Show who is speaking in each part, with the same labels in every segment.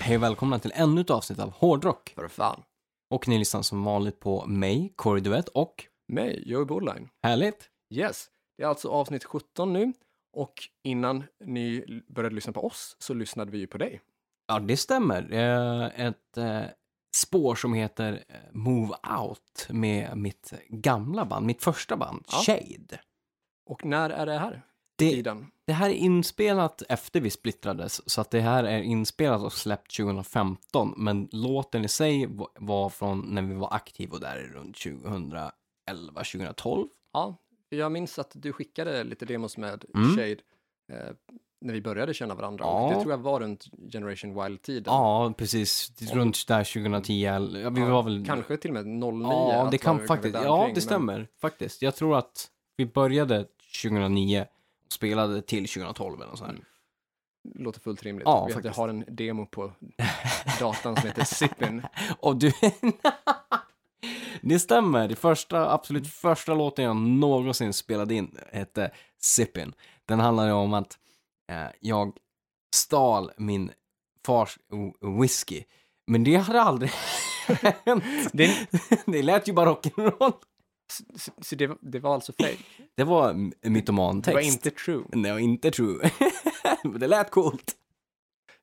Speaker 1: Hej och välkomna till ännu ett avsnitt av Hårdrock.
Speaker 2: Vad fan?
Speaker 1: Och ni lyssnar som vanligt på mig, Corey Duett och
Speaker 2: Mig, Joey Bordline.
Speaker 1: härligt.
Speaker 2: Yes, det är alltså avsnitt 17 nu och innan ni l- började lyssna på oss så lyssnade vi ju på dig.
Speaker 1: Ja, det stämmer. Eh, Ett eh, spår som heter eh, Move Out med mitt gamla band, mitt första band,
Speaker 2: Ja.
Speaker 1: Shade.
Speaker 2: Och när är det här?
Speaker 1: Det,
Speaker 2: Tiden?
Speaker 1: det här är inspelat efter vi splittrades, så att det här är inspelat och släppt 2015, men låten i sig va- var från när vi var aktiva och där är runt 2011, 2012.
Speaker 2: Ja, jag minns att du skickade lite demos med
Speaker 1: Mm.
Speaker 2: Shade eh, när vi började känna varandra
Speaker 1: Ja.
Speaker 2: och det tror jag var runt Generation Wild-tiden.
Speaker 1: Ja, precis. Runt där 2010. eller- Ja, vi
Speaker 2: Typ. Ja,
Speaker 1: var väl...
Speaker 2: Kanske till och med 09.
Speaker 1: Ja,
Speaker 2: att
Speaker 1: det
Speaker 2: man
Speaker 1: kan
Speaker 2: kunde
Speaker 1: faktiskt.
Speaker 2: där
Speaker 1: Ja,
Speaker 2: omkring,
Speaker 1: det
Speaker 2: men-
Speaker 1: stämmer faktiskt. Jag tror att vi började 2009 och spelade till 2012 eller något sånt här.
Speaker 2: Mm. Låter fullt rimligt.
Speaker 1: Ja,
Speaker 2: vi hade-
Speaker 1: faktiskt.
Speaker 2: har en demo på datan som heter Sippin.
Speaker 1: Och du... det stämmer. Det första, absolut första låten jag någonsin spelade in hette Sippin. Den handlade om att eh, jag stal min fars o- whisky. Men det hade aldrig hänt.
Speaker 2: Det-
Speaker 1: det lät ju bara rock'n'roll.
Speaker 2: Så, så det, var- det var alltså fake?
Speaker 1: Det var m- mytomantext.
Speaker 2: Det var inte true?
Speaker 1: Nej, inte true. Men det lät coolt.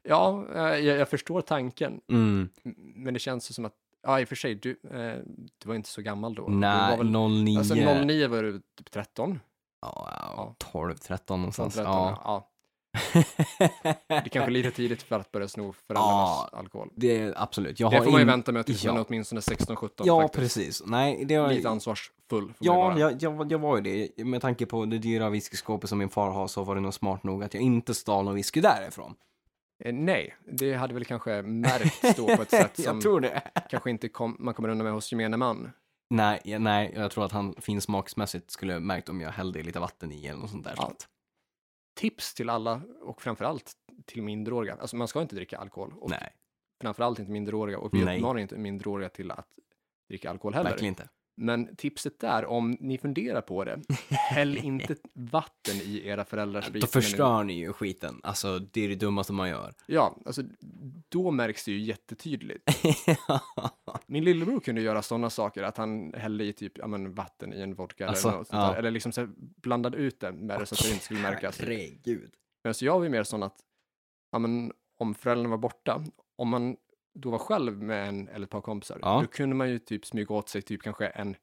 Speaker 2: Ja, eh, jag, jag förstår tanken.
Speaker 1: Mm.
Speaker 2: M- Men det känns ju som att, ja i och för sig, du, eh, du var inte så gammal då. du var
Speaker 1: Nej,
Speaker 2: väl,
Speaker 1: 09.
Speaker 2: alltså 09 var du typ 13.
Speaker 1: Ja, ja,
Speaker 2: Ja.
Speaker 1: 12, 13 någonstans.
Speaker 2: 13
Speaker 1: ja.
Speaker 2: ja. Det kanske är lite tidigt för att börja sno föräldrarnas alkohol.
Speaker 1: det är absolut. Jag
Speaker 2: Det
Speaker 1: har
Speaker 2: får man ju
Speaker 1: in-
Speaker 2: vänta med tills man
Speaker 1: Ja.
Speaker 2: är åtminstone 16-17
Speaker 1: Ja,
Speaker 2: faktiskt.
Speaker 1: precis. Nej, det var...
Speaker 2: Lite ansvarsfull får man ju
Speaker 1: Ja,
Speaker 2: vara.
Speaker 1: jag, jag, jag var ju det. Med tanke på det dyra whiskyskåpet som min far har så var det nog smart nog att jag inte stal någon whisky därifrån.
Speaker 2: Eh, Nej, det hade väl kanske märkts då på ett sätt som
Speaker 1: jag tror det.
Speaker 2: kanske inte kom, man kommer undan med hos gemene man.
Speaker 1: Nej, jag- nej, jag tror att han finsmaksmässigt skulle märkt om jag hällde i lite vatten i eller något sånt där.
Speaker 2: Ja. Tips till alla och framförallt till minderåriga. Alltså man ska inte dricka alkohol och
Speaker 1: Nej,
Speaker 2: framförallt inte minderåriga och vi
Speaker 1: Nej.
Speaker 2: uppmanar inte minderåriga till att dricka alkohol heller.
Speaker 1: verkligen inte.
Speaker 2: Men tipset där, om ni funderar på det, häll inte vatten i era föräldrars sprit.
Speaker 1: Då
Speaker 2: när ni-
Speaker 1: förstör ni ju skiten. Alltså, det är det dummaste man gör.
Speaker 2: Ja, alltså då märks det ju jättetydligt. Min lillebror kunde göra sådana saker, att han hällde i typ ja, men, vatten i en vodka
Speaker 1: Alltså,
Speaker 2: eller något sånt där.
Speaker 1: ja.
Speaker 2: Eller liksom så här, blandade ut det med det så att det inte skulle märkas.
Speaker 1: Herregud.
Speaker 2: Men så jag var ju mer sån att, ja men om föräldrarna var borta, om man då var själv med en eller ett par kompisar,
Speaker 1: Ja.
Speaker 2: då kunde man ju typ smyga åt sig typ kanske en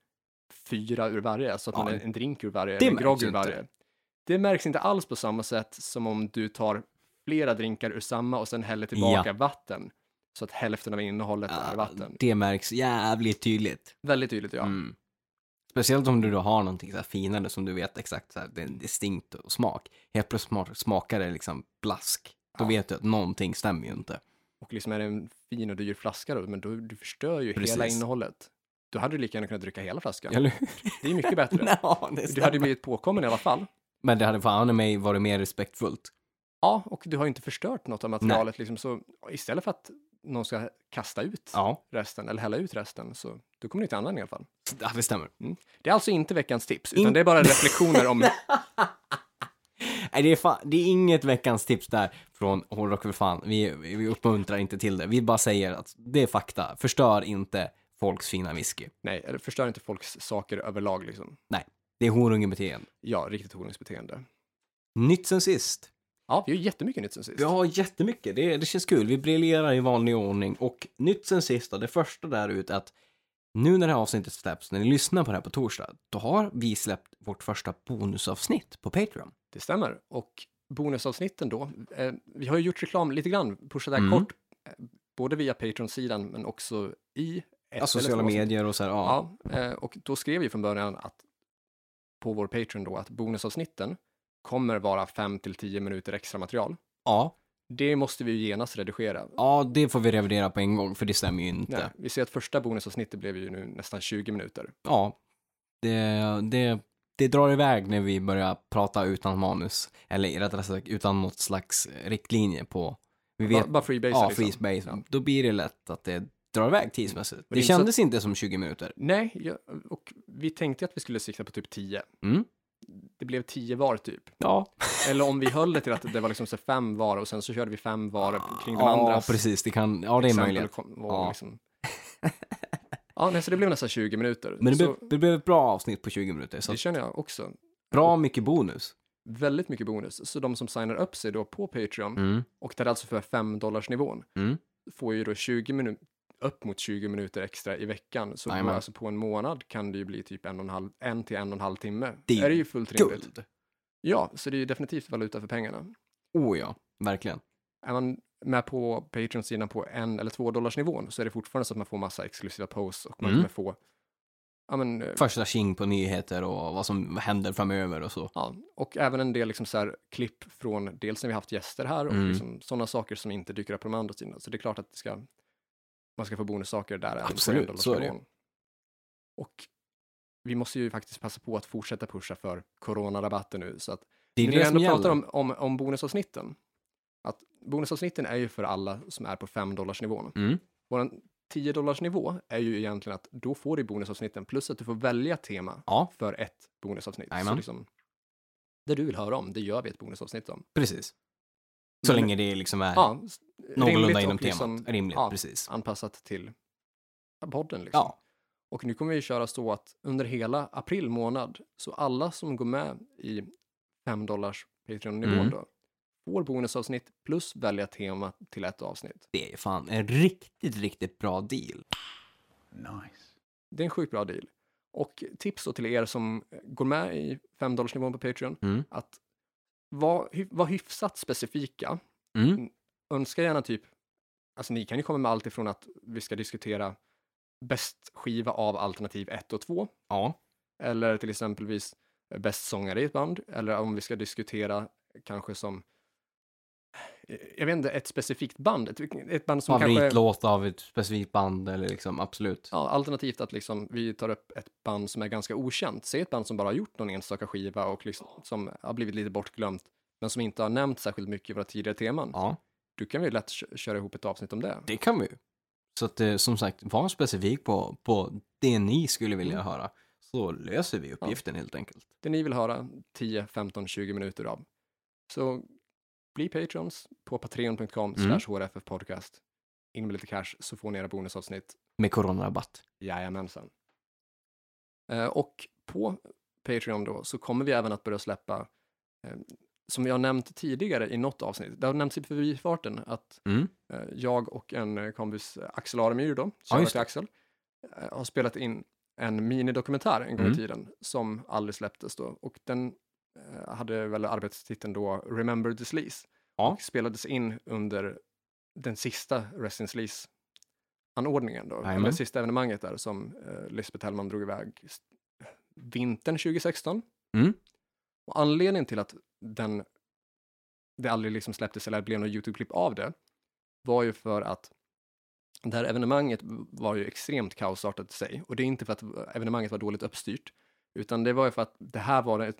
Speaker 2: fyra ur varje, så att
Speaker 1: Ja.
Speaker 2: man är en drink ur varje,
Speaker 1: Det
Speaker 2: en
Speaker 1: märks
Speaker 2: grogg
Speaker 1: ju
Speaker 2: ur
Speaker 1: inte.
Speaker 2: varje. Det märks inte alls på samma sätt som om du tar flera drinkar ur samma och sen häller tillbaka vatten, så att hälften av innehållet är vatten.
Speaker 1: det märks jävligt tydligt.
Speaker 2: Väldigt tydligt ja.
Speaker 1: Mm. Speciellt om du då har någonting så här finare som du vet exakt så här, det är distinkt och smak. Helt plötsligt smak- smakar det liksom blask. Då
Speaker 2: Ja.
Speaker 1: vet du att någonting stämmer ju inte.
Speaker 2: Och liksom är det en fin och dyr flaska då, men då, du förstör ju hela
Speaker 1: Precis.
Speaker 2: innehållet. Då hade du lika gärna kunnat dricka hela flaskan.
Speaker 1: Eller hur?
Speaker 2: Det är mycket bättre.
Speaker 1: Ja, det
Speaker 2: Du hade ju
Speaker 1: stämmer.
Speaker 2: blivit påkommen i alla fall.
Speaker 1: Men det hade fan i mig varit mer respektfullt.
Speaker 2: Ja, och du har ju inte förstört något av materialet. Liksom, så istället för att någon ska kasta ut
Speaker 1: Ja,
Speaker 2: resten eller hälla ut resten, så då kommer det inte använda i alla fall.
Speaker 1: ja det stämmer.
Speaker 2: Det är alltså inte veckans tips, utan
Speaker 1: In-
Speaker 2: det är bara reflektioner om...
Speaker 1: Nej, det är, fan, det är inget veckans tips där från Hårdrock för fan. Vi, vi uppmuntrar inte till det. Vi bara säger att det är fakta. Förstör inte folks fina whisky.
Speaker 2: Nej, eller förstör inte folks saker överlag liksom.
Speaker 1: Det är horungebeteende.
Speaker 2: Ja, riktigt horungsbeteende.
Speaker 1: Nytt sen sist.
Speaker 2: Ja, vi har ju jättemycket nytt sen sist.
Speaker 1: Vi har jättemycket. Det, det känns kul. Vi briljerar i vanlig ordning. Och nytt sen sist, då, det första där ut att nu när det här avsnittet släpps, när ni lyssnar på det här på torsdag, då har vi släppt vårt första bonusavsnitt på Patreon.
Speaker 2: Det stämmer. Och bonusavsnitten då, eh, vi har ju gjort reklam lite grann, pushat där
Speaker 1: Mm.
Speaker 2: kort, eh, både via Patreon-sidan men också i... ett eller
Speaker 1: Ja, Alltså sociala
Speaker 2: två avsnitt.
Speaker 1: medier och så här, ja.
Speaker 2: Ja, eh, och då skrev vi från början att på vår Patreon då att bonusavsnitten kommer vara 5 till 10 minuter extra material.
Speaker 1: ja.
Speaker 2: Det måste vi ju genast redigera.
Speaker 1: Ja, det får vi revidera på en gång, för det stämmer ju inte.
Speaker 2: Nej, vi ser att första bonusavsnittet blev ju nu nästan 20 minuter.
Speaker 1: Ja, det, det det drar iväg när vi börjar prata utan manus. Eller rättare sagt utan något slags riktlinje på... Vi vet,
Speaker 2: bara, bara freebase
Speaker 1: ja,
Speaker 2: liksom.
Speaker 1: free space. Då blir det lätt att det drar iväg tidsmässigt.
Speaker 2: det
Speaker 1: Det,
Speaker 2: är inte så
Speaker 1: kändes inte som 20 minuter.
Speaker 2: Nej, jag, och vi tänkte att vi skulle sikta på typ 10.
Speaker 1: Mm.
Speaker 2: Det blev 10 var typ.
Speaker 1: Ja,
Speaker 2: Eller om vi höll det till att det var liksom så fem var och sen så körde vi fem var kring de andra.
Speaker 1: ja precis. Det kan, ja, det är möjligt.
Speaker 2: Ja.
Speaker 1: Ja.
Speaker 2: Liksom... ja, nej, så det blev nästan 20 minuter.
Speaker 1: Men det,
Speaker 2: så,
Speaker 1: blev, det blev ett bra avsnitt på 20 minuter. Så
Speaker 2: det känner jag också.
Speaker 1: bra mycket bonus.
Speaker 2: Väldigt mycket bonus. Så de som signar upp sig då på Patreon,
Speaker 1: Mm.
Speaker 2: och det är alltså för 5 nivån
Speaker 1: Mm.
Speaker 2: får ju då 20 minuter upp mot 20 minuter extra i veckan. Så på,
Speaker 1: Jajamän.
Speaker 2: alltså på en månad kan det ju bli typ en, och en, halv, en till en och en halv timme.
Speaker 1: Det är
Speaker 2: är det ju fullt rimligt.
Speaker 1: Guld!
Speaker 2: Ja, så det är ju definitivt valuta för pengarna.
Speaker 1: Oh ja, verkligen.
Speaker 2: Är man med på Patreon-sidan på en eller två dollars nivån så är det fortfarande så att man får massa exklusiva posts och man
Speaker 1: Mm.
Speaker 2: kommer få ja, men, eh,
Speaker 1: Första tjing på nyheter och vad som händer framöver och så.
Speaker 2: Ja, och även en del liksom så här klipp från dels när vi haft gäster här och
Speaker 1: Mm.
Speaker 2: liksom sådana saker som inte dyker upp på de andra sidorna. Så det är klart att det ska, man ska få bonussaker där. även på
Speaker 1: Absolut,
Speaker 2: $1
Speaker 1: så är det ju.
Speaker 2: nivån. Och vi måste ju faktiskt passa på att fortsätta pusha för coronarabatten nu. Så att
Speaker 1: Det är
Speaker 2: när vi
Speaker 1: det som
Speaker 2: ändå pratar
Speaker 1: gäller.
Speaker 2: om, om, om bonusavsnitten, att bonusavsnitten är ju för alla som är på 5 nivån.
Speaker 1: Mm.
Speaker 2: Vår 10 nivå är ju egentligen att då får du bonusavsnitten plus att du får välja tema
Speaker 1: Ja,
Speaker 2: för ett bonusavsnitt. Så
Speaker 1: Jajamän.
Speaker 2: liksom, det du vill höra om, det gör vi ett bonusavsnitt om.
Speaker 1: precis. Så
Speaker 2: Men-
Speaker 1: länge det liksom är
Speaker 2: Ja, s-
Speaker 1: någorlunda
Speaker 2: rimligt
Speaker 1: inom
Speaker 2: och
Speaker 1: temat.
Speaker 2: liksom
Speaker 1: Rimligt,
Speaker 2: ja.
Speaker 1: precis.
Speaker 2: anpassat till podden. Liksom.
Speaker 1: Ja,
Speaker 2: Och nu kommer vi köra så att under hela april månad, så alla som går med i 5 dollars Patreon-nivån
Speaker 1: Mm.
Speaker 2: då, får bonusavsnitt plus välja tema till ett avsnitt.
Speaker 1: det är fan en riktigt, riktigt bra deal.
Speaker 3: Nice.
Speaker 2: Det är en sjukt bra deal. Och tips då till er som går med i 5 dollars nivån på Patreon,
Speaker 1: Mm.
Speaker 2: att vara hy- var hyfsat specifika
Speaker 1: Mm.
Speaker 2: önska gärna typ, alltså ni kan ju komma med allt ifrån att vi ska diskutera bäst skiva av alternativ 1 och 2,
Speaker 1: Ja,
Speaker 2: eller till exempelvis bäst sångare i ett band, eller om vi ska diskutera kanske som, eh, jag vet inte, ett specifikt band, ett, ett band som kanske,
Speaker 1: favoritlåt av ett specifikt band eller liksom, absolut.
Speaker 2: ja, alternativt att liksom vi tar upp ett band som är ganska okänt, säg ett band som bara har gjort någon enstaka skiva och liksom, som har blivit lite bortglömt, men som inte har nämnt särskilt mycket i våra tidigare teman,
Speaker 1: Ja,
Speaker 2: då kan vi ju lätt kö- köra ihop ett avsnitt om det.
Speaker 1: det kan vi ju. Så att eh, som sagt, var specifik på, på det ni skulle
Speaker 2: Mm.
Speaker 1: vilja höra. Så löser vi uppgiften helt enkelt.
Speaker 2: det ni vill höra 10, 15, 20 minuter av. Så bli patrons på patreon.com
Speaker 1: Mm.
Speaker 2: slash hrffpodcast. In med lite cash så får ni era bonusavsnitt.
Speaker 1: Med coronarabatt.
Speaker 2: Jajamensan. Eh, Och på Patreon då så kommer vi även att börja släppa, eh, som vi har nämnt tidigare i något avsnitt, det har nämnts i förbifarten att
Speaker 1: Mm.
Speaker 2: eh, jag och en eh, kompis eh, Axel Aremyr då,
Speaker 1: Ja, just
Speaker 2: shoutout till Axel, eh, har spelat in en minidokumentär en gång i
Speaker 1: Mm.
Speaker 2: tiden som aldrig släpptes då och den eh, hade väl arbetstiteln då Remember the Sleaze
Speaker 1: Ja.
Speaker 2: och spelades in under den sista Rest in Sleaze anordningen då,
Speaker 1: Jajamän.
Speaker 2: eller sista evenemanget där som eh, Lisbeth Hellman drog iväg s- vintern 2016.
Speaker 1: Mm.
Speaker 2: Och anledningen till att den, det aldrig liksom släpptes eller blev något YouTube-klipp av det var ju för att det här evenemanget var ju extremt kaosartat i sig. Och det är inte för att evenemanget var dåligt uppstyrt, utan det var ju för att det här var ett,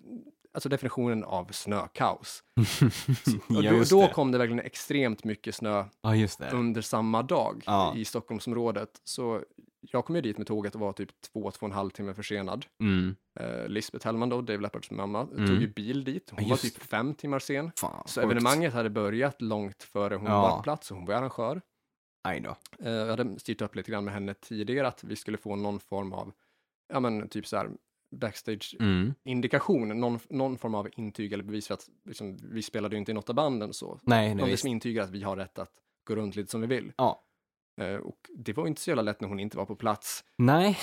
Speaker 2: alltså definitionen av snökaos. Och
Speaker 1: ja,
Speaker 2: då,
Speaker 1: just
Speaker 2: då
Speaker 1: det.
Speaker 2: kom Mm. det verkligen extremt mycket snö
Speaker 1: Ja, just det.
Speaker 2: under samma dag
Speaker 1: Ja.
Speaker 2: i Stockholmsområdet. Så jag kom ju dit med tåget och var typ två, två och en halv timme försenad.
Speaker 1: Mm.
Speaker 2: Eh, Lisbeth Hellman då, Dave Leppards mamma,
Speaker 1: Mm.
Speaker 2: tog ju bil dit. Hon
Speaker 1: Ja,
Speaker 2: var
Speaker 1: just
Speaker 2: typ fem timmar sen.
Speaker 1: Fan,
Speaker 2: Så
Speaker 1: sjukt.
Speaker 2: evenemanget hade börjat långt före hon
Speaker 1: Ja.
Speaker 2: var på plats och hon var arrangör.
Speaker 1: Aj då.
Speaker 2: Eh, Jag hade styrt upp lite grann med henne tidigare att vi skulle få någon form av, ja men typ så här backstage-indikation,
Speaker 1: Mm.
Speaker 2: någon, någon form av intyg eller bevis för att liksom, vi spelade ju inte i något av banden så.
Speaker 1: Nej, nej
Speaker 2: Någon
Speaker 1: visst.
Speaker 2: som intygar att vi har rätt att gå runt lite som vi vill.
Speaker 1: Ja.
Speaker 2: Eh, Och det var ju inte så jävla lätt när hon inte var på plats.
Speaker 1: Nej.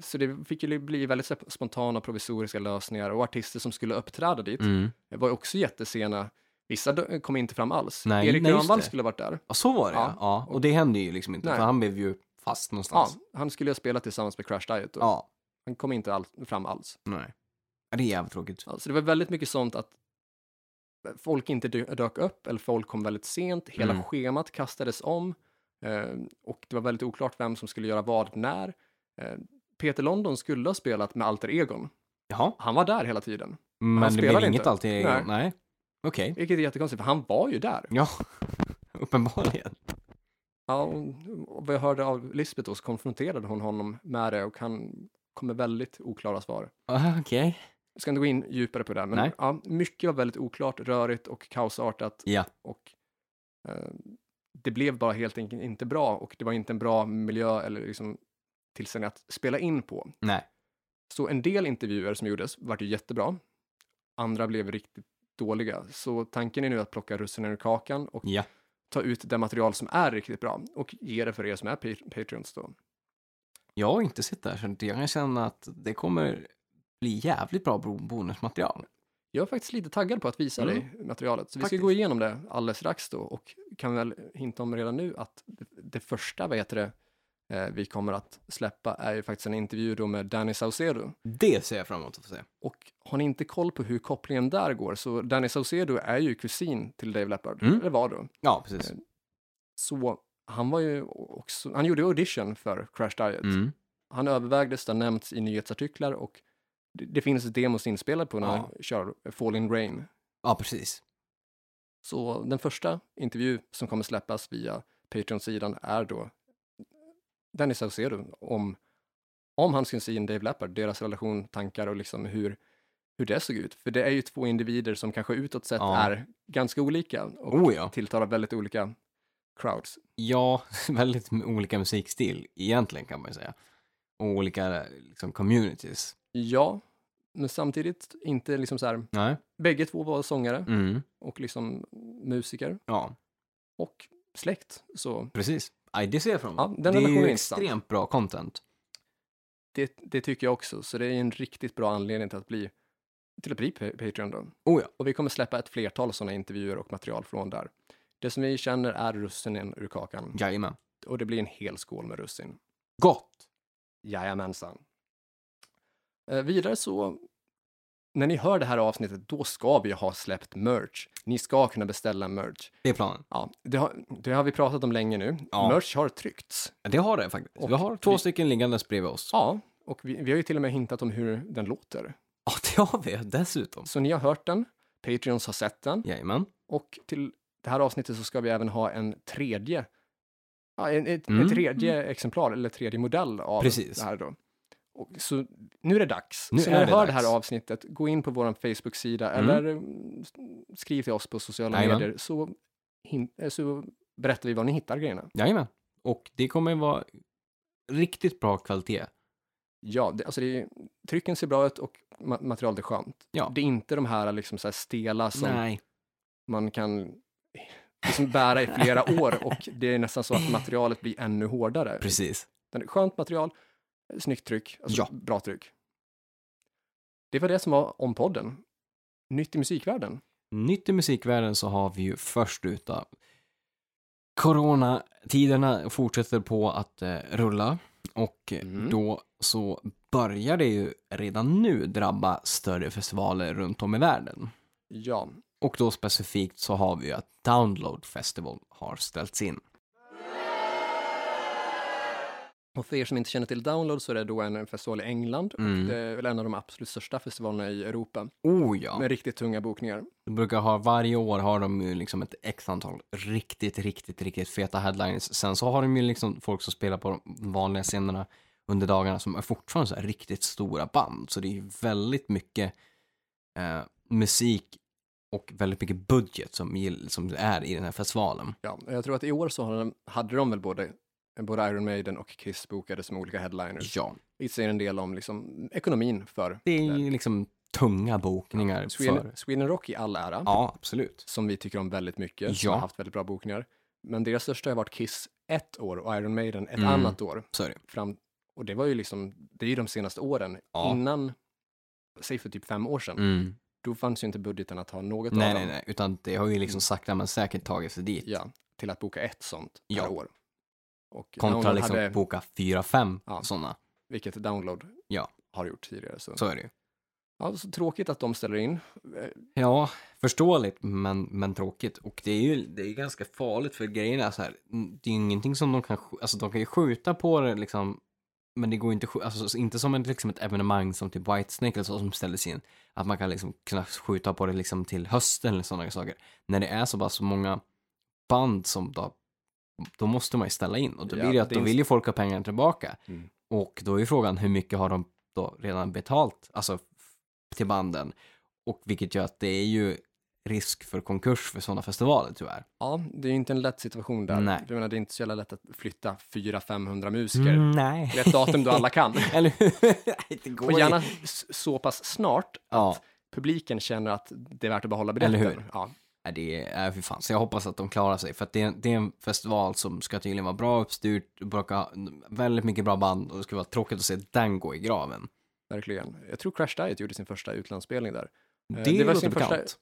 Speaker 2: Så det fick ju bli väldigt så här spontana provisoriska lösningar och artister som skulle uppträda dit
Speaker 1: mm.
Speaker 2: var ju också jättesena. Vissa dö- kom inte fram alls.
Speaker 1: Nej,
Speaker 2: Erik
Speaker 1: nej, just
Speaker 2: Grönvall
Speaker 1: det.
Speaker 2: skulle ha varit där.
Speaker 1: Ja, så var det
Speaker 2: Ja.
Speaker 1: ja. ja. Och det hände ju liksom inte,
Speaker 2: Nej.
Speaker 1: för han blev ju fast
Speaker 2: Ja,
Speaker 1: någonstans.
Speaker 2: han skulle ju ha spelat tillsammans med Crash Diet. Då.
Speaker 1: Ja.
Speaker 2: Han kom inte all- fram alls.
Speaker 1: Nej. Ja, Det är jävligt tråkigt.
Speaker 2: Ja, så Alltså, det var väldigt mycket sånt att eh, folk inte dö- dök upp eller folk kom väldigt sent. Hela
Speaker 1: Mm.
Speaker 2: schemat kastades om eh, och det var Ehm, väldigt oklart vem som skulle göra vad när. Eh, Peter London skulle ha spelat med Alter Egon
Speaker 1: Jaha.
Speaker 2: Han var där hela tiden,
Speaker 1: Men det
Speaker 2: spelar
Speaker 1: blir inget
Speaker 2: inte.
Speaker 1: alltid? Nej.
Speaker 2: Nej.
Speaker 1: Nej. Okej.
Speaker 2: vilket är jättekonstigt för han var ju där.
Speaker 1: Ja, uppenbarligen.
Speaker 2: Ja, och och vad jag hörde av Lisbeth då så konfronterade hon honom med det och han kom med väldigt oklara svar.
Speaker 1: Ah, Okej.
Speaker 2: Jag ska inte gå in djupare på det, här, men
Speaker 1: Nej.
Speaker 2: ja, mycket var väldigt oklart, rörigt och kaosartat.
Speaker 1: Ja.
Speaker 2: Och, eh, det blev bara helt enkelt inte bra och det var inte en bra miljö eller liksom tillställning att spela in på.
Speaker 1: Nej.
Speaker 2: Så en del intervjuer som gjordes vart ju jättebra. Andra blev riktigt dåliga. Så tanken är nu att plocka russinen ur kakan och
Speaker 1: Ja.
Speaker 2: ta ut det material som är riktigt bra och ge det för er som är pa- Patreons då.
Speaker 1: Jag har inte sett det här så att jag kan känna att det kommer bli jävligt bra bo- bonusmaterial.
Speaker 2: Jag är faktiskt lite taggad på att visa
Speaker 1: Mm.
Speaker 2: dig materialet, så vi
Speaker 1: Faktiskt.
Speaker 2: ska gå igenom det alldeles strax då och kan väl hinta om redan nu att det, det första, vad heter det, eh, vi kommer att släppa är ju faktiskt en intervju då med Danny Saucedo.
Speaker 1: Det ser jag fram emot att få se.
Speaker 2: Och har ni inte koll på hur kopplingen där går, så Danny Saucedo är ju kusin till Dave Leppard,
Speaker 1: Mm.
Speaker 2: eller var då.
Speaker 1: Ja, precis.
Speaker 2: Så han var ju också, han gjorde audition för Crash Diet.
Speaker 1: Mm.
Speaker 2: Han övervägdes, det har nämnts i nyhetsartiklar och det, det finns demos inspelade på när
Speaker 1: Ja.
Speaker 2: han kör Fall in Rain.
Speaker 1: Ja, precis.
Speaker 2: Så den första intervju som kommer släppas via Patreon-sidan är då Dennis Saucedo om, om hans kusin Dave Leppard, deras relation, tankar och liksom hur, hur det såg ut. För det är ju två individer som kanske utåt sett
Speaker 1: Ja.
Speaker 2: är ganska olika och
Speaker 1: Oh ja.
Speaker 2: tilltalar väldigt olika crowds.
Speaker 1: Ja, väldigt m- olika musikstil egentligen kan man ju säga. Och olika liksom, communities.
Speaker 2: Ja, men samtidigt inte liksom så här,
Speaker 1: Nej.
Speaker 2: bägge två var sångare
Speaker 1: Mm.
Speaker 2: och liksom musiker
Speaker 1: Ja,
Speaker 2: och släkt. Så
Speaker 1: precis. Aj, det ser jag fram emot.
Speaker 2: Ja, den
Speaker 1: det är
Speaker 2: relationen
Speaker 1: ju
Speaker 2: är intressant.
Speaker 1: extremt bra content.
Speaker 2: det, det tycker jag också, så det är en riktigt bra anledning till att bli, till att bli pa- Patreon då.
Speaker 1: Oh ja.
Speaker 2: Och vi kommer släppa ett flertal sådana intervjuer och material från där. Det som vi känner är russinen ur kakan
Speaker 1: Jajamän.
Speaker 2: och det blir en hel skål med russin.
Speaker 1: Gott!
Speaker 2: Jajamensan. Eh, vidare så, när ni hör det här avsnittet, då ska vi ha släppt merch. Ni ska kunna beställa merch.
Speaker 1: Det är planen.
Speaker 2: Ja, det har, det har vi pratat om länge nu.
Speaker 1: Ja.
Speaker 2: Merch har tryckts.
Speaker 1: Ja, Det har det faktiskt.
Speaker 2: Och
Speaker 1: vi har två
Speaker 2: vi-
Speaker 1: stycken liggandes bredvid oss.
Speaker 2: Ja, och vi, vi har ju till och med hintat om hur den låter.
Speaker 1: Ja, det har vi dessutom.
Speaker 2: Så ni har hört den, Patreons har sett den
Speaker 1: Jajamän.
Speaker 2: och till det här avsnittet så ska vi även ha en tredje, ja, en, ett,
Speaker 1: Mm.
Speaker 2: ett tredje exemplar eller tredje modell av
Speaker 1: Precis.
Speaker 2: det här då. Och, så nu är det dags.
Speaker 1: Nu
Speaker 2: så
Speaker 1: är
Speaker 2: när ni
Speaker 1: det
Speaker 2: hör
Speaker 1: dags.
Speaker 2: det här avsnittet, gå in på vår Facebook-sida
Speaker 1: Mm.
Speaker 2: eller mm, skriv till oss på sociala
Speaker 1: Jajamän.
Speaker 2: medier så, hin- eh, så berättar vi var ni hittar grejerna.
Speaker 1: Jajamän. Och det kommer vara riktigt bra kvalitet.
Speaker 2: Ja, det, alltså det, är- trycken ser bra ut och ma- materialet är skönt.
Speaker 1: Ja.
Speaker 2: Det är inte de här, liksom, så här stela som
Speaker 1: Nej.
Speaker 2: man kan liksom bära i flera år och det är nästan så att materialet blir ännu hårdare.
Speaker 1: Precis.
Speaker 2: Men Skönt material, snyggt tryck, alltså
Speaker 1: Ja.
Speaker 2: bra tryck. Det var det som var om podden. Nytt i musikvärlden.
Speaker 1: Nytt i musikvärlden så har vi ju först utav Coronatiderna fortsätter på att eh, rulla och eh,
Speaker 2: Mm.
Speaker 1: då så börjar det ju redan nu drabba större festivaler runt om i världen.
Speaker 2: Ja,
Speaker 1: Och då specifikt så har vi ju att Download Festival har ställts in.
Speaker 2: och för er som inte känner till Download så är det då en festival i England.
Speaker 1: Mm.
Speaker 2: Det är väl en av de absolut största festivalerna i Europa
Speaker 1: Oh ja!
Speaker 2: med riktigt tunga bokningar.
Speaker 1: De brukar ha, varje år har de ju liksom ett x antal riktigt, riktigt, riktigt feta headlines. Sen så har de ju liksom folk som spelar på de vanliga scenerna under dagarna som är fortfarande så här riktigt stora band. Så det är ju väldigt mycket eh, musik och väldigt mycket budget som, gill- som är i den här festivalen.
Speaker 2: Ja, och jag tror att i år så har de, hade de väl både, både Iron Maiden och Kiss bokade som olika headliners.
Speaker 1: Ja,
Speaker 2: Vi ser en del om liksom, ekonomin för
Speaker 1: det är ju liksom tunga bokningar
Speaker 2: Sweden,
Speaker 1: för...
Speaker 2: Sweden Rock i all ära,
Speaker 1: Ja, absolut.
Speaker 2: som vi tycker om väldigt mycket, som
Speaker 1: Ja.
Speaker 2: har haft väldigt bra bokningar. Men deras största har varit Kiss ett år och Iron Maiden ett
Speaker 1: Mm.
Speaker 2: annat år.
Speaker 1: Så är det.
Speaker 2: Fram, och det var ju liksom, det är ju de senaste åren.
Speaker 1: Ja.
Speaker 2: Innan, säg för typ fem år sedan,
Speaker 1: Mm.
Speaker 2: då fanns ju inte budgeten att ha något
Speaker 1: Nej,
Speaker 2: av
Speaker 1: nej,
Speaker 2: dem
Speaker 1: nej, utan det har ju liksom sakta men säkert tagit sig dit.
Speaker 2: Ja, till att boka ett sånt
Speaker 1: Ja.
Speaker 2: per år. Och
Speaker 1: Kontra
Speaker 2: Download
Speaker 1: liksom
Speaker 2: hade,
Speaker 1: boka fyra, fem
Speaker 2: Ja.
Speaker 1: sådana.
Speaker 2: vilket Download
Speaker 1: Ja.
Speaker 2: har gjort tidigare. Så.
Speaker 1: Så är det ju.
Speaker 2: Ja, så tråkigt att de ställer in. Eh,
Speaker 1: Ja, förståeligt men, men tråkigt. Och det är ju det är ju ganska farligt för grejerna så här. Det är ju ingenting som de kan, sk- alltså de kan ju skjuta på det liksom men det går ju inte, att skj- alltså så inte som en, liksom ett evenemang som typ Whitesnake eller så som ställdes in. Att man kan liksom kunna skjuta på det liksom till hösten eller sådana saker. När det är så pass många band som då, då måste man ju ställa in. Och då
Speaker 2: Ja,
Speaker 1: blir det att
Speaker 2: det
Speaker 1: då
Speaker 2: är en-
Speaker 1: vill ju folk ha pengar tillbaka.
Speaker 2: Mm.
Speaker 1: Och då är ju frågan hur mycket har de då redan betalt, alltså f- till banden. Och vilket gör att det är ju risk för konkurs för sådana festivaler tyvärr.
Speaker 2: Ja, det är ju inte en lätt situation där.
Speaker 1: Nej.
Speaker 2: Jag menar, det är inte så jävla lätt att flytta 400-500 musiker. Mm.
Speaker 1: nej.
Speaker 2: Rätt datum då alla kan.
Speaker 1: Eller hur? Nej, det går
Speaker 2: Och gärna
Speaker 1: ju.
Speaker 2: s- så pass snart
Speaker 1: Ja,
Speaker 2: publiken känner att det är värt att behålla biljetten.
Speaker 1: Eller hur?
Speaker 2: Ja.
Speaker 1: nej, det är, äh, fy fan. Så jag hoppas att de klarar sig. För att det är, det är en festival som ska tydligen vara bra uppstyrt, brocka, väldigt mycket bra band och det skulle vara tråkigt att se den gå i graven.
Speaker 2: Verkligen. Jag tror Crash Diet gjorde sin första utlandsspelning där.
Speaker 1: Det,
Speaker 2: Eh, det var
Speaker 1: låter
Speaker 2: sin första-
Speaker 1: bekant.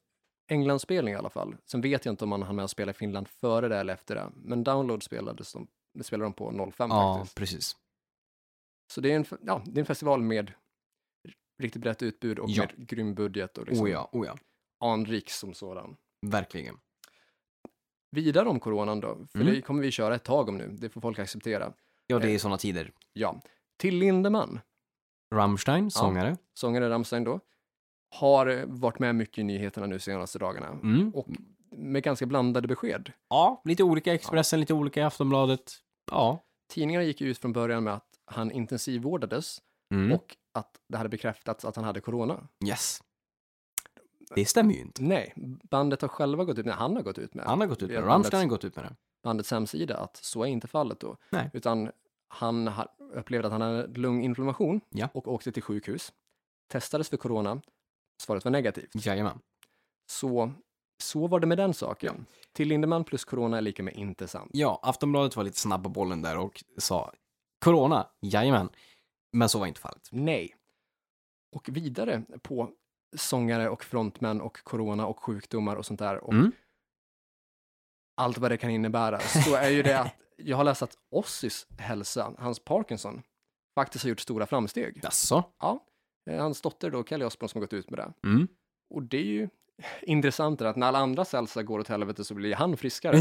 Speaker 2: Englandsspelning i alla fall. Sen vet jag inte om man hann med att spela i Finland före det eller efter det. Men Download spelades de, det spelade de på 05
Speaker 1: Ja,
Speaker 2: faktiskt.
Speaker 1: precis.
Speaker 2: Så det är, en, f- ja, det är en festival med riktigt brett utbud och
Speaker 1: Ja.
Speaker 2: med grym budget och liksom
Speaker 1: Oh ja, oh ja.
Speaker 2: anrik som sådan.
Speaker 1: Verkligen.
Speaker 2: Vidare om coronan då, för
Speaker 1: Mm.
Speaker 2: det kommer vi köra ett tag om nu. Det får folk acceptera.
Speaker 1: Ja, det är
Speaker 2: Eh.
Speaker 1: sådana tider.
Speaker 2: Ja. Till Lindemann,
Speaker 1: Rammstein, sångare.
Speaker 2: sångare Rammstein då, har eh, varit med mycket i nyheterna nu senaste dagarna.
Speaker 1: Mm.
Speaker 2: Och med ganska blandade besked.
Speaker 1: Ja, lite olika i Expressen, lite olika i Aftonbladet. Ja.
Speaker 2: Tidningarna gick ju ut från början med att han intensivvårdades
Speaker 1: Mm.
Speaker 2: och att det hade bekräftats att han hade corona.
Speaker 1: Yes. Det stämmer ju inte.
Speaker 2: Nej, bandet har själva gått ut, nej, han har gått ut med
Speaker 1: Han har gått ut med
Speaker 2: Ja,
Speaker 1: det. Rammstein har gått ut med det.
Speaker 2: bandets hemsida att så är inte fallet då.
Speaker 1: Nej.
Speaker 2: Utan han ha- upplevde att han hade lunginflammation
Speaker 1: Ja.
Speaker 2: och åkte till sjukhus. Testades för corona, svaret var negativt.
Speaker 1: Jajamän.
Speaker 2: Så, så var det med den saken. Till Lindemann plus corona är lika med inte sant.
Speaker 1: Ja, Aftonbladet var lite snabb på bollen där och sa Corona, jajamän. Men så var inte fallet.
Speaker 2: Nej. Och vidare på sångare och frontmän och corona och sjukdomar och sånt där och
Speaker 1: Mm.
Speaker 2: allt vad det kan innebära så är ju det att jag har läst att Ossis hälsa, hans Parkinson, faktiskt har gjort stora framsteg.
Speaker 1: Jaså?
Speaker 2: Ja, eh, hans dotter då, Kelly Osbourne, som har gått ut med det.
Speaker 1: Mm.
Speaker 2: Och det är ju intressant det där att när alla andra hälsa går åt helvete så blir han friskare.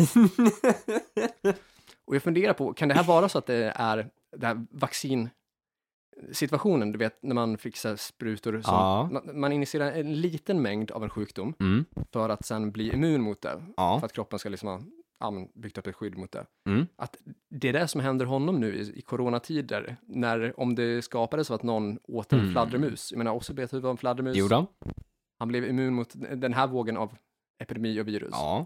Speaker 2: Och jag funderar på, kan det här vara så att det är det här vaccinsituationen, du vet när man fixar sprutor som,
Speaker 1: Ja.
Speaker 2: man, man injicerar en liten mängd av en sjukdom
Speaker 1: Mm.
Speaker 2: för att sen bli immun mot det,
Speaker 1: Ja.
Speaker 2: för att kroppen ska liksom ha ja, men byggt upp ett skydd mot det.
Speaker 1: Mm.
Speaker 2: Att det är det som händer honom nu i, i coronatider, när, om det skapades så att någon åt en
Speaker 1: Mm.
Speaker 2: fladdermus, jag menar Ossi bet huvud av en fladdermus,
Speaker 1: Gjorde han?
Speaker 2: han blev immun mot den här vågen av epidemi och virus.
Speaker 1: Ja.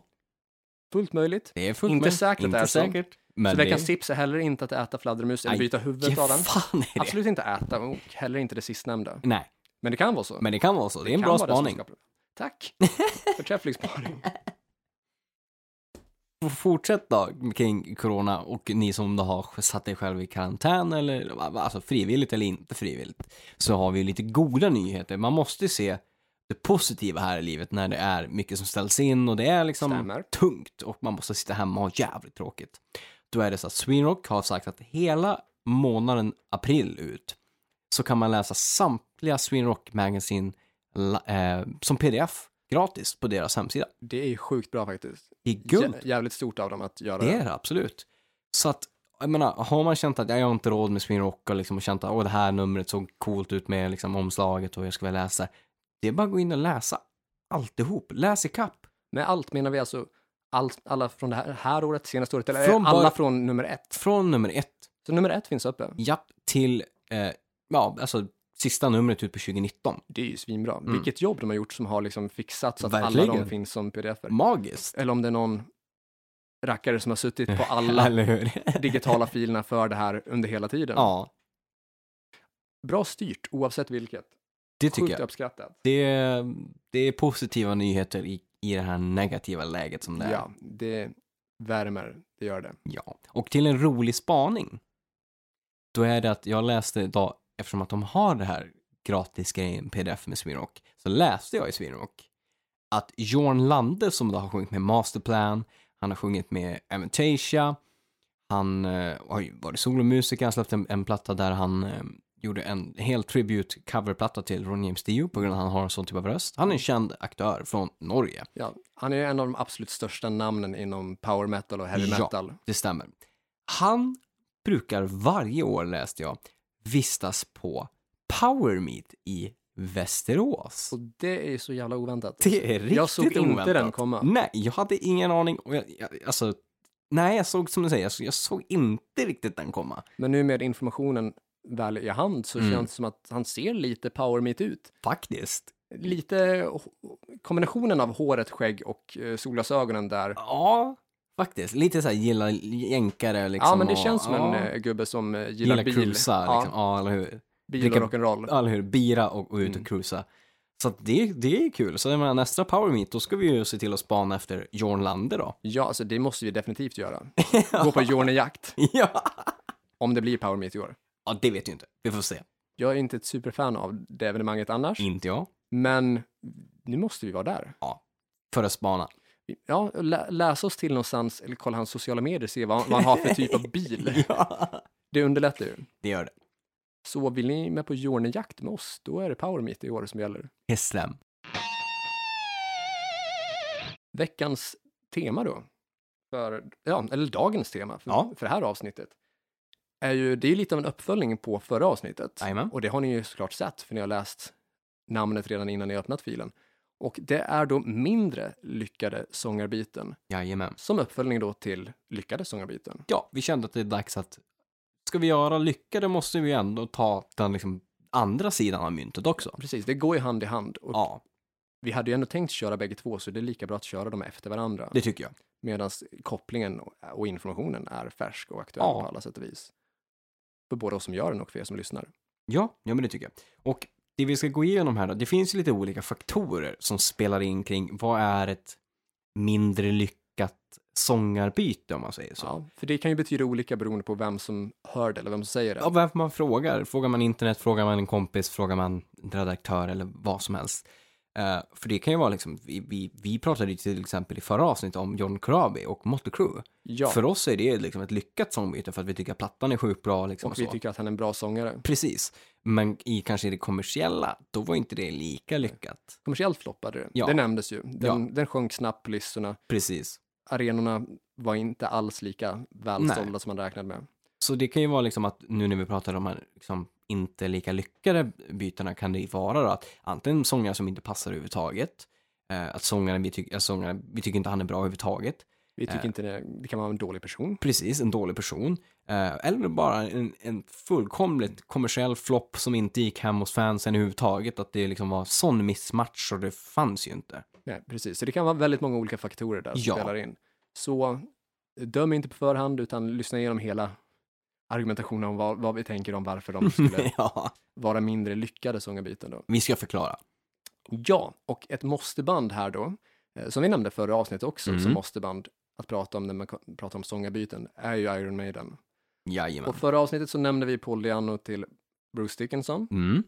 Speaker 2: Fullt möjligt.
Speaker 1: Det är fullt
Speaker 2: Inte
Speaker 1: möjligt.
Speaker 2: säkert alltså. att
Speaker 1: Inte
Speaker 2: det är så.
Speaker 1: säkert. Men
Speaker 2: så
Speaker 1: det
Speaker 2: veckans tips är heller inte att äta fladdermus eller
Speaker 1: Aj,
Speaker 2: byta huvudet av den.
Speaker 1: Ge fan är det?
Speaker 2: Absolut inte äta och heller inte det sistnämnda.
Speaker 1: Nej,
Speaker 2: Men det kan vara så.
Speaker 1: men det kan vara så. Det är en
Speaker 2: kan
Speaker 1: bra
Speaker 2: vara det som
Speaker 1: spaning.
Speaker 2: skapar- Tack! Förträfflig spaning.
Speaker 1: F- Fortsätt då kring corona och ni som då har satt er själv i karantän eller alltså frivilligt eller inte frivilligt så har vi lite goda nyheter. Man måste se det positiva här i livet när det är mycket som ställs in och det är liksom
Speaker 2: Stämmer.
Speaker 1: tungt och man måste sitta hemma och ha jävligt tråkigt. Då är det så att Swinrock har sagt att hela månaden april ut så kan man läsa samtliga Swinrock Magazine la- eh, som pdf gratis på deras hemsida.
Speaker 2: Det är ju sjukt bra faktiskt.
Speaker 1: Det är guld!
Speaker 2: Jä- Jävligt stort av dem att göra
Speaker 1: Det
Speaker 2: det.
Speaker 1: är det absolut. Så att, jag menar, har man känt att jag har inte råd med Sweden Rock och liksom och känt att åh, det här numret såg coolt ut med liksom omslaget och jag ska väl läsa. Det är bara att gå in och läsa alltihop. Läs ikapp.
Speaker 2: Med allt menar vi alltså allt, alla från det här, här året, senaste året, eller
Speaker 1: Från
Speaker 2: alla
Speaker 1: bara-
Speaker 2: från nummer ett.
Speaker 1: Från nummer ett,
Speaker 2: Så nummer ett finns uppe.
Speaker 1: japp, till, eh, ja, alltså sista numret ut på 2019.
Speaker 2: Det är ju svinbra. Vilket jobb de har gjort som har liksom fixat så att alla
Speaker 1: Mm. Verkligen.
Speaker 2: de finns som pdf-er.
Speaker 1: Magiskt.
Speaker 2: Eller om det är någon rackare som har suttit på alla
Speaker 1: Eller hur?
Speaker 2: digitala filerna för det här under hela tiden.
Speaker 1: ja,
Speaker 2: Bra styrt, oavsett vilket.
Speaker 1: det tycker
Speaker 2: Sjukt
Speaker 1: jag.
Speaker 2: uppskattat.
Speaker 1: Det är, det är positiva nyheter i, i det här negativa läget som det är.
Speaker 2: Ja, det värmer, det gör det.
Speaker 1: Ja, och till en rolig spaning. Då är det att jag läste idag, eftersom att de har det här gratisgrejen pdf med Swinrock, så läste jag i Swinrock att Jorn Lande som då har sjungit med Masterplan, han har sjungit med Amentasia, han eh, har ju varit solomusiker, han släppte en, en platta där han eh, gjorde en hel tribute coverplatta till Ron James Dio på grund av att han har en sån typ av röst. Han är en känd aktör från Norge.
Speaker 2: Ja, han är ju en av de absolut största namnen inom power metal och heavy
Speaker 1: Ja.
Speaker 2: metal.
Speaker 1: Det stämmer. Han brukar varje år, läste jag, vistas på Power Meet i Västerås.
Speaker 2: Och det är ju så jävla oväntat.
Speaker 1: Det är riktigt
Speaker 2: jag såg inte
Speaker 1: oväntat. Mm.
Speaker 2: den komma.
Speaker 1: Nej, jag hade ingen aning. Och jag, jag, alltså, nej, jag såg som du säger, jag, jag såg inte riktigt den komma.
Speaker 2: Men nu med informationen väl i hand så
Speaker 1: Mm.
Speaker 2: känns det som att han ser lite power meet ut.
Speaker 1: Faktiskt.
Speaker 2: Lite h- kombinationen av håret, skägg och eh, solglasögonen där.
Speaker 1: Ja, faktiskt. Lite så här gilla jänkare liksom.
Speaker 2: ja, men det
Speaker 1: och-
Speaker 2: känns som en
Speaker 1: ja,
Speaker 2: eh, gubbe som eh, gillar,
Speaker 1: Gillar
Speaker 2: bil.
Speaker 1: cruisa,
Speaker 2: ja,
Speaker 1: liksom. Ja, eller hur.
Speaker 2: bil och
Speaker 1: dricka-
Speaker 2: rock'n'roll.
Speaker 1: Ja, eller hur. Bira och, och ut och
Speaker 2: Mm.
Speaker 1: cruisa. Så att det, det är ju kul. Så jag menar, nästa Power Meet, då ska vi ju se till att spana efter Jorn Lande då.
Speaker 2: Ja, alltså det måste vi definitivt göra. Gå på Jorne-jakt,
Speaker 1: ja.
Speaker 2: om det blir power meet i år.
Speaker 1: ja, det vet ju inte. Vi får se.
Speaker 2: Jag är inte ett superfan av det evenemanget annars,
Speaker 1: Inte jag.
Speaker 2: men nu måste vi vara där.
Speaker 1: För att spana.
Speaker 2: Ja, lä läsa oss till någonstans, eller kolla hans sociala medier, se vad, vad han har för typ av bil.
Speaker 1: ja,
Speaker 2: Det underlättar ju.
Speaker 1: det gör det.
Speaker 2: Så vill ni med på Jorne-jakt med oss, då är det Power Meet i år som gäller.
Speaker 1: Yes, them.
Speaker 2: Veckans tema då, för, ja, eller dagens tema för,
Speaker 1: Ja.
Speaker 2: för det här avsnittet, är ju, det är ju lite av en uppföljning på förra avsnittet.
Speaker 1: Jajamän.
Speaker 2: Och det har ni ju såklart sett, för ni har läst namnet redan innan ni öppnat filen. Och det är då mindre lyckade sångarbiten,
Speaker 1: Jajamän.
Speaker 2: som uppföljning då till lyckade sångarbiten.
Speaker 1: Ja, vi kände att det är dags att ska vi göra lycka, då måste vi ändå ta den liksom andra sidan av myntet också.
Speaker 2: Precis, det går ju hand i hand. Och
Speaker 1: Ja,
Speaker 2: Vi hade ju ändå tänkt köra bägge två, så det är lika bra att köra dem efter varandra.
Speaker 1: det tycker jag.
Speaker 2: Medan kopplingen och- och informationen är färsk och aktuell
Speaker 1: Ja.
Speaker 2: på alla sätt och vis. För både oss som gör den och för er som lyssnar.
Speaker 1: Ja, ja men det tycker jag. Och det vi ska gå igenom här då, det finns ju lite olika faktorer som spelar in kring vad är ett mindre lyckat sångarbyte om man säger så.
Speaker 2: Ja, för det kan ju betyda olika beroende på vem som hör det eller vem som säger det.
Speaker 1: Ja, vem man frågar. Frågar man internet, frågar man en kompis, frågar man en redaktör eller vad som helst. Eh, för det kan ju vara liksom, vi, vi, vi pratade ju till exempel i förra avsnittet om John Corabi och Motley Crue.
Speaker 2: Ja,
Speaker 1: För oss är det liksom ett lyckat sångbyte för att vi tycker att plattan är sjukt bra. Liksom, och
Speaker 2: och vi
Speaker 1: så.
Speaker 2: tycker att han är en bra sångare.
Speaker 1: Precis. Men i kanske i det kommersiella, då var inte det lika lyckat.
Speaker 2: Kommersiellt floppade det.
Speaker 1: Ja.
Speaker 2: Det nämndes ju. Den,
Speaker 1: Ja.
Speaker 2: den sjönk snabbt på listorna.
Speaker 1: Precis.
Speaker 2: Arenorna var inte alls lika välsålda
Speaker 1: Nej.
Speaker 2: som man räknade med.
Speaker 1: Så det kan ju vara liksom att nu när vi pratar om de här liksom inte lika lyckade bytena kan det ju vara då att antingen sångare som inte passar överhuvudtaget, eh, att sångaren vi, tyck- att sångaren vi tycker inte han är bra överhuvudtaget,
Speaker 2: Vi tycker
Speaker 1: Eh.
Speaker 2: inte det, det kan vara en dålig person.
Speaker 1: precis, en dålig person, eh, eller bara en, en fullkomligt kommersiell flopp som inte gick hem hos fansen överhuvudtaget, att det liksom var sån missmatch och det fanns ju inte.
Speaker 2: Nej, precis. Så det kan vara väldigt många olika faktorer där som
Speaker 1: Ja.
Speaker 2: spelar in. Så eh, döm inte på förhand utan lyssna igenom hela argumentationen om vad, vad vi tänker om varför de skulle
Speaker 1: ja,
Speaker 2: vara mindre lyckade sångarbiten då.
Speaker 1: vi ska förklara.
Speaker 2: Ja, och ett måsteband här då, eh, som vi nämnde förra avsnittet också,
Speaker 1: Mm.
Speaker 2: som måsteband att prata om när man ko- pratar om sångarbyten, är ju Iron Maiden.
Speaker 1: Jajamän.
Speaker 2: Och förra avsnittet så nämnde vi Paul Diano till Bruce Dickinson
Speaker 1: Mm,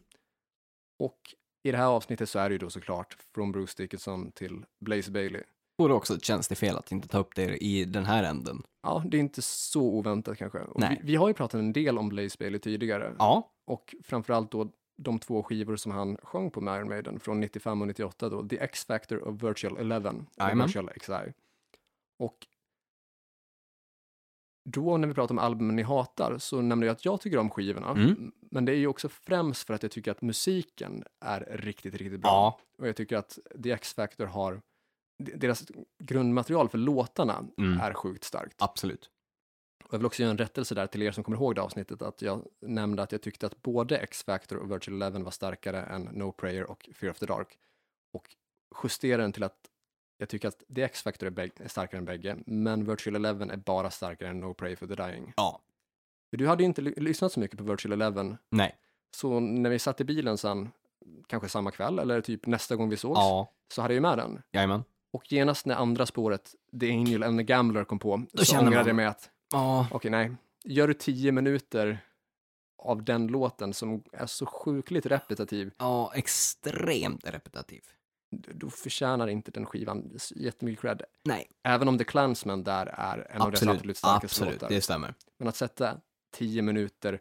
Speaker 2: och i det här avsnittet så är det ju då såklart från Bruce Dickinson till Blaze Bailey.
Speaker 1: vore också ett tjänstefel att inte ta upp det i den här änden.
Speaker 2: Ja, det är inte så oväntat kanske. Och
Speaker 1: Nej.
Speaker 2: Vi, vi har ju pratat en del om Blaze Bailey tidigare
Speaker 1: Ja,
Speaker 2: och framförallt då de två skivor som han sjöng på med Iron Maiden från 95 och 98 då, The X-Factor of Virtual 11, eller
Speaker 1: Jajamän.
Speaker 2: Virtual XI. Och då när vi pratar om albumen ni hatar så nämnde jag att jag tycker om skivorna,
Speaker 1: Mm.
Speaker 2: men det är ju också främst för att jag tycker att musiken är riktigt, riktigt bra.
Speaker 1: ja,
Speaker 2: Och jag tycker att The X-Factor har, d- deras grundmaterial för låtarna
Speaker 1: Mm.
Speaker 2: är sjukt starkt.
Speaker 1: absolut.
Speaker 2: Och jag vill också göra en rättelse där till er som kommer ihåg det avsnittet, att jag nämnde att jag tyckte att både X-Factor och Virtual Eleven var starkare än No Prayer och Fear of the Dark. Och justera den till att jag tycker att The X-Factor är, bäg- är starkare än bägge, men Virtual Eleven är bara starkare än No Prayer for the Dying.
Speaker 1: Ja,
Speaker 2: För du hade ju inte ly- lyssnat så mycket på Virtual Eleven,
Speaker 1: nej.
Speaker 2: så när vi satt i bilen sen, kanske samma kväll eller typ nästa gång vi sågs,
Speaker 1: Ja,
Speaker 2: så hade jag ju med den.
Speaker 1: jajamän.
Speaker 2: Och genast när andra spåret, The Angel and the Gambler kom på,
Speaker 1: Då
Speaker 2: så
Speaker 1: känner man-
Speaker 2: ångrade jag mig att
Speaker 1: Ja,
Speaker 2: Okej, nej. Gör du tio minuter av den låten som är så sjukligt repetitiv,
Speaker 1: ja, extremt repetitiv.
Speaker 2: d- då förtjänar inte den skivan s- jättemycket cred.
Speaker 1: Nej,
Speaker 2: Även om The Clansman där är en av dess absolut starkaste
Speaker 1: absolut,
Speaker 2: låtar.
Speaker 1: det stämmer.
Speaker 2: Men att sätta tio minuter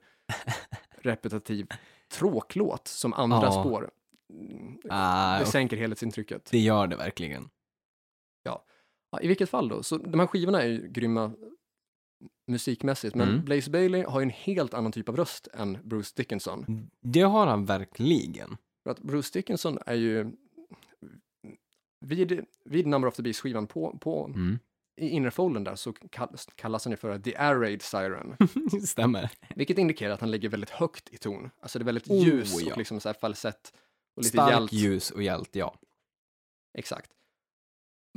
Speaker 2: repetitiv tråklåt som andra
Speaker 1: Ja.
Speaker 2: spår, mm,
Speaker 1: Ah,
Speaker 2: det
Speaker 1: och
Speaker 2: sänker helhetsintrycket.
Speaker 1: det gör det verkligen.
Speaker 2: Ja, I vilket fall då, så de här skivorna är ju grymma musikmässigt. Men
Speaker 1: Mm.
Speaker 2: Blaze Bailey har ju en helt annan typ av röst än Bruce Dickinson.
Speaker 1: Det har han verkligen.
Speaker 2: För att Bruce Dickinson är ju... Vid, vid Number of the Beast-skivan på, på,
Speaker 1: Mm.
Speaker 2: i inre folden där så kallas, kallas han ju för The Air Raid Siren.
Speaker 1: Stämmer.
Speaker 2: Vilket indikerar att han ligger väldigt högt i ton. Alltså det är väldigt
Speaker 1: Oh,
Speaker 2: ljus
Speaker 1: ja.
Speaker 2: och liksom så här falsett och lite
Speaker 1: Stark
Speaker 2: hjält.
Speaker 1: ljus och hjält, ja.
Speaker 2: Exakt.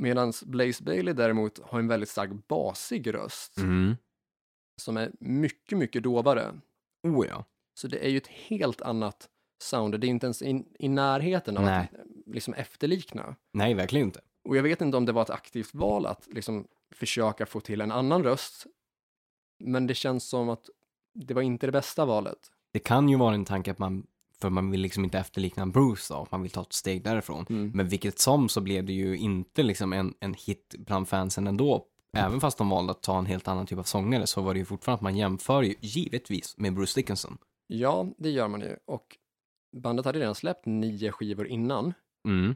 Speaker 2: Medan Blaze Bailey däremot har en väldigt stark basig röst
Speaker 1: Mm.
Speaker 2: som är mycket, mycket dovare.
Speaker 1: Oh ja.
Speaker 2: Så det är ju ett helt annat sound. Det är inte ens i, i närheten av
Speaker 1: Nej.
Speaker 2: att eh, liksom efterlikna.
Speaker 1: Nej, verkligen inte.
Speaker 2: Och jag vet inte om det var ett aktivt val att liksom försöka få till en annan röst. Men det känns som att det var inte det bästa valet.
Speaker 1: Det kan ju vara en tanke att man, för man vill liksom inte efterlikna Bruce då, man vill ta ett steg därifrån. Men vilket som så blev det ju inte liksom en, en hit bland fansen ändå.
Speaker 2: Mm.
Speaker 1: Även fast de valde att ta en helt annan typ av sångare så var det ju fortfarande att man jämför ju givetvis med Bruce Dickinson.
Speaker 2: Ja, det gör man ju. Och bandet hade redan släppt nio skivor innan.
Speaker 1: Mm.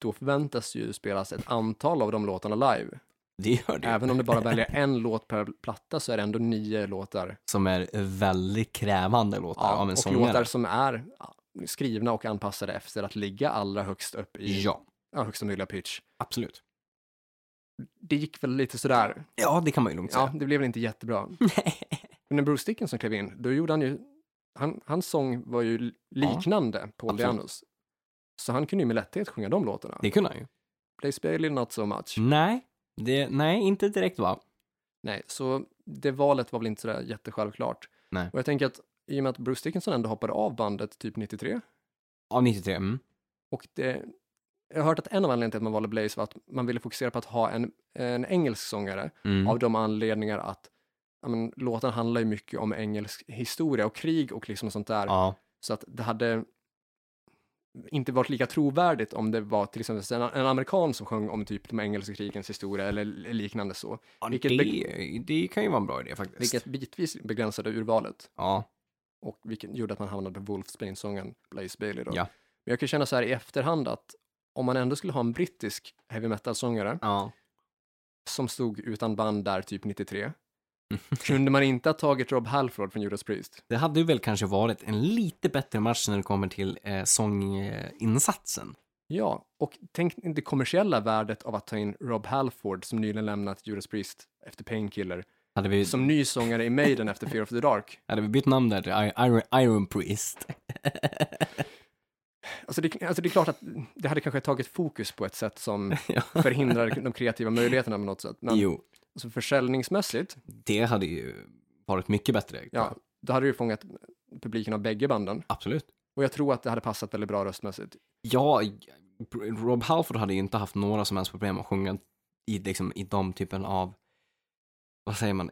Speaker 2: Då förväntas ju spelas ett antal av de låtarna live.
Speaker 1: Det gör det ju.
Speaker 2: Även om du bara väljer en låt per platta så är det ändå nio låtar.
Speaker 1: Som är väldigt krävande låtar av en
Speaker 2: och
Speaker 1: sångare.
Speaker 2: låtar som är ja, skrivna och anpassade efter att ligga allra högst upp i
Speaker 1: Ja,
Speaker 2: ja, högsta möjliga pitch.
Speaker 1: absolut.
Speaker 2: Det gick väl lite sådär.
Speaker 1: Ja, det kan man ju lugnt
Speaker 2: Ja,
Speaker 1: säga.
Speaker 2: det blev väl inte jättebra. Men när Bruce Dickinson klev in, då gjorde han ju, han, hans sång var ju liknande Paul
Speaker 1: absolut.
Speaker 2: Dianos. Så han kunde ju med lätthet sjunga de låtarna.
Speaker 1: Det Mm. kunde han ju.
Speaker 2: Blaze Bailey not so much.
Speaker 1: Nej, det, nej, inte direkt va?
Speaker 2: Nej, så det valet var väl inte sådär jättesjälvklart.
Speaker 1: Nej.
Speaker 2: Och jag tänker att i och med att Bruce Dickinson ändå hoppade av bandet typ 93
Speaker 1: Ja, 93. Mm.
Speaker 2: och det, jag har hört att en av anledningarna till att man valde Blaze var att man ville fokusera på att ha en, en engelsk sångare
Speaker 1: Mm.
Speaker 2: av de anledningar att ja, men, låten handlar ju mycket om engelsk historia och krig och liksom sånt där.
Speaker 1: Ja,
Speaker 2: Så att det hade inte varit lika trovärdigt om det var till exempel en, en amerikan som sjöng om typ de engelska krigens historia eller liknande så.
Speaker 1: ja
Speaker 2: Vilket
Speaker 1: det, det kan ju vara en bra idé faktiskt.
Speaker 2: Vilket bitvis begränsade urvalet
Speaker 1: Ja,
Speaker 2: och vilket gjorde att man hamnade på Wolfsbane-sången Blaze Bailey då.
Speaker 1: Ja.
Speaker 2: Men jag kan känna så här i efterhand att om man ändå skulle ha en brittisk heavy metal-sångare
Speaker 1: ja.
Speaker 2: som stod utan band där typ 93, kunde man inte ha tagit Rob Halford från Judas Priest?
Speaker 1: Det hade ju väl kanske varit en lite bättre match när det kommer till eh, sånginsatsen.
Speaker 2: Ja, och tänk det kommersiella värdet av att ta in Rob Halford som nyligen lämnat Judas Priest efter Painkiller
Speaker 1: Hade vi,
Speaker 2: som ny sångare i Maiden efter Fear of the Dark.
Speaker 1: hade vi bytt namn där till I- Iron, Iron Priest?
Speaker 2: Alltså det, alltså det är klart att det hade kanske tagit fokus på ett sätt som
Speaker 1: Ja.
Speaker 2: förhindrar de kreativa möjligheterna på något sätt. Men
Speaker 1: Jo,
Speaker 2: alltså försäljningsmässigt,
Speaker 1: det hade ju varit mycket bättre.
Speaker 2: ja, då hade det ju fångat publiken av bägge banden.
Speaker 1: Absolut.
Speaker 2: Och jag tror att det hade passat väldigt bra röstmässigt.
Speaker 1: Ja, Rob Halford hade ju inte haft några som helst problem att sjunga i, liksom, i de typen av, vad säger man?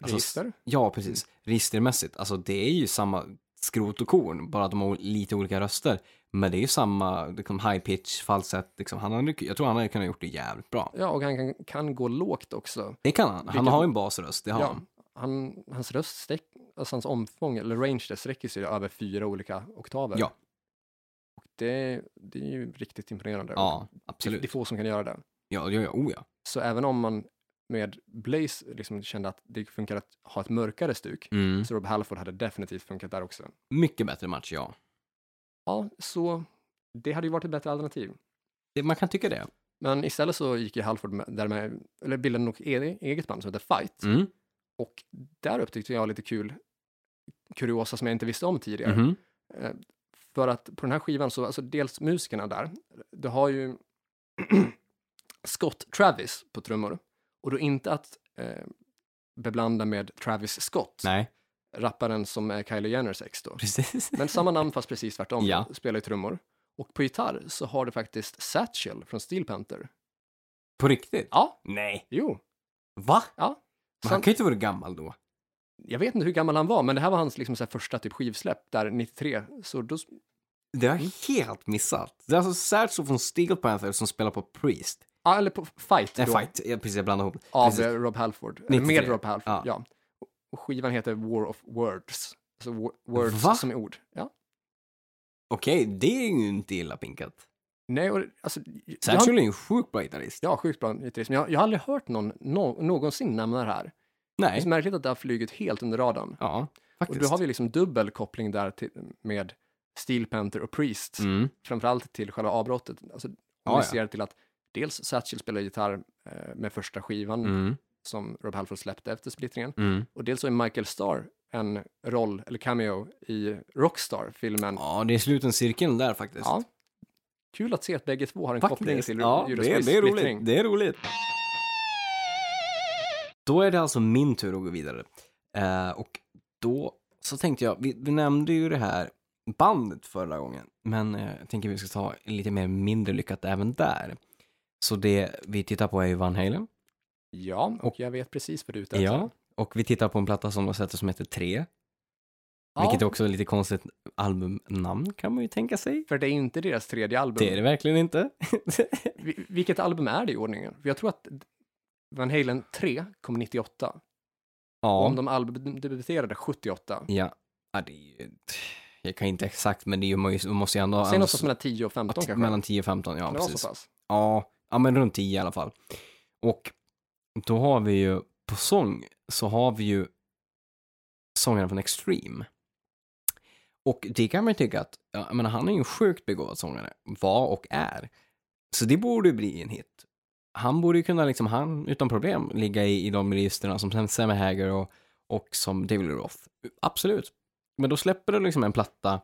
Speaker 1: Alltså,
Speaker 2: Register?
Speaker 1: Ja, precis. Registermässigt. Alltså det är ju samma skrot och korn, bara att de har lite olika röster. Men det är ju samma liksom, high pitch, falsett. Liksom. Han hade, jag tror han hade kunnat gjort det jävligt bra.
Speaker 2: Ja, och han kan, kan gå lågt också.
Speaker 1: Det kan han. Han
Speaker 2: Vilket-
Speaker 1: har ju en basröst, det har han.
Speaker 2: han, hans röst, sträck, alltså hans omfång, eller range, där sträcker sig över fyra olika oktaver.
Speaker 1: Ja.
Speaker 2: Och det, det är ju riktigt imponerande.
Speaker 1: Ja,
Speaker 2: det, det är
Speaker 1: absolut.
Speaker 2: få som kan göra det.
Speaker 1: Ja, ja, ja, oh ja.
Speaker 2: Så även om man med Blaze liksom kände att det funkar att ha ett mörkare stuk,
Speaker 1: Mm.
Speaker 2: så Rob Halford hade definitivt funkat där också.
Speaker 1: Mycket bättre match, ja.
Speaker 2: Ja, så det hade ju varit ett bättre alternativ.
Speaker 1: Det, man kan tycka det.
Speaker 2: Men istället så gick ju Halford med, där med, eller bildade nog e- eget band som heter Fight.
Speaker 1: Mm.
Speaker 2: Och där upptäckte jag lite kul kuriosa som jag inte visste om tidigare.
Speaker 1: Mhm.
Speaker 2: Eh, För att på den här skivan så, alltså dels musikerna där, du har ju Scott Travis på trummor. Och då inte att eh, beblanda med Travis Scott,
Speaker 1: Nej,
Speaker 2: rapparen som är Kylie Jenners ex då.
Speaker 1: precis.
Speaker 2: Men samma namn fast precis tvärtom,
Speaker 1: Ja.
Speaker 2: spelar ju trummor. Och på gitarr så har du faktiskt Satchel från Steel Panther.
Speaker 1: På riktigt?
Speaker 2: Ja,
Speaker 1: Nej.
Speaker 2: jo.
Speaker 1: Va?
Speaker 2: Ja.
Speaker 1: Men
Speaker 2: Sen-
Speaker 1: han kan ju inte vara gammal då.
Speaker 2: jag vet inte hur gammal han var, men det här var hans liksom, så här, första typ skivsläpp där 93. Så då,
Speaker 1: Det har jag helt missat. Det är alltså Satchel från Steel Panther som spelar på Priest.
Speaker 2: ah, eller på Fight
Speaker 1: Nej,
Speaker 2: då,
Speaker 1: fight. Ja, precis, jag blandade ihop.
Speaker 2: av
Speaker 1: Precis.
Speaker 2: eh, Rob Halford. Eller med
Speaker 1: 93.
Speaker 2: Rob Halford,
Speaker 1: Ja.
Speaker 2: ja. Och skivan heter War of Words. Alltså wo- words
Speaker 1: Va?
Speaker 2: som är ord. Ja.
Speaker 1: Okej, det är ju inte illa pinkat.
Speaker 2: Nej, och, alltså, jag,
Speaker 1: Satchel
Speaker 2: har-
Speaker 1: är ju en sjukt bra gitarrist.
Speaker 2: ja, sjukt bra gitarrist, men jag, jag har aldrig hört någon no, någonsin nämna det här. Det är
Speaker 1: Nej,
Speaker 2: så märkligt att det har flugit helt under radarn.
Speaker 1: ja,
Speaker 2: Och
Speaker 1: faktiskt.
Speaker 2: då har vi liksom dubbel koppling där till, med Steel Panther och Priest,
Speaker 1: mm.
Speaker 2: framförallt till själva avbrottet. Alltså, om
Speaker 1: Ja,
Speaker 2: vi
Speaker 1: ja.
Speaker 2: ser till att dels Satchel spelar gitarr eh, med första skivan
Speaker 1: Mm.
Speaker 2: som Rob Halford släppte efter splittringen,
Speaker 1: Mm.
Speaker 2: och dels så är Michael Starr en roll, eller cameo, i Rockstar-filmen.
Speaker 1: Ja, det är sluten cirkeln där faktiskt.
Speaker 2: Ja. Kul att se att bägge två har en koppling
Speaker 1: Faktiskt.
Speaker 2: till
Speaker 1: Ja, det, är-
Speaker 2: Eurosmiths
Speaker 1: det är roligt.
Speaker 2: splittring.
Speaker 1: Det är roligt. Då är det alltså min tur att gå vidare. Eh, och då så tänkte jag, vi, vi nämnde ju det här bandet förra gången, men eh, jag tänker vi ska ta lite mer mindre lyckat även där. Så det vi tittar på är ju Van Halen.
Speaker 2: Ja, och jag vet precis vad du är ute
Speaker 1: Ja, och vi tittar på en platta som de släppte som heter 3, vilket också är lite konstigt albumnamn kan man ju tänka sig.
Speaker 2: För det är inte deras tredje album.
Speaker 1: Det är det verkligen inte.
Speaker 2: Vi- Vilket album är det i ordningen? För jag tror att Van Halen 3 kom 98. Och om
Speaker 1: ja,
Speaker 2: de albumdebuterade 78.
Speaker 1: ja. ja det är ju, jag kan inte exakt, men det är ju, man ju- man måste ju ändå...
Speaker 2: Säg någonstans mellan 10 och 15
Speaker 1: Att-
Speaker 2: kanske.
Speaker 1: Mellan 10 och 15, ja
Speaker 2: Kan det vara så
Speaker 1: precis.
Speaker 2: pass?
Speaker 1: Ja, ja, men runt 10 i alla fall. Och då har vi ju, på sång, så har vi ju sångaren från Extreme. Och det kan man ju tycka att, ja, jag menar, han är ju en sjukt begåvad sångare, var och är. Så det borde ju bli en hit. Han borde ju kunna, liksom, han utan problem ligga i, i de registren som Sam Hager och, och som David Lee Roth. Absolut. Men då släpper du liksom en platta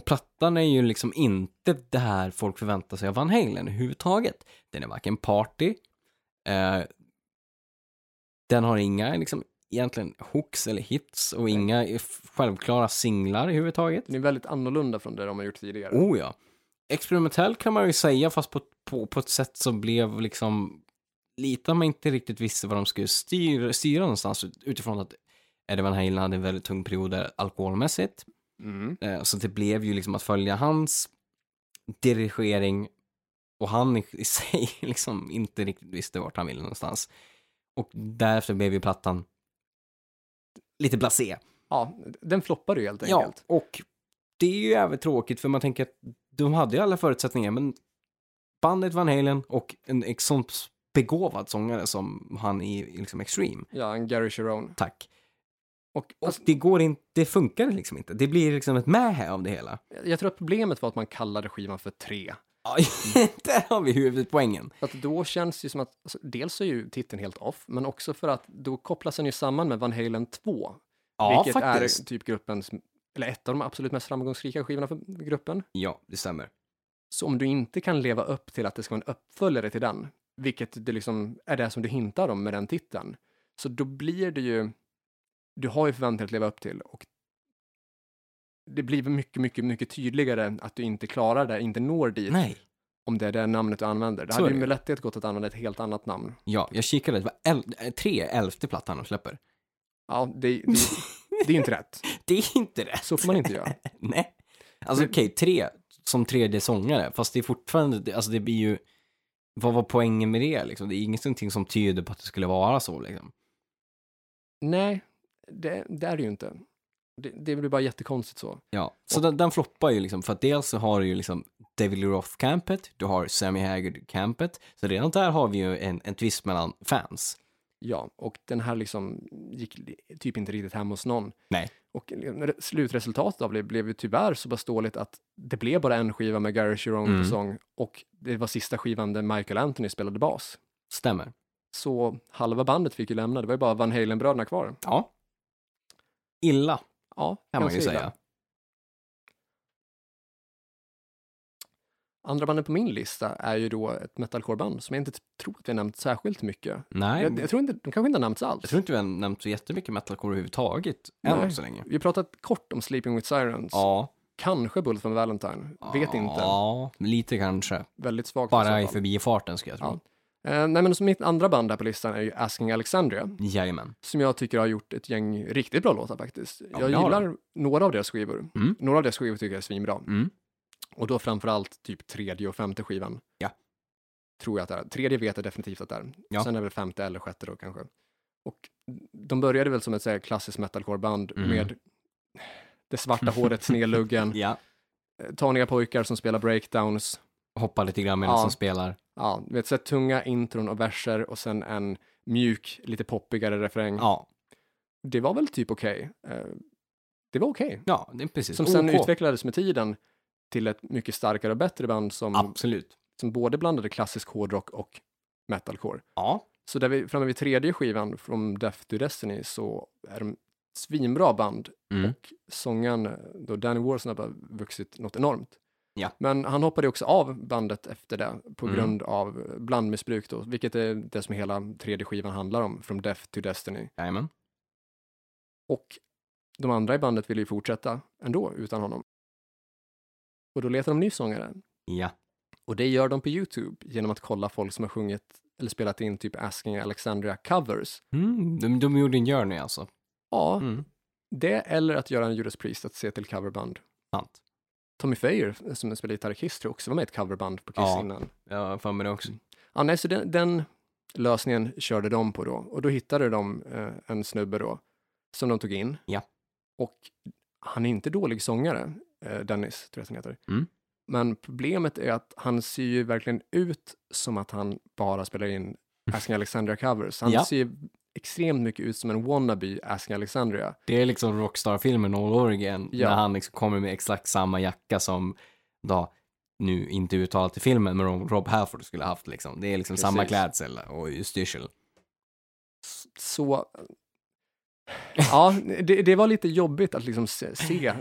Speaker 1: och plattan är ju liksom inte det här folk förväntar sig av Van Halen överhuvudtaget. Den är varken party, eh, den har inga liksom egentligen hooks eller hits och inga f- självklara singlar överhuvudtaget.
Speaker 2: Den är väldigt annorlunda från det de har gjort tidigare.
Speaker 1: Oh ja. Experimentell kan man ju säga, fast på, på, på ett sätt som blev liksom lite man inte riktigt visste vad de skulle styra, styra någonstans ut- utifrån att Eddie Van Halen hade en väldigt tung period där alkoholmässigt.
Speaker 2: Mm.
Speaker 1: Eh, Så det blev ju liksom att följa hans dirigering och han i- i sig liksom inte riktigt visste vart han ville någonstans. Och därefter blev ju plattan lite blasé.
Speaker 2: Ja, den floppade ju helt
Speaker 1: Ja,
Speaker 2: enkelt.
Speaker 1: och det är ju även tråkigt för man tänker att de hade ju alla förutsättningar men bandet Van Halen och en ex- sån begåvad sångare som han i i liksom Extreme.
Speaker 2: Ja, en Gary Cherone.
Speaker 1: Tack.
Speaker 2: Och,
Speaker 1: Och
Speaker 2: alltså,
Speaker 1: det går inte, det funkar liksom inte. Det blir liksom ett mähä av det hela.
Speaker 2: jag tror att problemet var att man kallade skivan för 3.
Speaker 1: Ja, där har vi huvudpoängen.
Speaker 2: Att då känns det ju som att, alltså, dels är ju titeln helt off, men också för att då kopplas den ju samman med Van Halen 2.
Speaker 1: Ja,
Speaker 2: vilket
Speaker 1: faktiskt.
Speaker 2: är typ gruppens, eller ett av de absolut mest framgångsrika skivorna för gruppen.
Speaker 1: Ja, det stämmer.
Speaker 2: Så om du inte kan leva upp till att det ska vara en uppföljare till den, vilket det liksom är det som du hintar om med den titeln, så då blir det ju, du har ju förväntningar att leva upp till och det blir mycket, mycket, mycket tydligare att du inte klarar det, inte når dit,
Speaker 1: Nej.
Speaker 2: om det är det namnet du använder. Det
Speaker 1: Så är
Speaker 2: hade ju
Speaker 1: det.
Speaker 2: med lätthet gått att använda ett helt annat namn.
Speaker 1: Ja, jag kikade. Det var el- eh, tre elfte plattan de släpper.
Speaker 2: Ja, det, det, det är ju inte rätt.
Speaker 1: Det är inte rätt.
Speaker 2: Så får man inte göra.
Speaker 1: Nej. Alltså
Speaker 2: Men-
Speaker 1: okej, tre som tredje sångare, fast det är fortfarande, det- alltså det blir ju, vad var poängen med det liksom? Det är ingenting som tyder på att det skulle vara så liksom.
Speaker 2: Nej, det, det är det ju inte. Det, det blir bara jättekonstigt så.
Speaker 1: Ja, så den, den floppar ju liksom, för att dels så har du ju liksom David Lee Roth-campet, du har Sammy Haggard-campet, så redan där har vi ju en, en twist mellan fans.
Speaker 2: Ja, och den här liksom gick li- typ inte riktigt hem hos någon.
Speaker 1: Nej.
Speaker 2: Och re- slutresultatet av det blev ju tyvärr så pass dåligt att det blev bara en skiva med Gary Cherone
Speaker 1: Mm.
Speaker 2: på sång och det var sista skivan där Michael Anthony spelade bas.
Speaker 1: Stämmer.
Speaker 2: Så halva bandet fick ju lämna, det var ju bara Van Halen-bröderna kvar.
Speaker 1: Ja. Illa,
Speaker 2: Ja,
Speaker 1: kan man
Speaker 2: ganska
Speaker 1: ju
Speaker 2: illa.
Speaker 1: säga.
Speaker 2: Andra bandet på min lista är ju då ett metalcoreband som jag inte t- tror att vi har nämnt särskilt mycket.
Speaker 1: Nej,
Speaker 2: Jag, jag tror inte, de kanske inte har nämnts alls.
Speaker 1: Jag tror inte vi har nämnt så jättemycket metalcore överhuvudtaget än
Speaker 2: Nej.
Speaker 1: så länge.
Speaker 2: Vi har pratat kort om Sleeping with Sirens,
Speaker 1: Ja.
Speaker 2: kanske Bullet from Valentine, vet inte.
Speaker 1: Ja, lite kanske.
Speaker 2: Väldigt svagt. i så
Speaker 1: Bara
Speaker 2: fall.
Speaker 1: i förbifarten ska jag tro.
Speaker 2: Ja. Eh, nej, men så mitt andra band här på listan är ju Asking Alexandria,
Speaker 1: Jajamän.
Speaker 2: som jag tycker har gjort ett gäng riktigt bra låtar faktiskt. jag
Speaker 1: det har
Speaker 2: gillar några av deras skivor.
Speaker 1: Mm.
Speaker 2: Några av deras skivor tycker jag är svinbra.
Speaker 1: Mm.
Speaker 2: Och då framförallt typ tredje och femte skivan.
Speaker 1: Ja.
Speaker 2: Tror jag att det är. Tredje vet jag definitivt att det är.
Speaker 1: Ja.
Speaker 2: Sen är det väl femte eller sjätte då kanske. Och de började väl som ett så här, klassiskt metalcoreband
Speaker 1: Mm.
Speaker 2: med det svarta håret, snedluggen,
Speaker 1: Ja.
Speaker 2: eh, taniga pojkar som spelar breakdowns.
Speaker 1: Hoppa lite grann medan
Speaker 2: Ja.
Speaker 1: som spelar.
Speaker 2: Ja, du vet, så här tunga intron och verser och sen en mjuk, lite poppigare refräng.
Speaker 1: Ja,
Speaker 2: Det var väl typ okej. Eh, Det var okej.
Speaker 1: ja det är precis.
Speaker 2: Som sen
Speaker 1: OK.
Speaker 2: utvecklades med tiden till ett mycket starkare och bättre band som,
Speaker 1: Absolut.
Speaker 2: som både blandade klassisk hårdrock och metalcore.
Speaker 1: Ja,
Speaker 2: Så där vi, framme vid tredje skivan, From Death to Destiny, så är de svinbra band.
Speaker 1: Mm.
Speaker 2: Och sångaren, då Danny Warsnap, har vuxit något enormt.
Speaker 1: Ja.
Speaker 2: Men han hoppade också av bandet efter det på
Speaker 1: Mm.
Speaker 2: grund av blandmissbruk då, vilket är det som hela tredje skivan handlar om, From Death to Destiny.
Speaker 1: jajamän.
Speaker 2: Och de andra i bandet ville ju fortsätta ändå utan honom. Och då letar de ny sångare.
Speaker 1: Ja.
Speaker 2: Och det gör de på Youtube genom att kolla folk som har sjungit eller spelat in typ Asking Alexandria covers.
Speaker 1: Mm, de, de gjorde en journey alltså.
Speaker 2: Ja,
Speaker 1: Mm.
Speaker 2: det eller att göra en Judas Priest, att se till coverband.
Speaker 1: Sant.
Speaker 2: Tommy Thayer, som spelar gitarr i Kiss, tror jag också var med i ett coverband på Kiss
Speaker 1: Ja.
Speaker 2: innan.
Speaker 1: Jag har för mig det också.
Speaker 2: Ja, nej, så den, den lösningen körde de på då. Och då hittade de eh, en snubbe då, som de tog in.
Speaker 1: Ja.
Speaker 2: Och han är inte dålig sångare, eh, Dennis, tror jag att han heter.
Speaker 1: Mm.
Speaker 2: Men problemet är att han ser ju verkligen ut som att han bara spelar in Asking Alexandria covers. Han
Speaker 1: Ja.
Speaker 2: ser ju extremt mycket ut som en wannabe Asking Alexandria.
Speaker 1: Det är liksom Rockstar-filmen All Over Again,
Speaker 2: Ja.
Speaker 1: när han liksom kommer med exakt samma jacka som då, nu inte uttalat i filmen, men om Rob Halford skulle haft liksom. Det är liksom samma
Speaker 2: Precis.
Speaker 1: klädsel och styrsel.
Speaker 2: S- Så... Ja, det, det var lite jobbigt att liksom se, se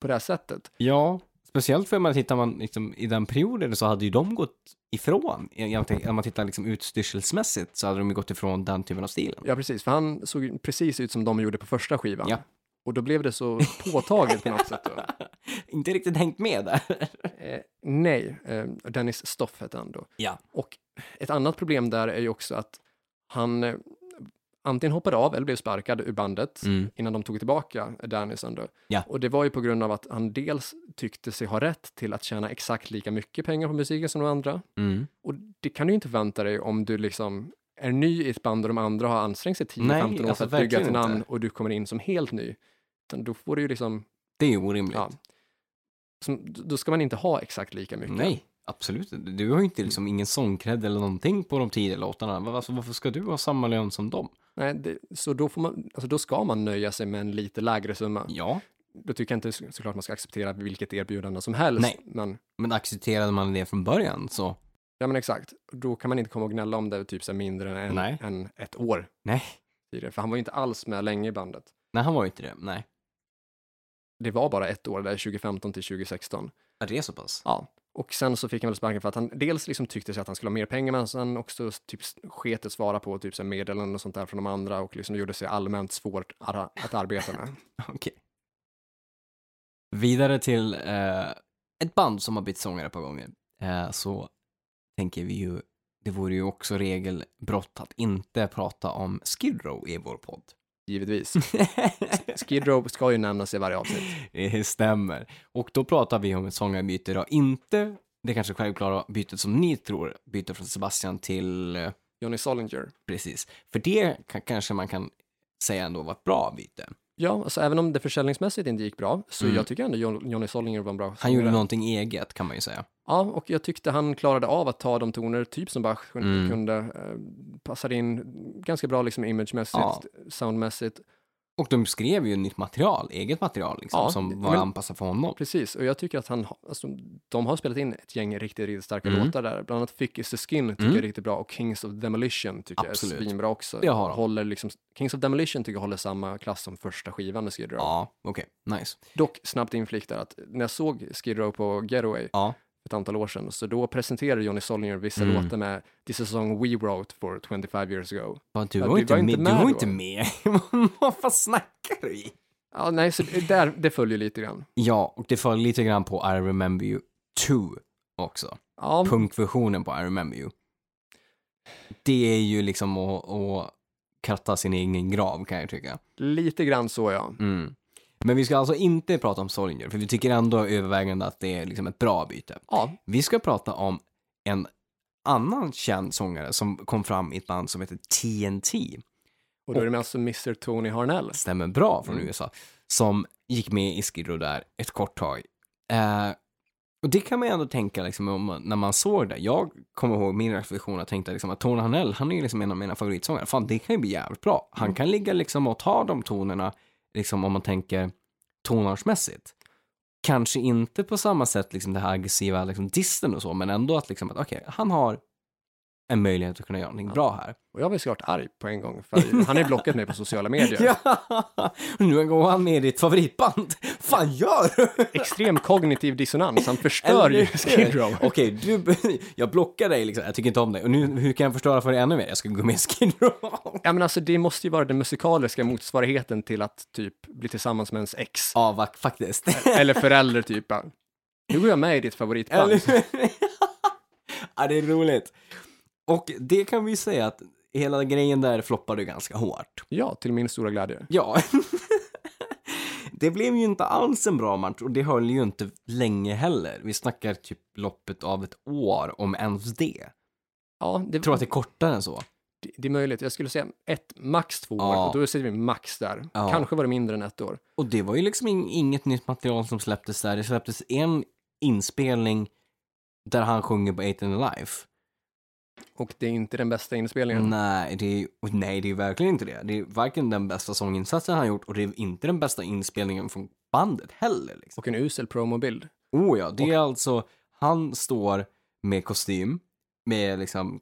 Speaker 2: på det här sättet.
Speaker 1: Ja, speciellt för man tittar man liksom, i den perioden så hade ju de gått ifrån, jag tänker, om man tittar liksom utstyrselsmässigt så hade de ju gått ifrån den typen av stilen.
Speaker 2: Ja, precis. För han såg ju precis ut som de gjorde på första skivan.
Speaker 1: Ja.
Speaker 2: Och då blev det så påtagligt på något sätt. Då.
Speaker 1: inte riktigt hängt med där.
Speaker 2: Eh, nej, eh, Dennis Stoff hette han då.
Speaker 1: Ja.
Speaker 2: Och ett annat problem där är ju också att han eh, antingen hoppade av eller blev sparkad ur bandet
Speaker 1: Mm.
Speaker 2: innan de tog tillbaka Dennison då.
Speaker 1: Ja.
Speaker 2: Och det var ju på grund av att han dels tyckte sig ha rätt till att tjäna exakt lika mycket pengar på musiken som de andra.
Speaker 1: Mm.
Speaker 2: Och det kan du ju inte förvänta dig om du liksom är ny i ett band och de andra har ansträngt sig
Speaker 1: Nej,
Speaker 2: 10-15 år
Speaker 1: alltså
Speaker 2: för att bygga ett
Speaker 1: verkligen
Speaker 2: namn
Speaker 1: inte.
Speaker 2: och du kommer in som helt ny. Utan då får du ju liksom,
Speaker 1: Det är ju orimligt.
Speaker 2: ja, som, då ska man inte ha exakt lika mycket.
Speaker 1: Nej, absolut inte. Du har ju inte liksom ingen sångkredd eller någonting på de tidiga låtarna. Va- Alltså, varför ska du ha samma lön som dem?
Speaker 2: Nej, det, så då, får man, alltså då ska man nöja sig med en lite lägre summa.
Speaker 1: Ja,
Speaker 2: Då tycker jag inte så- såklart man ska acceptera vilket erbjudande som helst.
Speaker 1: Nej.
Speaker 2: Men,
Speaker 1: men accepterade man det från början så
Speaker 2: ja men exakt, då kan man inte komma och gnälla om det typ så här mindre än,
Speaker 1: Nej.
Speaker 2: än ett år.
Speaker 1: nej,
Speaker 2: tidigare, För han var ju inte alls med länge i bandet.
Speaker 1: nej han var ju inte det. Nej,
Speaker 2: Det var bara ett år där, 2015 till 2016.
Speaker 1: Ja, det är så pass.
Speaker 2: Ja, och sen så fick han väl sparken för att han dels liksom tyckte sig att han skulle ha mer pengar, men sen också typ sket att svara på typ så här meddelanden och sånt där från de andra och liksom gjorde sig allmänt svårt ar- att arbeta med.
Speaker 1: Okej. Vidare till eh, ett band som har bytt sångare på gånger. Eh, så tänker vi ju, det vore ju också regelbrott att inte prata om Skid Row i vår podd.
Speaker 2: Givetvis. Skid Row ska ju nämnas i varje avsnitt.
Speaker 1: Det stämmer. Och då pratar vi om ett sångarbyte då, inte det kanske självklara bytet som ni tror, byte från Sebastian till, eh,
Speaker 2: Johnny Solinger.
Speaker 1: precis, för det ka- kanske man kan säga ändå var ett bra byte.
Speaker 2: Ja, alltså även om det försäljningsmässigt inte gick bra, så
Speaker 1: Mm.
Speaker 2: jag tycker ändå Jon- Johnny Solinger var en bra
Speaker 1: Han gjorde
Speaker 2: sångare.
Speaker 1: någonting eget kan man ju säga.
Speaker 2: Ja, och jag tyckte han klarade av att ta de toner, typ som Bach kun-
Speaker 1: Mm.
Speaker 2: kunde, eh, passade in ganska bra liksom imagemässigt,
Speaker 1: Ja.
Speaker 2: soundmässigt.
Speaker 1: Och de skrev ju nytt material, eget material liksom,
Speaker 2: Ja,
Speaker 1: som var
Speaker 2: men-
Speaker 1: anpassat för honom.
Speaker 2: Precis, och jag tycker att han, ha- alltså, de har spelat in ett gäng riktigt, riktigt starka
Speaker 1: Mm.
Speaker 2: låtar där. Bland annat Thick is the Skin tycker jag är riktigt bra och Kings of Demolition tycker
Speaker 1: Absolut.
Speaker 2: jag är svinbra också.
Speaker 1: Det har de.
Speaker 2: håller liksom, Kings of Demolition tycker jag håller samma klass som första skivan med Skid Row.
Speaker 1: Ja, okej, nice.
Speaker 2: Dock, snabbt inflikt där, att när jag såg Skid Row på Getaway
Speaker 1: Ja.
Speaker 2: ett antal år sedan, så då presenterade Johnny Solinger vissa
Speaker 1: Mm.
Speaker 2: låtar med This is a song we wrote for 25 years ago.
Speaker 1: Fan, Du
Speaker 2: Ja,
Speaker 1: var
Speaker 2: du
Speaker 1: ju inte
Speaker 2: var
Speaker 1: med.
Speaker 2: inte
Speaker 1: Du
Speaker 2: med
Speaker 1: var
Speaker 2: då.
Speaker 1: inte med. Vad fan snackar du i?
Speaker 2: Ja, nej, så det- där, det följer lite grann.
Speaker 1: Ja, och det föll lite grann på I remember you 2 också.
Speaker 2: Ja,
Speaker 1: punkversionen på I remember you. Det är ju liksom att, att kratta sin egen grav kan jag tycka.
Speaker 2: lite grann så ja.
Speaker 1: Mm. Men vi ska alltså inte prata om Solinger, för vi tycker ändå övervägande att det är liksom ett bra byte.
Speaker 2: Ja,
Speaker 1: Vi ska prata om en annan känd sångare som kom fram i ett band som heter TNT.
Speaker 2: och då är det alltså Mr. Tony Harnell.
Speaker 1: stämmer bra från
Speaker 2: Mm.
Speaker 1: USA, som gick med i Skid Row där ett kort tag. Eh, Och det kan man ju ändå tänka liksom, om, man- när man såg det. Jag kommer ihåg min reflektion och tänkte liksom, att Tony Hanell, han är ju liksom en av mina favoritsångare. Fan, det kan ju bli jävligt bra. Han kan ligga liksom och ta de tonerna, liksom om man tänker tonartsmässigt. Kanske inte på samma sätt liksom det här aggressiva liksom disten och så, men ändå att liksom att okej, han har en möjlighet att kunna göra någonting bra här.
Speaker 2: Och jag blev såklart arg på en gång, för han har ju blockat mig på sociala medier.
Speaker 1: Ja, nu går han med i ditt favoritband. Fan gör du?
Speaker 2: Extrem kognitiv dissonans, han förstör ju Skid Row.
Speaker 1: Okej, du, jag blockar dig liksom. Jag tycker inte om dig. Och nu, hur kan jag förstöra för dig ännu mer? Jag ska gå med i Skid Row.
Speaker 2: Ja men alltså det måste ju vara den musikaliska motsvarigheten till att typ bli tillsammans med ens ex.
Speaker 1: Ja, va, faktiskt.
Speaker 2: Eller förälder typ. bara, Nu går jag med i ditt favoritband.
Speaker 1: Eller hur? ja, det är roligt. Och det kan vi ju säga att hela grejen där floppade ju ganska hårt.
Speaker 2: Ja, till min stora glädje.
Speaker 1: Ja. Det blev ju inte alls en bra match och det höll ju inte länge heller. Vi snackar typ loppet av ett år, om ens det.
Speaker 2: Ja, det,
Speaker 1: Jag tror att det är kortare än så.
Speaker 2: det, det är möjligt. Jag skulle säga ett, max två
Speaker 1: Ja.
Speaker 2: år. Och då säger vi max där.
Speaker 1: Ja.
Speaker 2: Kanske var det mindre än ett år.
Speaker 1: Och det var ju liksom in, inget nytt material som släpptes där. Det släpptes en inspelning där han sjunger på Eight and Alive.
Speaker 2: Och det är inte den bästa inspelningen.
Speaker 1: Nej, det är, och nej, det är verkligen inte det. Det är varken den bästa sånginsatsen han gjort och det är inte den bästa inspelningen från bandet heller. Liksom.
Speaker 2: Och en usel promobild.
Speaker 1: Oh ja, det är alltså, han står med kostym, med liksom,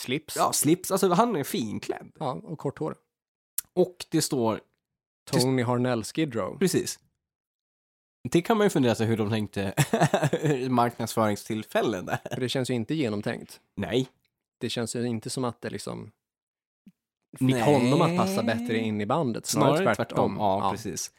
Speaker 2: Slips.
Speaker 1: ja, slips, alltså han är finklädd.
Speaker 2: Ja, och kort hår.
Speaker 1: Och det står,
Speaker 2: Tony Harnell Skid Row.
Speaker 1: precis. Det kan man ju fundera sig hur de tänkte marknadsföringstillfällen där.
Speaker 2: För det känns ju inte genomtänkt.
Speaker 1: Nej,
Speaker 2: Det känns ju inte som att det liksom fick
Speaker 1: Nej.
Speaker 2: honom att passa bättre in i bandet.
Speaker 1: Snarare tvärtom. Ja, precis.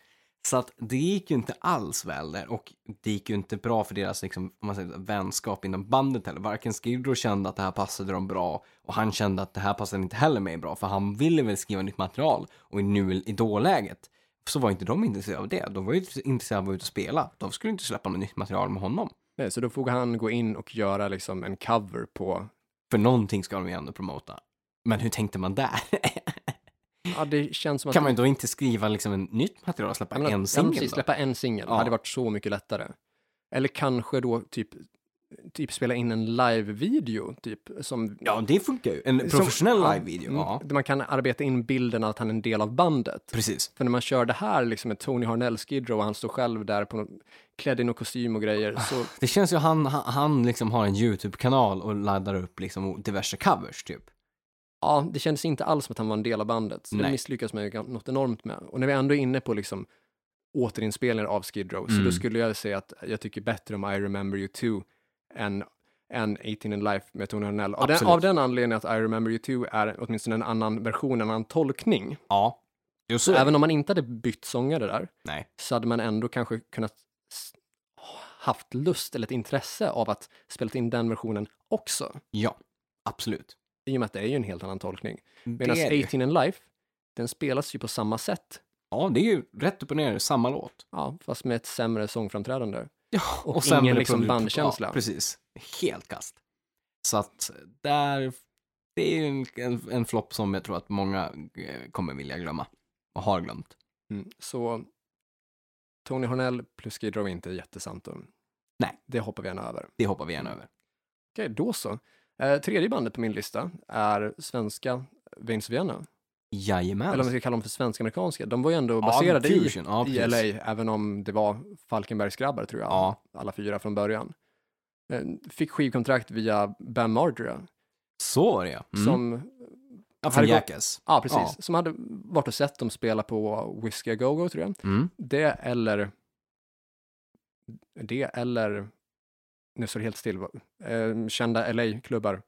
Speaker 1: Så att det gick ju inte alls väl där och det gick ju inte bra för deras liksom, om man säger, vänskap inom bandet heller. Varken Skid Row kände att det här passade dem bra och han kände att det här passade inte heller mig bra för han ville väl skriva nytt material och i nu i dåläget så var inte de intresserade av det. De var ju intresserade av att vara ute och spela. De skulle inte släppa något nytt material med honom.
Speaker 2: Nej, så då får han gå in och göra liksom en cover på...
Speaker 1: För någonting ska de ju ändå promota. Men hur tänkte man där?
Speaker 2: Ja, det känns som att...
Speaker 1: kan man ju då inte skriva liksom en nytt material och släppa
Speaker 2: Ja, men-
Speaker 1: en
Speaker 2: ja,
Speaker 1: singel?
Speaker 2: precis,
Speaker 1: då?
Speaker 2: Släppa en singel
Speaker 1: Ja.
Speaker 2: hade varit så mycket lättare. Eller kanske då typ, typ spela in en live-video, typ. Som,
Speaker 1: Ja, det funkar ju. En
Speaker 2: som-
Speaker 1: professionell
Speaker 2: ja,
Speaker 1: live-video.
Speaker 2: mm,
Speaker 1: Ja,
Speaker 2: Där man kan arbeta in bilden av att han är en del av bandet.
Speaker 1: precis.
Speaker 2: För när man kör det här liksom med Tony Harnell Skid Row och han står själv där på någon, klädd i någon kostym och grejer, så
Speaker 1: Det känns ju han, han, han liksom har en YouTube-kanal och laddar upp liksom diverse covers typ.
Speaker 2: ja, det kändes inte alls som att han var en del av bandet. Så det
Speaker 1: Nej.
Speaker 2: misslyckas man ju gan- något enormt med. Och när vi ändå är inne på liksom återinspelningar av Skid Row, så då
Speaker 1: Mm.
Speaker 2: skulle jag säga att jag tycker bättre om I remember you too än än 18 in life med Tony Harnell. Av den,
Speaker 1: Absolut.
Speaker 2: av den anledningen att I remember you too är åtminstone en annan version, en annan tolkning.
Speaker 1: Ja. Just det.
Speaker 2: Även om man inte hade bytt sångare där,
Speaker 1: Nej.
Speaker 2: så hade man ändå kanske kunnat s- haft lust eller ett intresse av att spela in den versionen också.
Speaker 1: Ja. Absolut.
Speaker 2: I och med att det är ju en helt annan tolkning.
Speaker 1: det
Speaker 2: Medan
Speaker 1: är det ju.
Speaker 2: 18 and Life, den spelas ju på samma sätt,
Speaker 1: Ja, det är ju rätt upp och ner samma låt.
Speaker 2: ja, fast med ett sämre sångframträdande.
Speaker 1: Ja,
Speaker 2: och
Speaker 1: sen
Speaker 2: ingen
Speaker 1: blir det
Speaker 2: liksom
Speaker 1: produkt-
Speaker 2: bandkänsla.
Speaker 1: Ja, precis. Helt kast. Så att där, det är ju en, en, en flopp som jag tror att många eh, kommer vilja glömma. Och har glömt.
Speaker 2: Så Tony Hornell plus Skid Row är inte jättesantum.
Speaker 1: Nej.
Speaker 2: Det hoppar vi gärna över.
Speaker 1: Det hoppar vi gärna över.
Speaker 2: Okej, då så. Eh, tredje bandet på min lista är svenska Veins Vienna.
Speaker 1: Jajamän.
Speaker 2: Eller om vi ska kalla dem för svensk-amerikanska. De var ju ändå
Speaker 1: Ja,
Speaker 2: baserade i,
Speaker 1: fusion. Ja,
Speaker 2: i
Speaker 1: precis.
Speaker 2: LA, även om det var Falkenbergsgrabbar tror jag.
Speaker 1: Ja.
Speaker 2: Alla fyra från början. Eh, Fick skivkontrakt via Bam
Speaker 1: Mm.
Speaker 2: Margera,
Speaker 1: Så var det ja. Mm.
Speaker 2: som
Speaker 1: ja från
Speaker 2: Harry Go-
Speaker 1: Jackass.
Speaker 2: Ja, precis.
Speaker 1: Ja.
Speaker 2: Som hade varit och sett dem spela på Whiskey A Go-Go, tror jag.
Speaker 1: Mm.
Speaker 2: Det eller... Det eller... Nu står det helt still. Eh, kända LA-klubbar.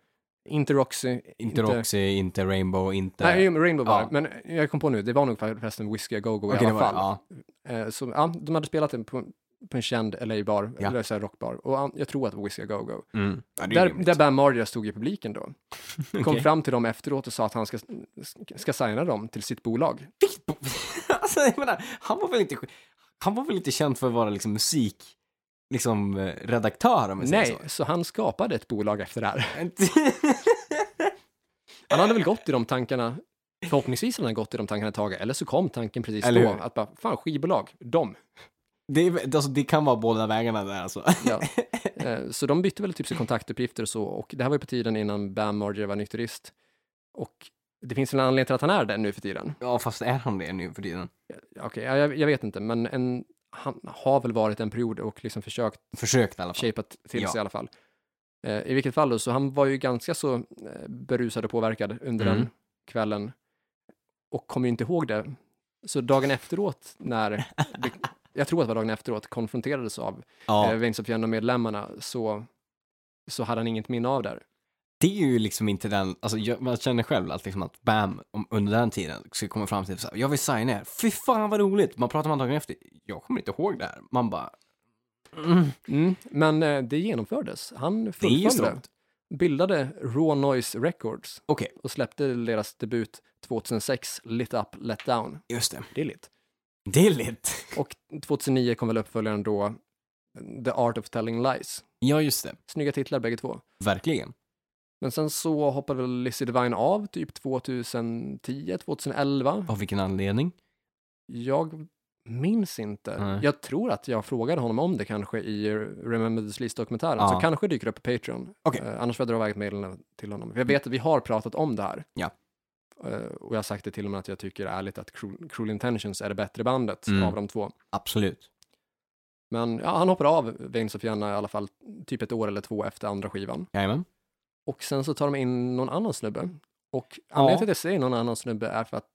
Speaker 2: Inte Roxy. Inte,
Speaker 1: Inte Roxy, inte Rainbow, inte...
Speaker 2: Nej, Rainbow var
Speaker 1: Ja.
Speaker 2: det. Men jag kom på nu, det var nog förresten Whiskey A Go-Go
Speaker 1: Okej,
Speaker 2: i
Speaker 1: det
Speaker 2: alla
Speaker 1: var-
Speaker 2: fall.
Speaker 1: Ja.
Speaker 2: Eh, så, ja, de hade spelat den på, på en känd LA-bar,
Speaker 1: Ja.
Speaker 2: eller så här rockbar. Och ja, jag tror att det var Whiskey A Go-Go.
Speaker 1: Mm. Ja, det är
Speaker 2: Där,
Speaker 1: rimligt.
Speaker 2: där Bam Margera stod i publiken då. Kom
Speaker 1: Okej.
Speaker 2: fram till dem efteråt och sa att han ska, ska signa dem till sitt bolag.
Speaker 1: alltså, jag menar, han var väl inte... Han var väl inte känd för att vara liksom musik... Liksom eh, redaktör om vi säger
Speaker 2: Nej, så. han skapade ett bolag efter det här.
Speaker 1: så.
Speaker 2: Han hade väl gått i de tankarna, förhoppningsvis hade han gått i de tankarna ett tag, eller så kom tanken precis
Speaker 1: Eller
Speaker 2: då,
Speaker 1: hur?
Speaker 2: att bara, fan skivbolag, de.
Speaker 1: Det, är, alltså, det kan vara båda vägarna där alltså.
Speaker 2: Ja. Eh, Så de bytte väl typ så kontaktuppgifter och så och det här var ju på tiden innan Bam Margera var nykterist. Och det finns väl en anledning till att han är det nu för tiden.
Speaker 1: Ja, fast är han det nu för tiden?
Speaker 2: Okej, ja, jag, jag vet inte, men en, han har väl varit en period och liksom försökt
Speaker 1: Försökt i alla fall.
Speaker 2: shapat till
Speaker 1: Ja.
Speaker 2: sig i alla fall. Eh, I vilket fall då, så han var ju ganska så eh, berusad och påverkad under
Speaker 1: Mm.
Speaker 2: den kvällen och kom ju inte ihåg det. Så dagen efteråt när, jag tror att det var dagen efteråt, konfronterades av eh,
Speaker 1: Ja,
Speaker 2: Wings of Vienna-medlemmarna så, så hade han inget minne av det. här.
Speaker 1: det är ju liksom inte den, alltså jag, man känner själv att, liksom att bam, om, under den tiden skulle komma fram till så här, jag vill signa er, fy fan vad roligt, man pratar om dagen efter, jag kommer inte ihåg det här, man bara, mm,
Speaker 2: Mm. Men eh, det genomfördes. Han
Speaker 1: det är ju
Speaker 2: fullföljde,
Speaker 1: strångt.
Speaker 2: bildade Raw Noise Records
Speaker 1: Okej,
Speaker 2: och släppte deras debut 2006, Lit Up Let Down.
Speaker 1: just det.
Speaker 2: Det är lit.
Speaker 1: Det är lite.
Speaker 2: Och 2009 kom väl uppföljaren då The Art of Telling Lies.
Speaker 1: Ja, just det.
Speaker 2: Snygga titlar bägge två.
Speaker 1: Verkligen.
Speaker 2: Men sen så hoppade väl Lizzie Divine av typ 2010, 2011.
Speaker 1: Av vilken anledning?
Speaker 2: Jag minns inte.
Speaker 1: Nej.
Speaker 2: Jag tror att jag frågade honom om det kanske i Remember the Sleaze-dokumentären,
Speaker 1: Ja.
Speaker 2: så kanske dyker det upp på Patreon.
Speaker 1: Okej.
Speaker 2: Eh, annars får jag dra iväg mejlen till honom. Jag vet att vi har pratat om det här.
Speaker 1: Ja.
Speaker 2: Eh, och jag har sagt det till honom att jag tycker ärligt att Cruel, Cruel Intentions är det bättre bandet
Speaker 1: Mm.
Speaker 2: av de två.
Speaker 1: Absolut.
Speaker 2: Men ja, han hoppar av Veins of Vienna i alla fall typ ett år eller två efter andra skivan.
Speaker 1: Jajamän.
Speaker 2: Och sen så tar de in någon annan snubbe. Och anledningen till att jag säger någon annan snubbe är för att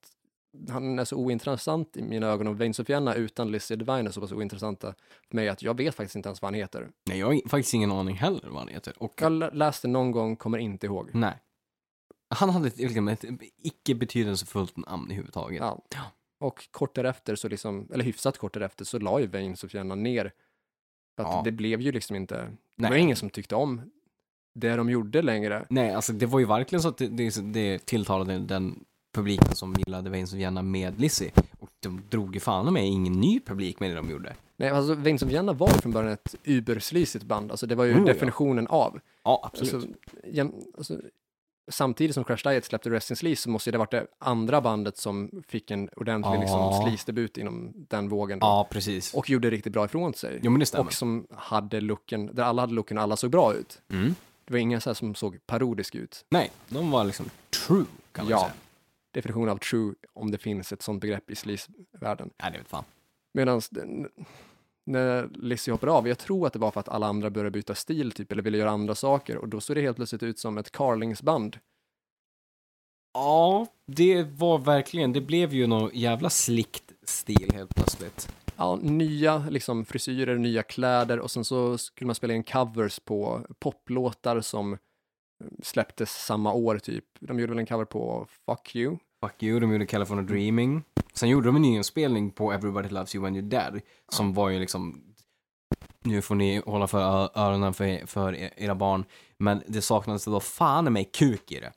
Speaker 2: han är så ointressant i mina ögon och Veins of Vienna utan Lizzie Divine är så pass ointressanta för mig att jag vet faktiskt inte ens vad han heter.
Speaker 1: Nej, jag har faktiskt ingen aning heller vad han heter. Och,
Speaker 2: Jag lä- läste någon gång, kommer inte ihåg.
Speaker 1: nej. Han hade ett, liksom, ett icke betydelsefullt namn i huvud taget.
Speaker 2: Ja. Och kort därefter, så liksom, eller hyfsat kort därefter, så la ju Veins of Vienna ner. För att
Speaker 1: Ja.
Speaker 2: det blev ju liksom inte, det var
Speaker 1: Nej.
Speaker 2: ingen som tyckte om det de gjorde längre.
Speaker 1: Nej, alltså det var ju verkligen så att det, det, det tilltalade den publiken som gillade Veins och Jenna med Lizzie. Och de drog ju fan med ingen ny publik med det de gjorde.
Speaker 2: Nej, alltså Veins of Vienna var från början ett uberslisigt band, alltså det var ju
Speaker 1: Oh, ja.
Speaker 2: definitionen av.
Speaker 1: Ja, absolut.
Speaker 2: Alltså, jäm, alltså, samtidigt som Crash Diet släppte Rest in Sleaze så måste det ha varit det andra bandet som fick en ordentlig
Speaker 1: Ja.
Speaker 2: liksom, sleaze-debut inom den vågen. då.
Speaker 1: ja, precis.
Speaker 2: Och gjorde riktigt bra ifrån sig.
Speaker 1: jo, men det stämmer.
Speaker 2: och som hade looken, där alla hade looken och alla såg bra ut.
Speaker 1: Mm.
Speaker 2: Det var ingen så här som såg parodisk ut.
Speaker 1: Nej, de var liksom true, kan man
Speaker 2: Ja.
Speaker 1: säga.
Speaker 2: Definition av true, om det finns ett sånt begrepp i sleaze-världen.
Speaker 1: Nej, det vet fan.
Speaker 2: Medan när Lizzie hoppar av, jag tror att det var för att alla andra började byta stil typ, eller ville göra andra saker och då såg det helt plötsligt ut som ett Carlings-band.
Speaker 1: Ja, det var verkligen, det blev ju någon jävla slickt stil helt plötsligt.
Speaker 2: Ja, nya liksom, frisyrer, nya kläder och sen så skulle man spela in covers på poplåtar som släpptes samma år typ. De gjorde väl en cover på Fuck You.
Speaker 1: Fuck you, de gjorde California Dreaming. Sen gjorde de en nyinspelning på Everybody Loves You When You're Dead, som var ju liksom, nu får ni hålla för ö- öronen för, för e- era barn, men det saknades då fan mig kuk i det.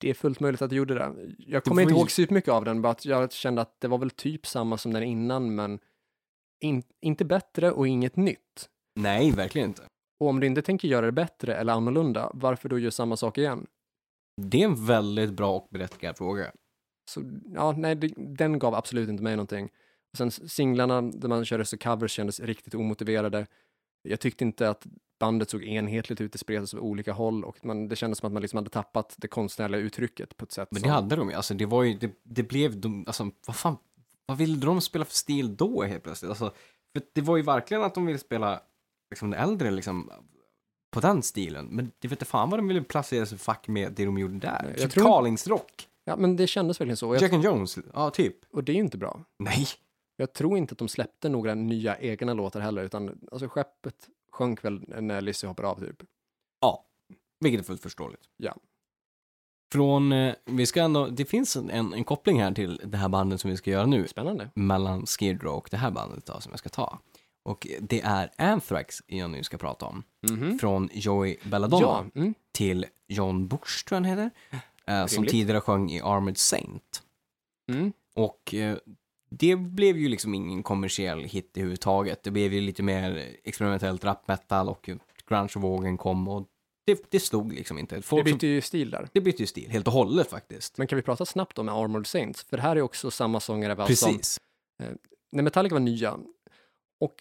Speaker 2: Det är fullt möjligt att du gjorde det. Jag
Speaker 1: Det
Speaker 2: kommer
Speaker 1: var
Speaker 2: inte
Speaker 1: ju-
Speaker 2: ihåg supermycket av den, bara att jag kände att det var väl typ samma som den innan, men in, inte bättre och inget nytt.
Speaker 1: Nej, verkligen inte.
Speaker 2: Och om du inte tänker göra det bättre eller annorlunda, varför då göra samma sak igen?
Speaker 1: Det är en väldigt bra och berättigad fråga.
Speaker 2: Så ja, nej, det, den gav absolut inte mig någonting. Och sen singlarna där man körde så covers kändes riktigt omotiverade. Jag tyckte inte att bandet såg enhetligt ut, det spred sig åt olika håll och man, det kändes som att man liksom hade tappat det konstnärliga uttrycket på ett sätt
Speaker 1: Men det
Speaker 2: som...
Speaker 1: hade de ju, alltså det var ju, det, det blev de, alltså vad fan, vad ville de spela för stil då helt plötsligt? Alltså, för det var ju verkligen att de ville spela, liksom det äldre liksom, på den stilen, men det vet inte fan vad de ville placera sig fack med det de gjorde där.
Speaker 2: Nej, jag
Speaker 1: typ
Speaker 2: tror-
Speaker 1: Carlingsrock,
Speaker 2: Ja, men det kändes verkligen så och, jag,
Speaker 1: Jack and Jones, ja typ.
Speaker 2: och det är ju inte bra.
Speaker 1: Nej.
Speaker 2: Jag tror inte att de släppte några nya egna låtar heller, utan alltså skeppet sjönk väl när Lizzie hoppade av typ.
Speaker 1: Ja, vilket är fullt förståeligt.
Speaker 2: Ja.
Speaker 1: Från, eh, vi ska ändå, det finns en, en, en koppling här till det här bandet som vi ska göra nu.
Speaker 2: Spännande.
Speaker 1: mellan Skid Row och det här bandet då, som jag ska ta. Och det är Anthrax jag nu ska prata om. Från Joey Belladonna
Speaker 2: Mm. Ja, mm.
Speaker 1: till John Bush, tror jag han heter. eh, som
Speaker 2: Rimligt.
Speaker 1: tidigare sjöng i Armored Saint.
Speaker 2: Mm.
Speaker 1: Och eh, det blev ju liksom ingen kommersiell hit i huvud taget. Det blev ju lite mer experimentellt rap metal och grungevågen kom och det, det slog liksom inte.
Speaker 2: Det
Speaker 1: Folk som,
Speaker 2: bytte ju stil där.
Speaker 1: det bytte ju stil helt och hållet faktiskt.
Speaker 2: Men kan vi prata snabbt om Armored
Speaker 1: Alltså,
Speaker 2: Saints? För det här är också samma sångare va, som
Speaker 1: Precis.
Speaker 2: när Metallica var nya och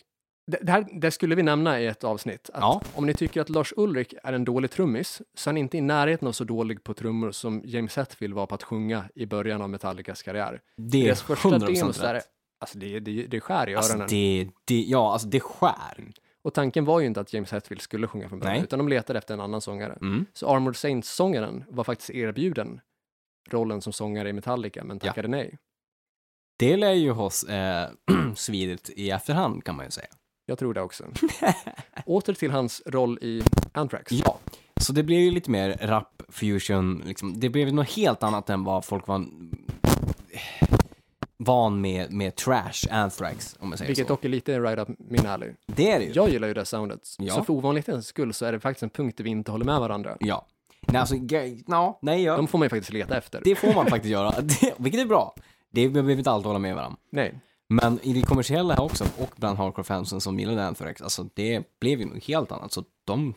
Speaker 2: Det, det här det skulle vi nämna i ett avsnitt. Att
Speaker 1: Ja.
Speaker 2: Om ni tycker att Lars Ulrik är en dålig trummis, så är han inte i närheten av så dålig på trummor som James Hetfield var på att sjunga i början av Metallicas karriär.
Speaker 1: Det är
Speaker 2: Deras första
Speaker 1: 100%
Speaker 2: demos där,
Speaker 1: rätt.
Speaker 2: alltså det, det, det skär i
Speaker 1: Alltså
Speaker 2: öronen.
Speaker 1: det, det, ja, alltså det skär.
Speaker 2: Och tanken var ju inte att James Hetfield skulle sjunga från början,
Speaker 1: Nej.
Speaker 2: utan de letade efter en annan sångare.
Speaker 1: Mm.
Speaker 2: Så Armored Saints-sångaren var faktiskt erbjuden rollen som sångare i Metallica, men
Speaker 1: Ja.
Speaker 2: tackade nej.
Speaker 1: Det lär ju oss eh, svidit i efterhand kan man ju säga.
Speaker 2: Jag tror det också. Åter till hans roll i Anthrax.
Speaker 1: Ja, så det blev ju lite mer rap fusion, liksom. det blev något helt annat än vad folk var eh, van med, med trash anthrax, om man säger
Speaker 2: Vilket
Speaker 1: så.
Speaker 2: dock är lite right up min alley.
Speaker 1: Det är det ju.
Speaker 2: Jag gillar ju det soundet.
Speaker 1: Ja.
Speaker 2: Så för ovanlighetens skull så är det faktiskt en punkt där vi inte håller med varandra.
Speaker 1: Ja. Nej, alltså, ge- ja, nej, ja.
Speaker 2: De får man ju faktiskt leta efter.
Speaker 1: det får man faktiskt göra, det, vilket är bra. Det behöver vi inte alltid hålla med varandra.
Speaker 2: Nej.
Speaker 1: Men i det kommersiella här också, och bland hardcore-fansen som gillade Anthrax, alltså det blev ju något helt annat. Så de,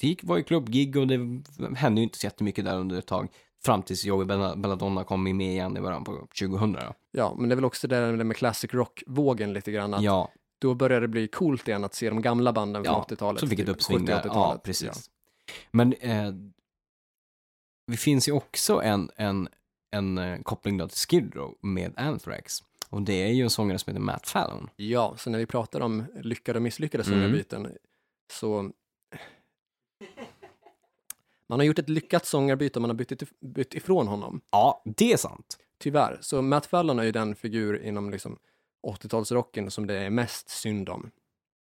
Speaker 1: det gick- var ju klubbgig och det hände ju inte så jättemycket där under ett tag. Fram tills Joey Bella- Belladonna kom med igen i början på 2000. då.
Speaker 2: Ja, men det är väl också det där med classic rock-vågen lite grann. Att
Speaker 1: Ja,
Speaker 2: Då börjar det bli coolt igen att se de gamla banden från
Speaker 1: ja
Speaker 2: 80-talet.
Speaker 1: så fick ett
Speaker 2: typ
Speaker 1: uppsving
Speaker 2: 70-
Speaker 1: där.
Speaker 2: 80-talet.
Speaker 1: Ja, precis. Men eh, det finns ju också en, en, en eh, koppling då till Skid Row med Anthrax. Och det är ju en sångare som heter Matt Fallon.
Speaker 2: Ja, så när vi pratar om lyckade och misslyckade
Speaker 1: Mm.
Speaker 2: sångarbyten så... Man har gjort ett lyckat sångarbyte och man har bytt, it- bytt ifrån honom,
Speaker 1: Ja, det är sant.
Speaker 2: tyvärr. Så Matt Fallon är ju den figur inom liksom 80-talsrocken som det är mest synd om,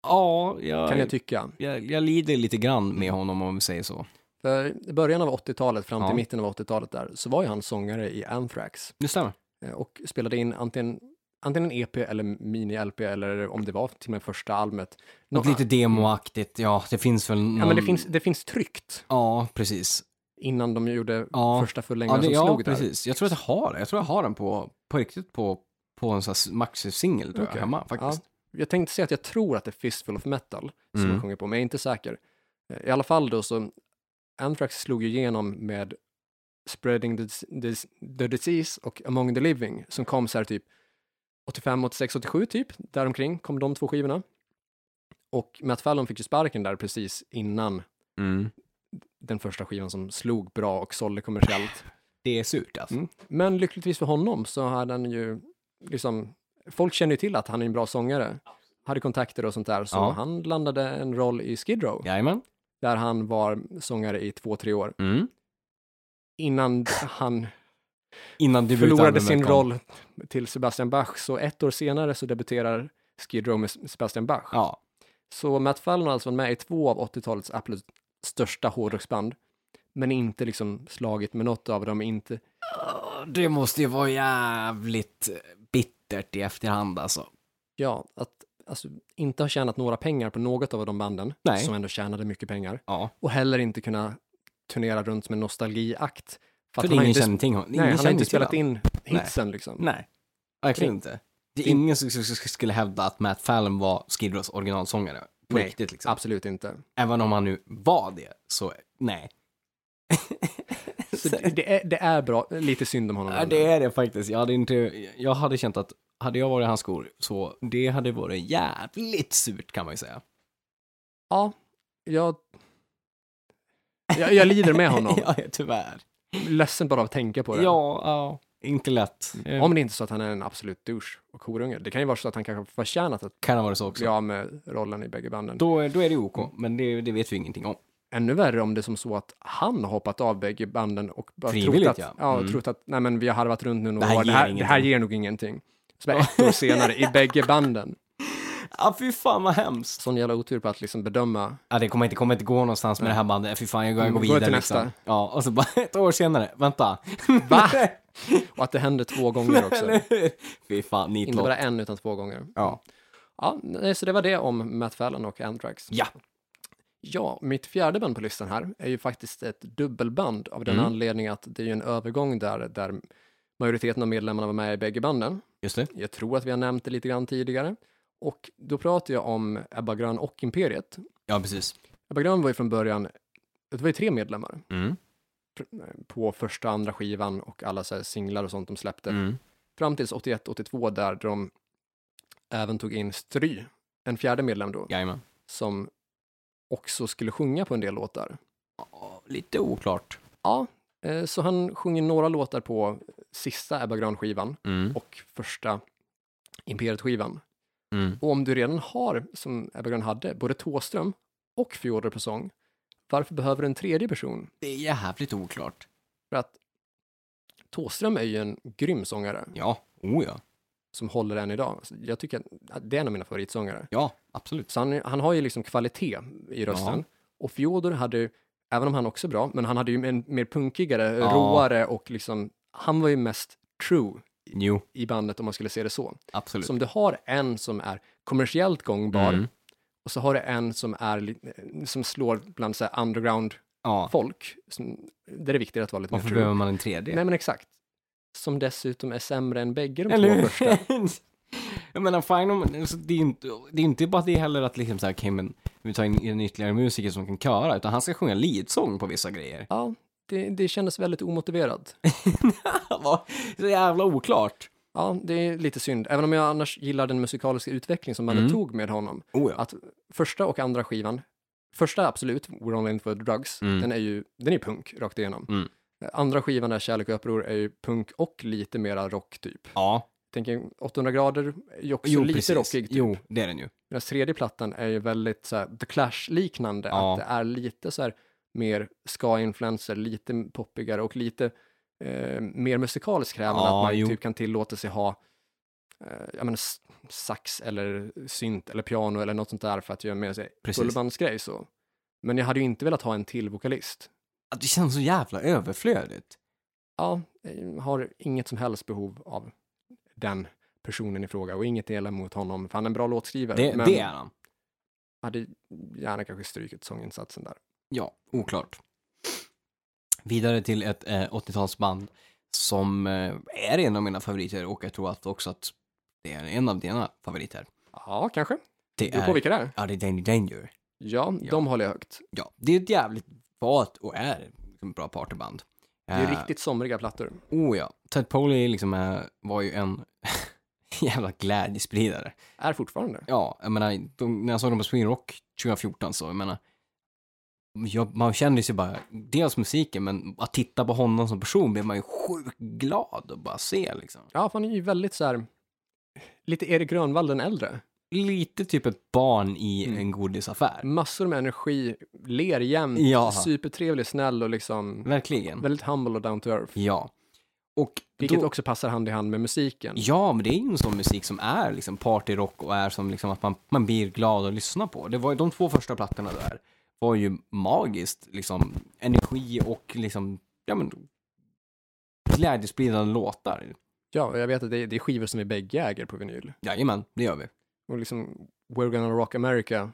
Speaker 1: Ja, jag,
Speaker 2: kan jag tycka.
Speaker 1: jag, jag lider lite grann med honom om vi säger så.
Speaker 2: För i början av 80-talet fram till
Speaker 1: Ja.
Speaker 2: mitten av 80-talet där så var ju han sångare i Anthrax
Speaker 1: Det stämmer.
Speaker 2: eh, och spelade in antingen, antingen en EP eller mini-LP eller om det var till och med första albumet.
Speaker 1: Något mm.
Speaker 2: Nå-
Speaker 1: lite demoaktigt, ja, det finns väl någon...
Speaker 2: Ja, men det finns, det finns tryckt
Speaker 1: Ja, precis.
Speaker 2: innan de gjorde
Speaker 1: Ja.
Speaker 2: första
Speaker 1: Ja,
Speaker 2: fullängdaren
Speaker 1: det,
Speaker 2: som
Speaker 1: ja
Speaker 2: slog där.
Speaker 1: precis. Jag tror att jag har det. Jag tror jag har den på, på riktigt på, på en sån här maxi-singel tror jag,
Speaker 2: Okej.
Speaker 1: hemma faktiskt.
Speaker 2: Jag tänkte säga att jag tror att det är Fistful of Metal som
Speaker 1: Mm.
Speaker 2: de sjunger på, men jag är inte säker. Eh, I alla fall då så, Anthrax slog ju igenom med Spreading the, Dis- Dis- the Disease och Among the Living som kom så här typ 85, 86, 87 typ, däromkring kom de två skivorna. Och Matt Fallon fick ju sparken där precis innan
Speaker 1: Mm.
Speaker 2: den första skivan som slog bra och sålde kommersiellt.
Speaker 1: Det är surt alltså.
Speaker 2: Mm. Men lyckligtvis för honom så hade han ju, liksom, folk känner ju till att han är en bra sångare. Hade kontakter och sånt där, så
Speaker 1: Ja.
Speaker 2: han landade en roll i Skid Row,
Speaker 1: Jajamän.
Speaker 2: där han var sångare i två, tre år.
Speaker 1: Mm.
Speaker 2: Innan han
Speaker 1: Innan du
Speaker 2: förlorade sin roll till Sebastian Bach, så ett år senare så debuterar Skid Row med Sebastian Bach.
Speaker 1: Ja.
Speaker 2: Så Matt Fallon har alltså varit med i två av 80-talets absolut största hårdrocksband, men inte liksom slagit med något av dem, inte
Speaker 1: Det måste ju vara jävligt bittert i efterhand alltså.
Speaker 2: Ja, att alltså, inte ha tjänat några pengar på något av de banden,
Speaker 1: Nej.
Speaker 2: som ändå tjänade mycket pengar,
Speaker 1: Ja.
Speaker 2: och heller inte kunna turnera runt som en nostalgiakt. För
Speaker 1: För
Speaker 2: att
Speaker 1: det är
Speaker 2: han har
Speaker 1: ingen
Speaker 2: inte,
Speaker 1: känner till honom.
Speaker 2: nej,
Speaker 1: Ingen
Speaker 2: han har
Speaker 1: känner
Speaker 2: inte
Speaker 1: till
Speaker 2: spelat
Speaker 1: honom.
Speaker 2: in hitsen liksom.
Speaker 1: Nej, verkligen inte. Det är ingen som som- som skulle hävda att Matt Fallon var Skid Rows originalsångare. På
Speaker 2: Nej,
Speaker 1: riktigt liksom.
Speaker 2: Absolut inte.
Speaker 1: Även om han nu var det, så nej.
Speaker 2: Så det, det är, det är bra, lite synd om honom.
Speaker 1: Ja, det är det faktiskt. Jag hade, inte, jag hade känt att hade jag varit i hans skor så det hade varit jävligt surt kan man ju säga.
Speaker 2: Ja, jag, jag, jag lider med honom.
Speaker 1: ja, tyvärr.
Speaker 2: Ledsen bara av att tänka på det.
Speaker 1: Ja, ja, inte lätt. Eh,
Speaker 2: Om det inte är så att han är en absolut douche och horunge. Det kan ju vara så att han kanske förtjänat att
Speaker 1: Kan ha varit så också.
Speaker 2: bli av med rollen i bägge banden.
Speaker 1: Då, är- då är det OK, men det, det vet vi ingenting om.
Speaker 2: ännu värre om det är som så att han har hoppat av bägge banden och bara
Speaker 1: Frivilligt,
Speaker 2: trott
Speaker 1: ja.
Speaker 2: att, ja.
Speaker 1: Mm.
Speaker 2: trott att nej, men vi har harvat runt nu
Speaker 1: Det
Speaker 2: några
Speaker 1: här
Speaker 2: år, det
Speaker 1: ger
Speaker 2: här, det här
Speaker 1: ingenting.
Speaker 2: ger nog ingenting. Så bara ett år senare i bägge banden.
Speaker 1: Ja, fy fan vad hemskt.
Speaker 2: Sån jävla otur på att liksom bedöma.
Speaker 1: Ja, det kommer inte, kommer inte gå någonstans med det här bandet. Fy fan, jag går, jag går
Speaker 2: Mm, gå
Speaker 1: vidare.
Speaker 2: till
Speaker 1: liksom.
Speaker 2: nästa.
Speaker 1: Ja, och så bara ett år senare, vänta.
Speaker 2: Va? Och att det händer två gånger också.
Speaker 1: Eller hur? Fy fan,
Speaker 2: Inte
Speaker 1: nitlott.
Speaker 2: bara en utan två gånger.
Speaker 1: Ja.
Speaker 2: Ja, nej, så det var det om Matt Fallon och Anthrax.
Speaker 1: Ja.
Speaker 2: Ja, mitt fjärde band på listan här är ju faktiskt ett dubbelband av den
Speaker 1: Mm.
Speaker 2: anledningen att det är ju en övergång där, där majoriteten av medlemmarna var med i bägge banden.
Speaker 1: Just det.
Speaker 2: Jag tror att vi har nämnt det lite grann tidigare. Och då pratar jag om Ebba Grön och Imperiet.
Speaker 1: Ja, precis.
Speaker 2: Ebba Grön var ju från början, det var ju tre medlemmar
Speaker 1: Mm.
Speaker 2: pr- på första och andra skivan och alla så här singlar och sånt de släppte.
Speaker 1: Mm.
Speaker 2: Fram tills 81-82 där de även tog in Stry en fjärde medlem då,
Speaker 1: Jajamän.
Speaker 2: som också skulle sjunga på en del låtar.
Speaker 1: Ja, Lite oklart.
Speaker 2: Ja, eh, så han sjunger några låtar på sista Ebba Grön-skivan
Speaker 1: Mm.
Speaker 2: och första Imperiet-skivan.
Speaker 1: Mm.
Speaker 2: Och om du redan har, som Ebba Grön hade, både Tåström och Fjodor på sång, varför behöver du en tredje person?
Speaker 1: Det är jävligt oklart.
Speaker 2: För att Tåström är ju en grym sångare
Speaker 1: Ja, oh ja.
Speaker 2: som håller än idag. Så Jag tycker att det är en av mina favoritsångare.
Speaker 1: Ja, absolut.
Speaker 2: Så han, han har ju liksom kvalitet i rösten.
Speaker 1: Ja.
Speaker 2: Och Fjodor hade ju, även om han också är bra, men han hade ju en mer punkigare,
Speaker 1: Ja.
Speaker 2: råare och liksom, han var ju mest true
Speaker 1: Jo,
Speaker 2: i bandet om man skulle se det så.
Speaker 1: absolut.
Speaker 2: Så om du har en som är kommersiellt gångbar
Speaker 1: Mm.
Speaker 2: och så har du en som, är, li- som slår bland så här underground-folk,
Speaker 1: Ja,
Speaker 2: som, där det är viktigt att vara lite mer
Speaker 1: varför
Speaker 2: true.
Speaker 1: behöver man en tredje?
Speaker 2: Nej men exakt. Som dessutom är sämre än bägge de
Speaker 1: Eller
Speaker 2: två
Speaker 1: hur?
Speaker 2: första.
Speaker 1: Jag menar, fine om, alltså, det, är inte, det är inte bara det heller att liksom så här, okej, men vi tar in en ytterligare musiker som kan köra, utan han ska sjunga leadsång på vissa grejer.
Speaker 2: Ja, det, det kändes väldigt omotiverat.
Speaker 1: Vad- så jävla oklart.
Speaker 2: Ja, det är lite synd. Även om jag annars gillar den musikaliska utveckling som bandet
Speaker 1: Mm.
Speaker 2: tog med honom.
Speaker 1: Oh ja.
Speaker 2: Att första och andra skivan, första absolut, We're Only In For The Drugs,
Speaker 1: Mm.
Speaker 2: den är ju den är punk rakt igenom.
Speaker 1: Mm.
Speaker 2: Andra skivan, där Kärlek och Uppror, är ju punk och lite mera rock typ.
Speaker 1: Ja,
Speaker 2: Tänker 800 grader är ju också
Speaker 1: jo
Speaker 2: lite
Speaker 1: precis.
Speaker 2: rockig typ.
Speaker 1: Jo, det är den ju.
Speaker 2: Deras tredje plattan är ju väldigt så här, The Clash-liknande,
Speaker 1: Ja.
Speaker 2: att det är lite så här mer ska-influencer, lite poppigare och lite eh, mer musikaliskt krävande,
Speaker 1: Ja,
Speaker 2: att man
Speaker 1: jo.
Speaker 2: typ kan tillåta sig ha eh, jag menar, s- sax eller synt eller piano eller något sånt där för att göra med sig
Speaker 1: Precis.
Speaker 2: fullbandsgrej så. Men jag hade ju inte velat ha en till vokalist.
Speaker 1: Att det känns så jävla överflödigt.
Speaker 2: Ja, jag har inget som helst behov av den personen i fråga och inget illa mot honom, för han är en bra låtskrivare.
Speaker 1: Det,
Speaker 2: men-
Speaker 1: det är han.
Speaker 2: hade gärna kanske strykit sånginsatsen där.
Speaker 1: Ja, oklart. Vidare till ett eh, 80-talsband som eh, är en av mina favoriter och jag tror att också att det är en av dina favoriter.
Speaker 2: Ja, kanske.
Speaker 1: Det
Speaker 2: Det beror på
Speaker 1: är,
Speaker 2: vilka det är.
Speaker 1: ja, det är Danger Danger.
Speaker 2: Ja,
Speaker 1: Ja.
Speaker 2: de håller jag högt.
Speaker 1: Ja, det är ett jävligt varit och är liksom ett bra partyband.
Speaker 2: Det är
Speaker 1: Eh,
Speaker 2: riktigt somriga plattor.
Speaker 1: Oh ja. Ted Poley liksom, eh, var ju en jävla glädjespridare.
Speaker 2: Är fortfarande.
Speaker 1: Ja, jag menar, de, när jag såg dem på Sweden Rock 2014 så, jag menar, jag, man kände sig bara, dels musiken, men att titta på honom som person blev man ju sjukt glad att bara se liksom.
Speaker 2: Ja, för han är ju väldigt så här, lite Erik Grönvall den äldre.
Speaker 1: Lite typ ett barn i
Speaker 2: Mm.
Speaker 1: en godisaffär.
Speaker 2: Massor med energi, ler jämt,
Speaker 1: Ja. Mm.
Speaker 2: supertrevlig, snäll och liksom
Speaker 1: Verkligen.
Speaker 2: väldigt humble och down to earth.
Speaker 1: Ja. Och
Speaker 2: Vilket
Speaker 1: då,
Speaker 2: också passar hand i hand med musiken.
Speaker 1: Ja, men det är ju en sån musik som är liksom partyrock och är som liksom att man, man blir glad att lyssna på. Det var ju de två första plattorna där var ju magiskt liksom energi och liksom, ja men glädjespridande låtar.
Speaker 2: Ja, och jag vet att det är, det är skivor som vi bägge äger på vinyl.
Speaker 1: Jajamän, det gör vi.
Speaker 2: Och liksom We're gonna rock America.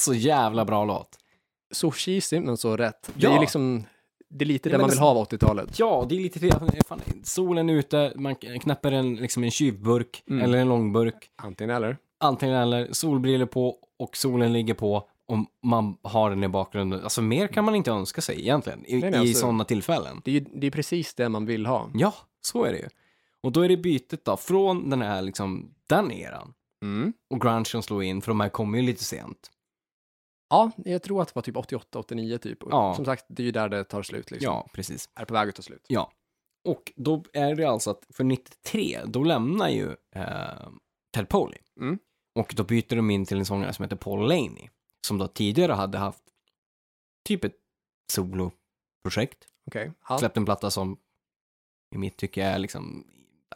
Speaker 1: Så jävla bra låt.
Speaker 2: Så cheesy, men så rätt. Det
Speaker 1: Ja.
Speaker 2: är ju liksom, det är lite
Speaker 1: Ja,
Speaker 2: det
Speaker 1: men
Speaker 2: man
Speaker 1: det-
Speaker 2: vill ha av 80-talet.
Speaker 1: Ja, det är lite det, fan, solen är ute, man knäpper en, liksom en tjuvburk
Speaker 2: Mm.
Speaker 1: eller en långburk,
Speaker 2: Antingen eller.
Speaker 1: antingen eller, solbriller på och solen ligger på om man har den i bakgrunden. Alltså mer kan man inte önska sig egentligen i,
Speaker 2: Nej, nej,
Speaker 1: i
Speaker 2: alltså-
Speaker 1: sådana tillfällen.
Speaker 2: Det är ju det är precis det man vill ha.
Speaker 1: Ja, så är det ju. Och då är det bytet då, från den här liksom, den eran. Och grunge som slog in, för de här kommer ju lite sent.
Speaker 2: Ja, jag tror att det var typ 88, 89 typ. Och
Speaker 1: Ja.
Speaker 2: Som sagt, det är ju där det tar slut liksom.
Speaker 1: Ja, precis.
Speaker 2: Är på väg att ta slut.
Speaker 1: Ja. Och då är det alltså att för 93, då lämnar ju eh, Ted Poley.
Speaker 2: Mm.
Speaker 1: Och då byter de in till en sångare som heter Paul Laney. Som då tidigare hade haft typ ett soloprojekt.
Speaker 2: Okej. Ja.
Speaker 1: Släppt en platta som i mitt tycke är liksom...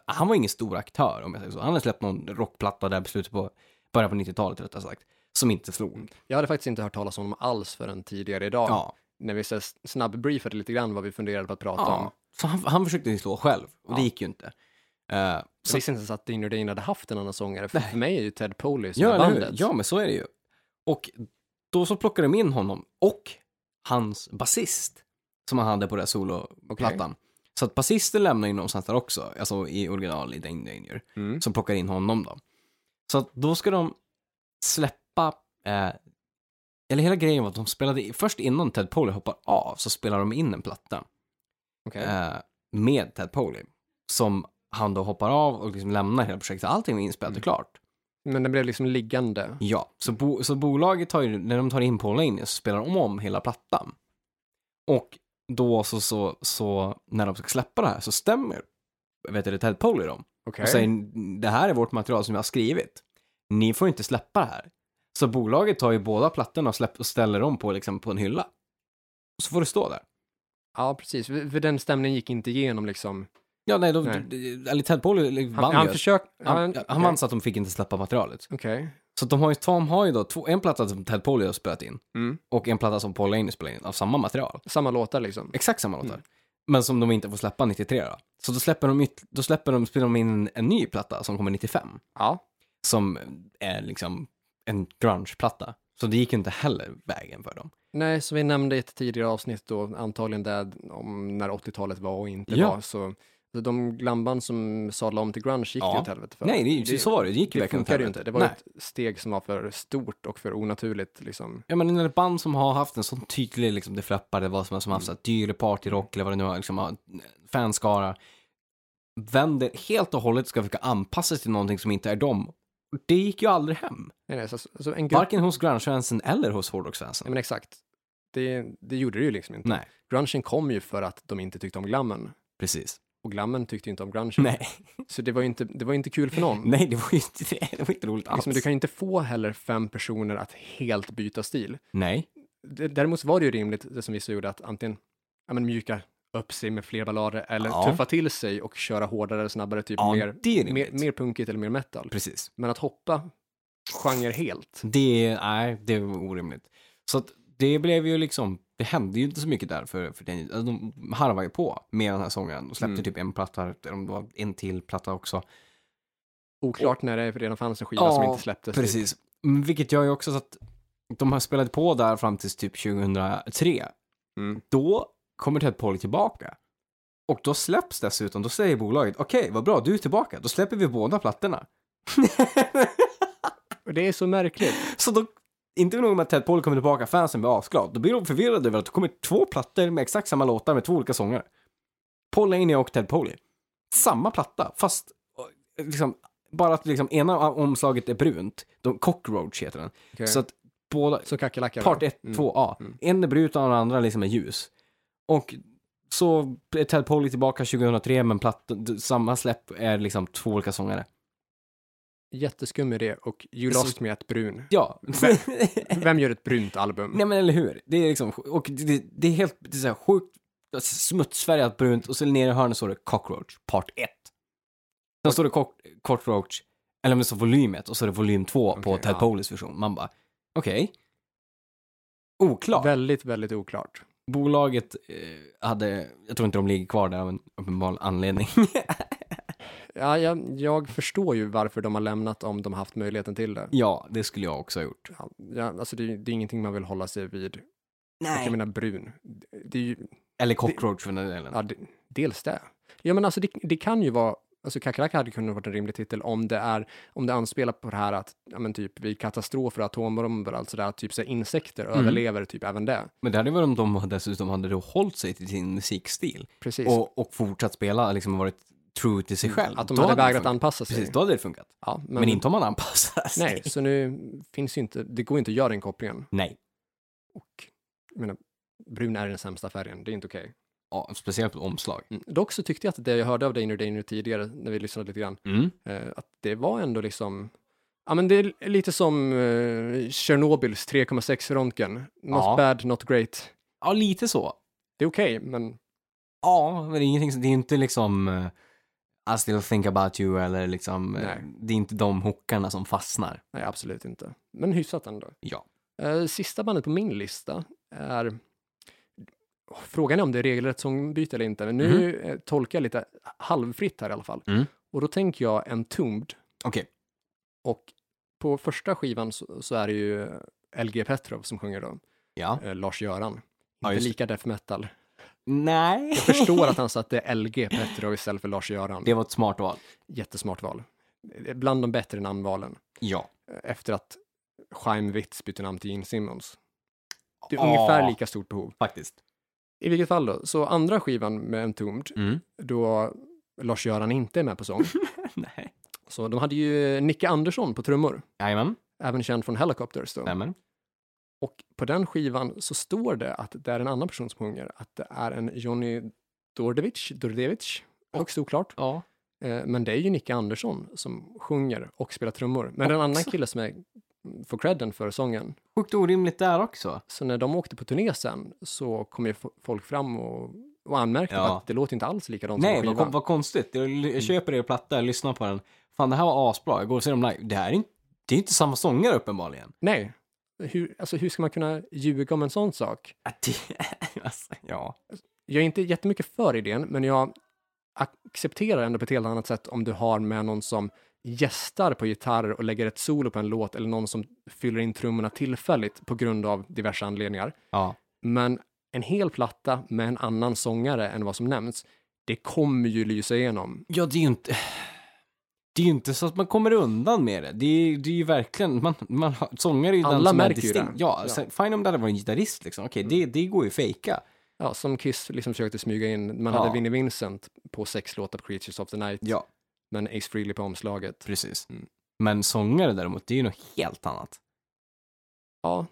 Speaker 1: Han var ingen stor aktör om jag säger så. Han har släppt någon rockplatta där på slutet på början på 90-talet rättare sagt. Som inte slog.
Speaker 2: Jag hade faktiskt inte hört talas om honom alls förrän tidigare idag.
Speaker 1: Ja.
Speaker 2: När vi så här snabbbriefade lite grann vad vi funderade på att prata om.
Speaker 1: ja. Så han, han försökte ju slå själv. Och det
Speaker 2: Ja.
Speaker 1: gick ju inte. Eh,
Speaker 2: Jag visste inte ens att Dean Nordin hade haft en annan sångare. För,
Speaker 1: Nej.
Speaker 2: för mig är ju Ted Poley som
Speaker 1: Ja,
Speaker 2: är
Speaker 1: eller hur?
Speaker 2: bandet.
Speaker 1: ja, men så är det ju. Och då så plockade de in honom och hans basist som han hade på den här soloplattan. Så att basisten lämnar ju någonstans där också, alltså i original i Dane Danger,
Speaker 2: Mm.
Speaker 1: som plockar in honom då. Så att då ska de släppa, eh, eller hela grejen var att de spelade, i- först innan Ted Poley hoppar av så spelar de in en platta
Speaker 2: Okej.
Speaker 1: eh, med Ted Poley som han då hoppar av och liksom lämnar hela projektet. Allting var inspelat och klart.
Speaker 2: Men den blev liksom liggande.
Speaker 1: Ja, så, bo, så bolaget tar ju, när de tar in Paul Laney så spelar de om hela plattan. Och då så, så, så när de ska släppa det här så stämmer vet du, Ted Polly dem
Speaker 2: Okej.
Speaker 1: och säger det här är vårt material som jag har skrivit. Ni får inte släppa det här. Så bolaget tar ju båda plattorna och, släpp, och ställer dem på, liksom, på en hylla. Och så får det stå där.
Speaker 2: Ja, precis. För för den stämningen gick inte igenom liksom.
Speaker 1: Ja, nej, de,
Speaker 2: Nej.
Speaker 1: eller Ted Polly vann
Speaker 2: Han,
Speaker 1: ju.
Speaker 2: han försökte...
Speaker 1: han, han vann så att de fick inte släppa materialet.
Speaker 2: Okej.
Speaker 1: Så de har ju, Tom har ju då två, en platta som Ted Polly har spelat in
Speaker 2: Mm.
Speaker 1: och en platta som Paul Laney spelar in av samma material.
Speaker 2: Samma låtar liksom.
Speaker 1: Exakt samma låtar.
Speaker 2: Mm.
Speaker 1: Men som de inte får släppa 93 då. Så då släpper de, yt- då släpper de, spelar de in en, en ny platta som kommer 95.
Speaker 2: Ja.
Speaker 1: Som är liksom en grunge-platta. Så det gick ju inte heller vägen för dem.
Speaker 2: Nej, som vi nämnde i ett tidigare avsnitt då, antagligen där om när 80-talet var och inte
Speaker 1: Ja.
Speaker 2: var, så så de glamband som sadlade om till grunge gick
Speaker 1: Ja.
Speaker 2: ju åt helvete för.
Speaker 1: Nej, det, är ju- så var det. Det gick ju
Speaker 2: det
Speaker 1: verkligen åt
Speaker 2: funkade ju
Speaker 1: helvete.
Speaker 2: inte. Det var ju
Speaker 1: Nej.
Speaker 2: ett steg som var för stort och för onaturligt liksom.
Speaker 1: Ja, men ett band som har haft en sån tydlig, liksom, det flappar, det var som, som har haft
Speaker 2: Mm.
Speaker 1: så här dyr partyrock eller vad det nu är, liksom, har fanskara, vänder helt och hållet och ska försöka anpassa sig till någonting som inte är dem. Och Det gick ju aldrig hem.
Speaker 2: Nej, nej, så, så en grupp,
Speaker 1: Varken hos grunge-fansen eller hos
Speaker 2: ja,
Speaker 1: hårdrocksfansen.
Speaker 2: men exakt. Det, det gjorde det ju liksom inte.
Speaker 1: Nej,
Speaker 2: Grungen kom ju för att de inte tyckte om glammen
Speaker 1: precis.
Speaker 2: och glammen tyckte ju inte om grungen.
Speaker 1: Nej,
Speaker 2: Så det var ju inte, det var ju inte kul för någon.
Speaker 1: nej det, var ju inte, det var inte roligt alls.
Speaker 2: Liksom, du kan ju inte få heller fem personer att helt byta stil.
Speaker 1: Nej,
Speaker 2: D- Däremot så var det ju rimligt, det som vissa gjorde, att antingen ja, men mjuka upp sig med fler ballader eller
Speaker 1: Ja.
Speaker 2: tuffa till sig och köra hårdare, snabbare, typ
Speaker 1: ja,
Speaker 2: mer,
Speaker 1: det är
Speaker 2: mer,
Speaker 1: rimligt.
Speaker 2: mer punkigt eller mer metal.
Speaker 1: Precis.
Speaker 2: Men att hoppa genre helt.
Speaker 1: Det, är- nej, det är orimligt. Så att det blev ju liksom, det hände ju inte så mycket där för, för den, alltså, de harvade ju på med den här sången och släppte
Speaker 2: Mm.
Speaker 1: typ en platta, eller om det var en till platta också.
Speaker 2: Oklart när det redan fanns en skiva
Speaker 1: Ja,
Speaker 2: som inte släpptes. typ.
Speaker 1: Precis. Mm, Vilket gör ju också så att de har spelat på där fram tills typ 2003.
Speaker 2: Mm.
Speaker 1: Då kommer Ted Polly tillbaka. Och då släpps dessutom, då säger bolaget okej, vad bra, du är tillbaka, då släpper vi båda plattorna.
Speaker 2: Och det är så märkligt.
Speaker 1: Så då, inte nog med att Ted Polly kommer tillbaka, fansen blir asglad. Då blir de förvirrade över att det kommer två plattor med exakt samma låtar med två olika sångare. Paul Laney och Ted Polly. Samma platta, fast eh, liksom, bara att liksom, ena omslaget är brunt. De, Cockroach heter den.
Speaker 2: Okej.
Speaker 1: Så att båda,
Speaker 2: Så mm, kackerlackar.
Speaker 1: part
Speaker 2: då.
Speaker 1: 1, 2A. En är brun och den andra liksom är ljus. Och så är Ted Polly tillbaka 2003 men platt, samma släpp är liksom två olika sångare.
Speaker 2: Jätteskum idé och You
Speaker 1: Så-
Speaker 2: Lost Me ett brun.
Speaker 1: Ja.
Speaker 2: Vem gör ett brunt album?
Speaker 1: Nej men eller hur, det är liksom, och det, det- det är helt det är så här sjukt alltså, smutsfärgat brunt och så ner i hörnet står det Cockroach, part 1. Sen står det cock, Cockroach, eller om det står volym 1 och så är det volym 2 på
Speaker 2: Okej,
Speaker 1: Ted
Speaker 2: ja.
Speaker 1: Poleys version. Man bara, okej. Oklart.
Speaker 2: Väldigt, väldigt oklart.
Speaker 1: Bolaget eh, hade, jag tror inte de ligger kvar där av en uppenbar anledning.
Speaker 2: Ja, jag, jag förstår ju varför de har lämnat om de har haft möjligheten till det.
Speaker 1: ja, det skulle jag också ha gjort.
Speaker 2: Ja, ja, alltså det, är- det är ingenting man vill hålla sig vid. Och Jag menar brun. Det- Det är ju,
Speaker 1: Eller Cockroach för den delen.
Speaker 2: ja, det, dels det. Ja, men alltså det, det kan ju vara, alltså kackerlacka hade kunnat vara en rimlig titel om det är, om det anspelar på det här att, ja men typ vid katastrofer, atombomber och allt sådär, typ så här insekter
Speaker 1: Mm.
Speaker 2: överlever typ även det.
Speaker 1: Men det hade varit om de dessutom hade då hållit sig till sin musikstil.
Speaker 2: Precis. Mm,
Speaker 1: och, och fortsatt spela, liksom varit true till sig själv.
Speaker 2: att de
Speaker 1: Då
Speaker 2: hade
Speaker 1: det
Speaker 2: vägrat
Speaker 1: funkat.
Speaker 2: anpassa sig.
Speaker 1: Precis, då hade det funkat.
Speaker 2: Ja, men,
Speaker 1: Men, inte om man anpassar sig.
Speaker 2: Nej, så nu finns ju inte, det går inte att göra den kopplingen.
Speaker 1: Nej.
Speaker 2: Och jag menar, brun är den sämsta färgen, det är inte okej.
Speaker 1: Ja, speciellt på omslag.
Speaker 2: Mm. Dock så tyckte jag att det jag hörde av Daner Daner tidigare, när vi lyssnade lite grann,
Speaker 1: Mm.
Speaker 2: eh, att det var ändå liksom, ja men det är lite som eh, Tjernobyls 3,6 röntgen. Not
Speaker 1: Ja.
Speaker 2: bad, not great.
Speaker 1: Ja, lite så.
Speaker 2: Det är okej, men
Speaker 1: Ja, men det är ingenting, som- det är inte liksom eh, I still think about you eller liksom, eh,
Speaker 2: Nej.
Speaker 1: det är inte de hookarna som fastnar.
Speaker 2: nej, absolut inte. Men hyfsat ändå.
Speaker 1: Ja.
Speaker 2: Eh, sista bandet på min lista är, oh, frågan är om det är regelrätt sångbyte eller inte, men nu eh, tolkar jag lite halvfritt här i alla fall.
Speaker 1: Mhm. Mm.
Speaker 2: Och då tänker jag Entombed,
Speaker 1: Okej.
Speaker 2: och på första skivan så, så är det ju eh, LG Petrov som sjunger då.
Speaker 1: Ja.
Speaker 2: eh, Lars-Göran.
Speaker 1: Ja,
Speaker 2: inte
Speaker 1: just det.
Speaker 2: lika death metal.
Speaker 1: Nej.
Speaker 2: Jag förstår att han satte LG Petrov istället för Lars-Göran.
Speaker 1: Det var ett smart val.
Speaker 2: Jättesmart val. Det är Bland de bättre namnvalen.
Speaker 1: Ja.
Speaker 2: eh, Efter att Chaim Witz bytte namn till Gene Simmons. Det är
Speaker 1: Ja.
Speaker 2: ungefär lika stort behov.
Speaker 1: Faktiskt.
Speaker 2: I vilket fall då, så andra skivan med Entombed,
Speaker 1: Mm.
Speaker 2: då Lars-Göran inte är med på sång,
Speaker 1: Nej.
Speaker 2: Så de hade ju Nicke Andersson på trummor,
Speaker 1: Jajamän,
Speaker 2: även känd från Helicopters då.
Speaker 1: stämmer.
Speaker 2: Och på den skivan så står det att det är en annan person som sjunger, att det är en Johnny Dordevic, Dordevic, högst oklart.
Speaker 1: Ja.
Speaker 2: Eh, Men det är ju Nicke Andersson som sjunger och spelar trummor. Men det är en annan
Speaker 1: Också.
Speaker 2: kille som är, får credden för sången.
Speaker 1: Sjukt orimligt där också.
Speaker 2: Så när de åkte på turné sen så kom ju fo- folk fram och, och anmärkte
Speaker 1: Ja.
Speaker 2: på att det låter inte alls likadant
Speaker 1: Nej,
Speaker 2: som på
Speaker 1: vad,
Speaker 2: skivan.
Speaker 1: kon- vad konstigt. Jag, jag köper er platta, jag lyssnar på den. Fan, det här var asbra. Jag går och ser dem live. Det här är inte, det är inte samma sångare uppenbarligen.
Speaker 2: Nej, hur, alltså, hur ska man kunna ljuga om en sån sak?
Speaker 1: Att det- alltså, ja.
Speaker 2: Jag är inte jättemycket för idén, men jag accepterar ändå på ett helt annat sätt om du har med någon som gästar på gitarr och lägger ett solo på en låt eller någon som fyller in trummorna tillfälligt på grund av diverse anledningar.
Speaker 1: Ja.
Speaker 2: Men en hel platta med en annan sångare än vad som nämns, det kommer ju lysa igenom.
Speaker 1: Ja, det är ju inte... Det är ju inte så att man kommer undan med det. Det är, det är ju verkligen, man, man har- sångare är ju den
Speaker 2: Alla
Speaker 1: som är
Speaker 2: märker ju
Speaker 1: distinkt.
Speaker 2: det.
Speaker 1: Ja,
Speaker 2: Ja.
Speaker 1: Sen, fine om det hade varit en gitarrist liksom. Okej, det, det går ju att fejka.
Speaker 2: Ja, som Kiss liksom försökte smyga in, man
Speaker 1: Ja.
Speaker 2: hade Vinnie Vincent på sex låtar på Creatures of the Night,
Speaker 1: Ja,
Speaker 2: men Ace Frehley på omslaget.
Speaker 1: precis.
Speaker 2: Mm.
Speaker 1: Men sångare däremot, det är ju något helt annat.
Speaker 2: Ja,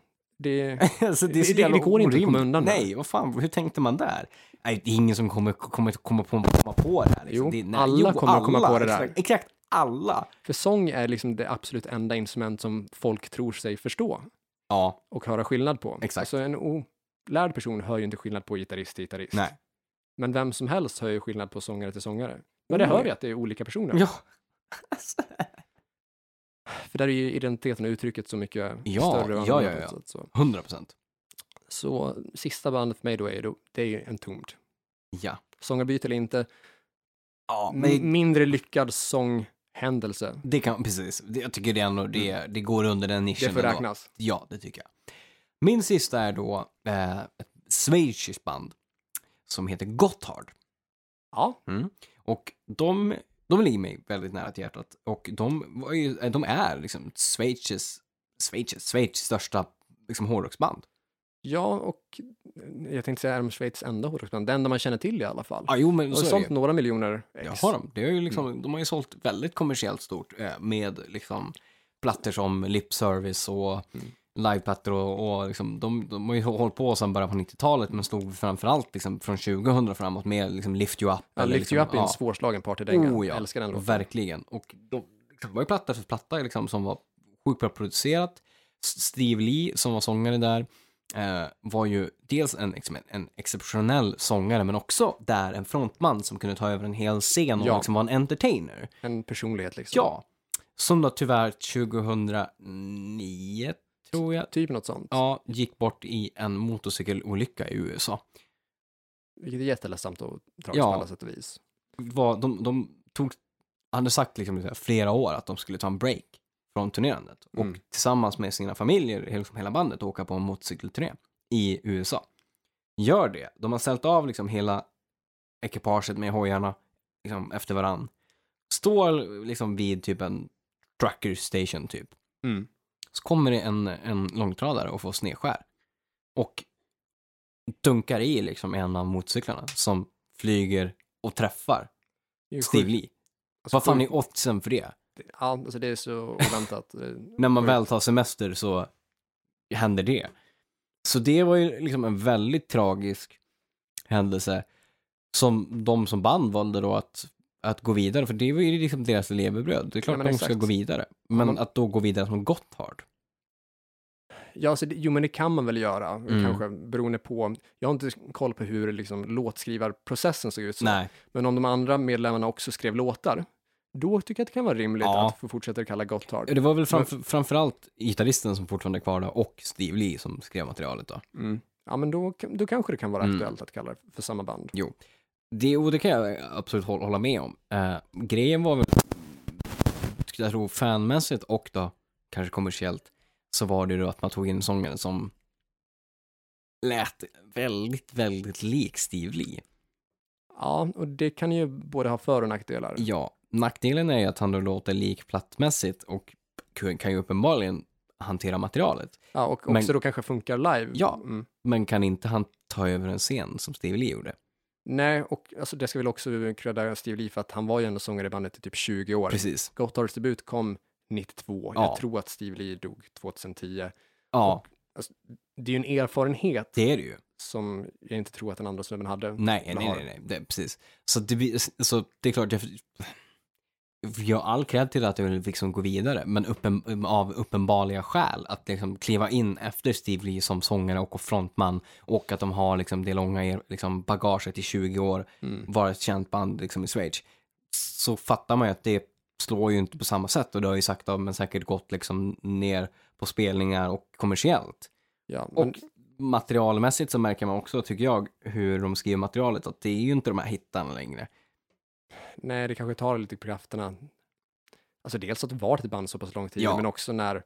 Speaker 2: det...
Speaker 1: alltså, det, är så
Speaker 2: Det- det-
Speaker 1: jävla
Speaker 2: det går inte att
Speaker 1: orimligt.
Speaker 2: komma undan med.
Speaker 1: Nej, vad fan, hur tänkte man där? Nej, det är ingen som kommer, kommer, kommer på, komma på det här. Liksom.
Speaker 2: Jo,
Speaker 1: det,
Speaker 2: alla kommer att komma på det där.
Speaker 1: Exakt, exakt alla.
Speaker 2: För sång är liksom det absolut enda instrument som folk tror sig förstå
Speaker 1: Ja,
Speaker 2: och höra skillnad på.
Speaker 1: Exakt.
Speaker 2: Alltså en olärd person hör ju inte skillnad på gitarrist till gitarrist.
Speaker 1: Nej.
Speaker 2: Men vem som helst hör ju skillnad på sångare till sångare. Men det
Speaker 1: Oh,
Speaker 2: hör
Speaker 1: ja.
Speaker 2: vi att det är olika personer.
Speaker 1: ja. Alltså,
Speaker 2: För där är ju identiteten och uttrycket så mycket
Speaker 1: Ja,
Speaker 2: större. och
Speaker 1: ja, ja,
Speaker 2: annorlunda
Speaker 1: ja.
Speaker 2: på ett sätt, Så.
Speaker 1: 100 procent.
Speaker 2: så sista bandet för mig då är, då, det är ju en tomd.
Speaker 1: Ja.
Speaker 2: Sångarbyte eller inte,
Speaker 1: Ja,
Speaker 2: m-
Speaker 1: men
Speaker 2: mindre lyckad sånghändelse.
Speaker 1: det kan, precis. Det- Jag tycker det ändå, det, det går under den nischen
Speaker 2: Mm. Det får
Speaker 1: ändå.
Speaker 2: räknas.
Speaker 1: Ja, det tycker jag. Min sista är då eh, ett schweiziskt band som heter Gotthard.
Speaker 2: Ja,
Speaker 1: Och de, de ligger mig väldigt nära till hjärtat. Och de, var ju, de är liksom Schweiz, Schweiz, Schweiz största liksom hårdrocksband.
Speaker 2: ja och jag tänkte säga är de Schweiz enda hårdrocksband? Det enda man känner till i alla fall.
Speaker 1: Ja, jo men
Speaker 2: Och
Speaker 1: så är det
Speaker 2: sålt
Speaker 1: ju.
Speaker 2: några miljoner ex.
Speaker 1: Det har de. Det är ju liksom, De har ju sålt väldigt kommersiellt stort eh, med liksom plattor som Lip Service och liveplattor och, och liksom, de, de har ju hållit på sedan början på 90-talet men stod framförallt liksom från 2000 framåt med liksom Lift You Up.
Speaker 2: Ja,
Speaker 1: eller
Speaker 2: Lift
Speaker 1: liksom,
Speaker 2: You Up är en
Speaker 1: ja.
Speaker 2: svårslagen partydänga.
Speaker 1: Oh, ja.
Speaker 2: Mm. Jag älskar den låten.
Speaker 1: Verkligen. Och de, det var ju platta för platta liksom, som var sjukt bra producerat. S- Steve Lee, som var sångare där, eh, var ju dels en, liksom, en, en exceptionell sångare, men också där en frontman som kunde ta över en hel scen och
Speaker 2: Ja.
Speaker 1: liksom var en entertainer.
Speaker 2: En personlighet liksom.
Speaker 1: Ja. Som då tyvärr 2009, tror jag,
Speaker 2: Typ något sånt.
Speaker 1: ja, gick bort i en motorcykelolycka i USA.
Speaker 2: Vilket är jätteledsamt och tragiskt
Speaker 1: Ja.
Speaker 2: på alla sätt och vis.
Speaker 1: var, de, de tog, hade sagt liksom så här flera år att de skulle ta en break från turnerandet och
Speaker 2: Mm.
Speaker 1: tillsammans med sina familjer, hela- liksom hela bandet, åka på en motorcykelturné i USA. Gör det. De har ställt av liksom hela ekipaget med hojarna liksom efter varann. Står liksom vid typ en trucker station typ.
Speaker 2: Mm.
Speaker 1: Så kommer det en, en långtradare och får snedskär. Och dunkar i liksom en av motorcyklarna som flyger och träffar
Speaker 2: Det är ju
Speaker 1: Steve
Speaker 2: sjukt.
Speaker 1: Lee.
Speaker 2: Alltså,
Speaker 1: Vad fan
Speaker 2: sjukt.
Speaker 1: är oddsen för det?
Speaker 2: Ja, alltså det är så oväntat. Eh,
Speaker 1: När man
Speaker 2: sjukt.
Speaker 1: väl tar semester så händer det. Så det var ju liksom en väldigt tragisk händelse som de som band valde då att, att gå vidare, för det var ju liksom deras levebröd. Det är klart
Speaker 2: Ja, men
Speaker 1: att de
Speaker 2: exakt.
Speaker 1: ska gå vidare. Men
Speaker 2: man-
Speaker 1: att då gå vidare som Gotthard.
Speaker 2: Ja, alltså, det, jo men det kan man väl göra.
Speaker 1: Mm.
Speaker 2: Kanske beroende på. Jag har inte koll på hur liksom, låtskrivarprocessen såg ut. Så.
Speaker 1: Nej,
Speaker 2: Men om de andra medlemmarna också skrev låtar, då tycker jag att det kan vara rimligt
Speaker 1: Ja.
Speaker 2: att få fortsätta kalla Gotthard.
Speaker 1: det var väl framför, framförallt gitarristen som fortfarande är kvar där och Steve Lee som skrev materialet då.
Speaker 2: Mm. Ja, men då, kan- då kanske det kan vara
Speaker 1: Mm.
Speaker 2: aktuellt att kalla det för samma band.
Speaker 1: Det, och det kan jag absolut hålla, hålla med om. Eh, grejen var väl, skulle jag tro, fanmässigt och då kanske kommersiellt, så var det ju då att man tog in sångaren som lät väldigt, väldigt lik Steve Lee.
Speaker 2: Ja, och det kan ju både ha för och nackdelar.
Speaker 1: Ja, nackdelen är ju att han då låter lik plattmässigt och kan- kan ju uppenbarligen hantera materialet,
Speaker 2: Ja, och också
Speaker 1: Men-
Speaker 2: då kanske funkar live.
Speaker 1: Ja.
Speaker 2: Mm.
Speaker 1: men kan inte han ta över en scen som Steve Lee gjorde.
Speaker 2: Nej, och alltså, det ska väl också credda Steve Lee för att han var ju ändå sångare i bandet i typ 20 år.
Speaker 1: Precis.
Speaker 2: Gotthards debut kom 92.
Speaker 1: Ja.
Speaker 2: Jag tror att Steve Lee dog 2010.
Speaker 1: Ja,
Speaker 2: Det är ju en erfarenhet
Speaker 1: det är det ju.
Speaker 2: som jag inte tror att den andra snubben hade.
Speaker 1: Nej,
Speaker 2: Men
Speaker 1: nej,
Speaker 2: har-
Speaker 1: nej, nej. Det, precis. Så det, blir- så det är klart, jag, jag har all cred till att jag vill liksom gå vidare, men uppen, av uppenbarliga skäl. Att liksom kliva in efter Steve Lee som sångare och frontman och att de har liksom det långa er- liksom bagaget i 20 år,
Speaker 2: Mm.
Speaker 1: varit ett känt band liksom i Schweiz. Så fattar man ju att det slår ju inte på samma sätt och det har ju sakta men säkert gått liksom ner på spelningar och kommersiellt.
Speaker 2: Ja, men,
Speaker 1: Och materialmässigt så märker man också, tycker jag, hur de skriver materialet, att det är ju inte de här hittarna längre.
Speaker 2: Nej, det kanske tar lite på krafterna. Alltså dels att vara ett band så pass lång tid,
Speaker 1: Ja.
Speaker 2: men också när,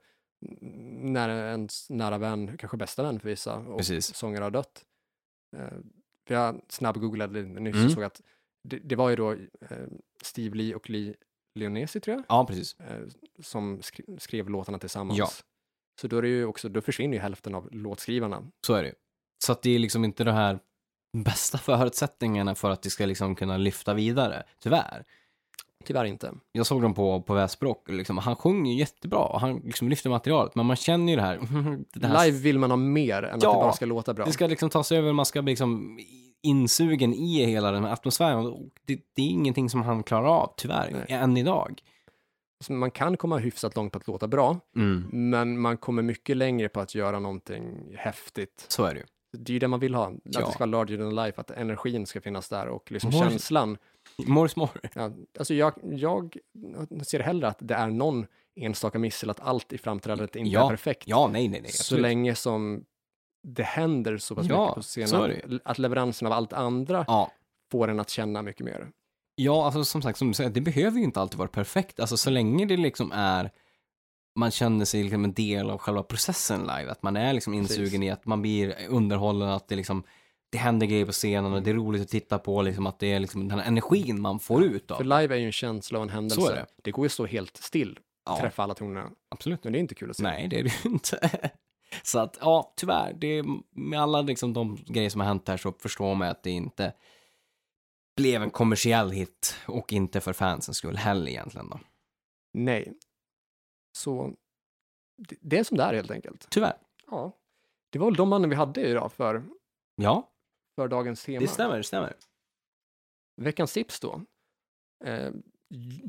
Speaker 2: när ens nära vän, kanske bästa vän för vissa, och
Speaker 1: Precis.
Speaker 2: sångare har dött. Eh, för jag snabb-googlade lite nyss
Speaker 1: Mm.
Speaker 2: och såg att det, det var ju då eh, Steve Lee och Lee Leonesi, tror jag,
Speaker 1: Ja, precis.
Speaker 2: eh, som skri- skrev låtarna tillsammans.
Speaker 1: Ja.
Speaker 2: Så då, är det ju också, då försvinner ju hälften av låtskrivarna.
Speaker 1: Så är det ju. Så att det är liksom inte de här bästa förutsättningarna för att det ska liksom kunna lyfta vidare, tyvärr.
Speaker 2: Tyvärr inte.
Speaker 1: Jag såg dem på, på Väsbrock, liksom, han sjunger ju jättebra, och han liksom lyfter materialet, men man känner ju det här. Det här
Speaker 2: Live vill man ha mer än att det
Speaker 1: Ja.
Speaker 2: bara ska låta bra.
Speaker 1: Det ska liksom tas över, man ska bli liksom insugen i hela den här atmosfären. Och det, det är ingenting som han klarar av, tyvärr,
Speaker 2: Nej.
Speaker 1: än idag.
Speaker 2: Så man kan komma hyfsat långt på att låta bra,
Speaker 1: Mm.
Speaker 2: Men man kommer mycket längre på att göra någonting häftigt.
Speaker 1: Så är det ju.
Speaker 2: Det är ju det man vill ha. Att
Speaker 1: Ja.
Speaker 2: det ska vara larger than life, att energin ska finnas där och liksom
Speaker 1: Mor-
Speaker 2: känslan.
Speaker 1: More is more.
Speaker 2: Ja, alltså jag, jag ser hellre att det är någon enstaka miss eller att allt i framträdandet inte
Speaker 1: Ja,
Speaker 2: är perfekt.
Speaker 1: Ja, nej, nej, nej.
Speaker 2: så
Speaker 1: absolut.
Speaker 2: länge som det händer så pass
Speaker 1: Ja,
Speaker 2: mycket på
Speaker 1: så är
Speaker 2: scenen,
Speaker 1: det
Speaker 2: att, att leveransen av allt andra
Speaker 1: Ja.
Speaker 2: får en att känna mycket mer.
Speaker 1: ja, alltså som sagt, som du säger, det behöver ju inte alltid vara perfekt. Alltså så länge det liksom är, man känner sig liksom en del av själva processen live, att man är liksom
Speaker 2: Precis.
Speaker 1: insugen i att man blir underhållen, att det liksom, det händer grejer på scenen och det är roligt att titta på, liksom att det är liksom den här energin man får ut
Speaker 2: För
Speaker 1: av.
Speaker 2: live är ju en känsla och en händelse.
Speaker 1: Så är det.
Speaker 2: går ju att stå helt still,
Speaker 1: Ja,
Speaker 2: träffa alla tonerna,
Speaker 1: absolut.
Speaker 2: men det är inte kul att se.
Speaker 1: Nej, det är det ju inte. Så att, ja, tyvärr, det är, med alla liksom, de grejer som har hänt här så förstår man att det inte blev en kommersiell hit och inte för fansens skull heller egentligen då.
Speaker 2: Nej. Så det, det är som det är helt enkelt.
Speaker 1: Tyvärr.
Speaker 2: Ja. Det var väl de mannen vi hade idag för,
Speaker 1: Ja,
Speaker 2: för dagens tema.
Speaker 1: det stämmer, det stämmer.
Speaker 2: Veckans tips då. Eh,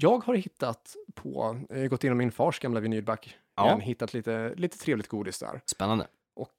Speaker 2: jag har hittat på, jag har gått igenom min fars gamla vinylback,
Speaker 1: Ja.
Speaker 2: ja. hittat lite, lite trevligt godis där.
Speaker 1: Spännande.
Speaker 2: Och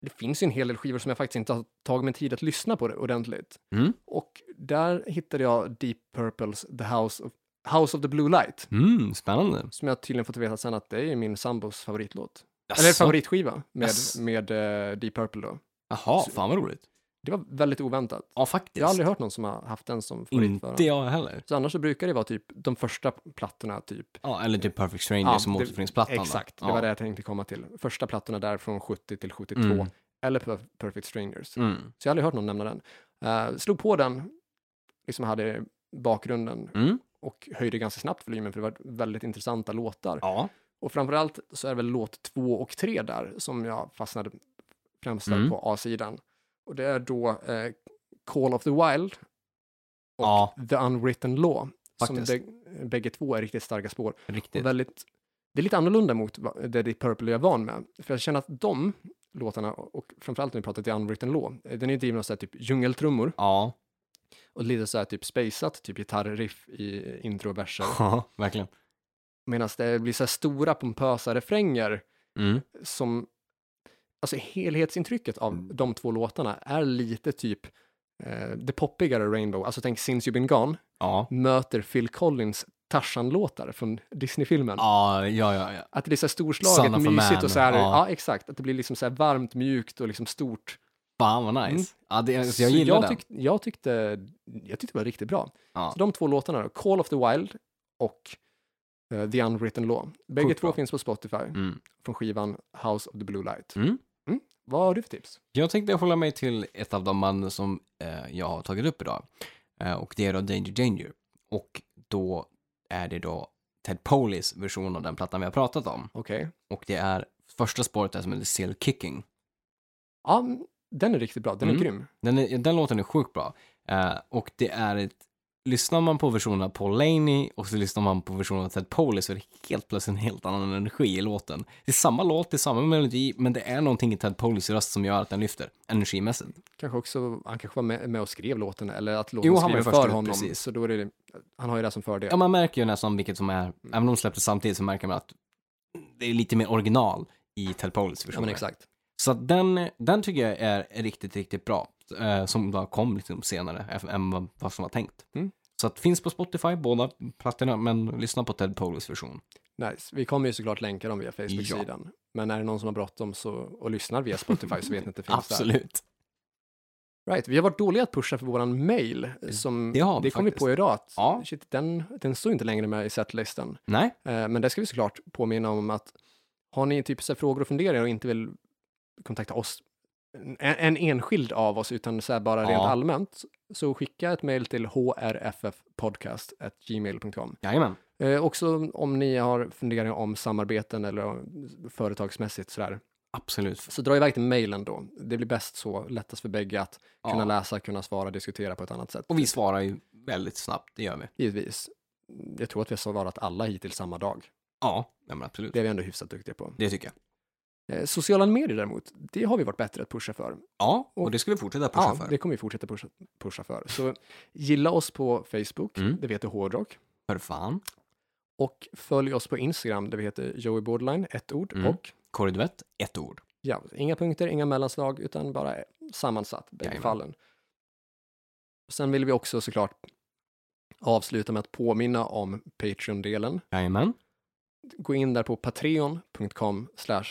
Speaker 2: det finns ju en hel del skivor som jag faktiskt inte har tagit mig tid att lyssna på det ordentligt.
Speaker 1: Mm.
Speaker 2: Och där hittade jag Deep Purples The House of, House of the Blue Light,
Speaker 1: Mm, spännande.
Speaker 2: som jag tydligen fått veta sen att det är min sambos favoritlåt. Eller
Speaker 1: Jaså?
Speaker 2: favoritskiva med,
Speaker 1: Jaså.
Speaker 2: med eh, Deep Purple då.
Speaker 1: Jaha, fan vad roligt.
Speaker 2: Det var väldigt oväntat.
Speaker 1: Ja, faktiskt.
Speaker 2: Jag har aldrig hört någon som har haft den som favoritförare.
Speaker 1: Inte jag heller.
Speaker 2: Så annars så brukar det vara typ de första plattorna typ.
Speaker 1: Ja, eller typ Perfect Stranger
Speaker 2: Ja,
Speaker 1: som
Speaker 2: det-
Speaker 1: återföreningsplattan. då.
Speaker 2: Exakt, det
Speaker 1: ja.
Speaker 2: var det jag tänkte komma till. Första plattorna där från 70 till 72.
Speaker 1: Mm.
Speaker 2: Eller Per- Perfect Strangers.
Speaker 1: Mm.
Speaker 2: Så jag har aldrig hört någon nämna den. Eh, slog på den, liksom hade bakgrunden
Speaker 1: Mm.
Speaker 2: och höjde ganska snabbt volymen för det var väldigt intressanta låtar.
Speaker 1: Ja.
Speaker 2: Och framförallt så är det väl låt två och tre där som jag fastnade främst där
Speaker 1: Mm.
Speaker 2: på A-sidan. Och det är då eh, Call of the Wild och
Speaker 1: Ja.
Speaker 2: The Unwritten Law.
Speaker 1: Faktiskt.
Speaker 2: Som bäg- bägge två är riktigt starka spår.
Speaker 1: riktigt.
Speaker 2: Och väldigt, det är lite annorlunda mot va- det Deep Purple jag är van med. För jag känner att de låtarna, och framförallt när vi pratar The Unwritten Law, eh, den är ju driven av så här typ djungeltrummor
Speaker 1: Ja.
Speaker 2: och lite så här typ spaceat, typ gitarrriff i intro och verser.
Speaker 1: ja, verkligen.
Speaker 2: Medan det blir så här stora pompösa refränger
Speaker 1: Mm.
Speaker 2: som, alltså helhetsintrycket av
Speaker 1: Mm.
Speaker 2: de två låtarna är lite typ eh, det poppigare Rainbow, alltså tänk Since You've Been Gone,
Speaker 1: Ja.
Speaker 2: möter Phil Collins Tarzan-låtar från Disney-filmen.
Speaker 1: Ja, ja, ja, ja.
Speaker 2: Att det blir så här
Speaker 1: Son
Speaker 2: storslaget,
Speaker 1: of a
Speaker 2: mysigt
Speaker 1: man,
Speaker 2: och så här, ja.
Speaker 1: ja.
Speaker 2: exakt, att det blir liksom så här varmt, mjukt och liksom stort.
Speaker 1: Fan vad nice.
Speaker 2: Mm.
Speaker 1: Ja, det, så jag gillar den.
Speaker 2: tyck- jag tyckte, jag tyckte det var riktigt bra.
Speaker 1: Ja.
Speaker 2: Så de två låtarna, då, Call of the Wild och eh, The Unwritten Law. Bägge
Speaker 1: Sjukt
Speaker 2: två
Speaker 1: bra.
Speaker 2: finns på Spotify
Speaker 1: Mm.
Speaker 2: från skivan House of the Blue Light.
Speaker 1: Mm.
Speaker 2: Vad har du för tips?
Speaker 1: Jag tänkte hålla mig till ett av de band som eh, jag har tagit upp idag. Eh, och det är då Danger Danger. Och då är det då Ted Poleys version av den plattan vi har pratat om.
Speaker 2: Okej.
Speaker 1: Och det är första spåret där som heter Still Kicking.
Speaker 2: Ja, m- Den är riktigt bra, den är
Speaker 1: Mm.
Speaker 2: grym.
Speaker 1: Den, är, den låten är sjukt bra. Eh, och det är ett... Lyssnar man på versionen av Paul Laney och så lyssnar man på versionen av Ted Poley så är det helt plötsligt en helt annan energi i låten. Det är samma låt, det är samma melodi, men det är någonting i Ted Poleys röst som gör att den lyfter energimässigt.
Speaker 2: Kanske också, han kanske var med, med och skrev låten eller att
Speaker 1: Jo,
Speaker 2: låten
Speaker 1: han var ju
Speaker 2: skriven
Speaker 1: först
Speaker 2: för
Speaker 1: ut,
Speaker 2: honom.
Speaker 1: precis.
Speaker 2: Så då är det, han har ju det som fördel.
Speaker 1: Ja, man märker ju nästan vilket som är, även om de släpptes samtidigt så märker man att det är lite mer original i Ted Poleys
Speaker 2: ja
Speaker 1: version.
Speaker 2: men exakt.
Speaker 1: Så att den, den tycker jag är riktigt, riktigt bra. Eh, som bara kom liksom senare eff- än vad- vad som var tänkt.
Speaker 2: Mm.
Speaker 1: Så att finns på Spotify, båda plattorna, men lyssna på Ted Poleys version.
Speaker 2: Nice. Vi kommer ju såklart länka dem via Facebook-sidan. Men är det någon som har bråttom så, och lyssnar via Spotify så vet ni att det finns
Speaker 1: Absolut.
Speaker 2: där. Right. Vi har varit dåliga att pusha för våran mail. Som
Speaker 1: Det har vi
Speaker 2: det kom vi
Speaker 1: faktiskt.
Speaker 2: på idag att
Speaker 1: Ja.
Speaker 2: shit, den, den står inte längre med i setlistan.
Speaker 1: Nej,
Speaker 2: Eh, Men där ska vi såklart påminna om att har ni typ så här frågor och funderingar och inte vill kontakta oss, en, en enskild av oss, utan så här bara
Speaker 1: Ja.
Speaker 2: rent allmänt, så skicka ett mejl till hrffpodcast.gmail.com.
Speaker 1: jajamän.
Speaker 2: Eh, också om ni har funderingar om samarbeten eller företagsmässigt sådär,
Speaker 1: Absolut.
Speaker 2: så dra iväg till mejlen då. Det blir bäst så, lättast för bägge att
Speaker 1: Ja.
Speaker 2: kunna läsa, kunna svara, diskutera på ett annat sätt.
Speaker 1: Och vi svarar ju väldigt snabbt, det gör vi.
Speaker 2: Givetvis. Jag tror att vi har svarat alla hittills samma dag.
Speaker 1: Ja, nej, men absolut.
Speaker 2: Det
Speaker 1: Det,
Speaker 2: är vi ändå hyfsat duktiga på.
Speaker 1: tycker jag.
Speaker 2: Eh, Sociala medier däremot, det har vi varit bättre att pusha för.
Speaker 1: Ja, och det ska vi fortsätta pusha
Speaker 2: ja,
Speaker 1: för.
Speaker 2: det kommer vi fortsätta pusha, pusha för. Så gilla oss på Facebook,
Speaker 1: Mm.
Speaker 2: det vi heter Hårdrock,
Speaker 1: För fan.
Speaker 2: och följ oss på Instagram, där vi heter Joey Borderline, ett ord,
Speaker 1: Mm.
Speaker 2: och
Speaker 1: Korridvett, ett ord.
Speaker 2: ja, inga punkter, inga mellanslag, utan bara sammansatt, bägge
Speaker 1: Jajamän.
Speaker 2: fallen. Sen vill vi också såklart avsluta med att påminna om Patreon-delen.
Speaker 1: Jajamän.
Speaker 2: Gå in där på patreon.com slash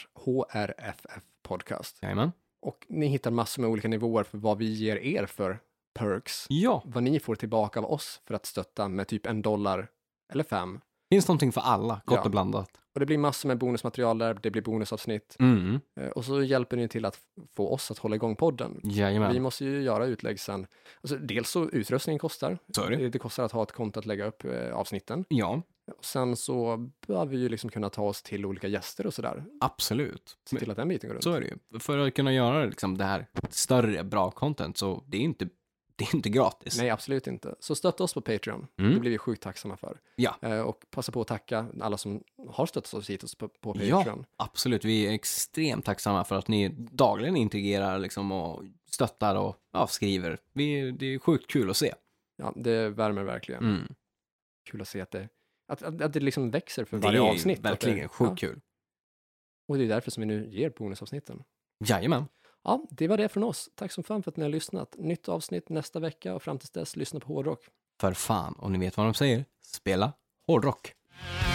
Speaker 2: hrffpodcast.
Speaker 1: Jajamän.
Speaker 2: Och ni hittar massor med olika nivåer för vad vi ger er för perks.
Speaker 1: Ja,
Speaker 2: Vad ni får tillbaka av oss för att stötta med typ en dollar eller fem.
Speaker 1: finns någonting för alla, gott
Speaker 2: Ja.
Speaker 1: och blandat.
Speaker 2: Och det blir massor med bonusmaterial där, det blir bonusavsnitt.
Speaker 1: Mm.
Speaker 2: Eh, Och så hjälper ni till att få oss att hålla igång podden. Vi
Speaker 1: Jajamän.
Speaker 2: måste ju göra utlägg sen. Alltså, dels så utrustningen kostar.
Speaker 1: Sorry.
Speaker 2: Det det kostar att ha ett konto att lägga upp eh, avsnitten.
Speaker 1: Ja,
Speaker 2: Och sen så behöver vi ju liksom kunna ta oss till olika gäster och sådär.
Speaker 1: absolut.
Speaker 2: Se till att den biten går runt.
Speaker 1: Så är det ju. För att kunna göra liksom det här större, bra content, så det är inte, det är inte gratis.
Speaker 2: Nej, absolut inte. Så stötta oss på Patreon.
Speaker 1: Mm.
Speaker 2: Det blir vi sjukt tacksamma för.
Speaker 1: Ja.
Speaker 2: Eh, Och passa på att tacka alla som har stöttat oss hittills på, på
Speaker 1: Ja.
Speaker 2: Patreon.
Speaker 1: Absolut, vi är extremt tacksamma för att ni dagligen integrerar liksom och stöttar och ja, skriver. Vi, det är sjukt kul att se.
Speaker 2: Ja. det värmer verkligen.
Speaker 1: Mm.
Speaker 2: Kul att se att det, att, att, att det liksom växer för
Speaker 1: Det
Speaker 2: varje
Speaker 1: är
Speaker 2: avsnitt. Att
Speaker 1: verkligen
Speaker 2: det,
Speaker 1: sjukt
Speaker 2: ja.
Speaker 1: kul.
Speaker 2: Och det är därför som vi nu ger bonusavsnitten.
Speaker 1: Jajamän.
Speaker 2: Ja, det var det från oss. Tack som fan för att ni har lyssnat. Nytt avsnitt nästa vecka och fram tills dess, lyssna på hårdrock.
Speaker 1: För fan, om ni vet vad de säger, spela hårdrock.
Speaker 4: Thank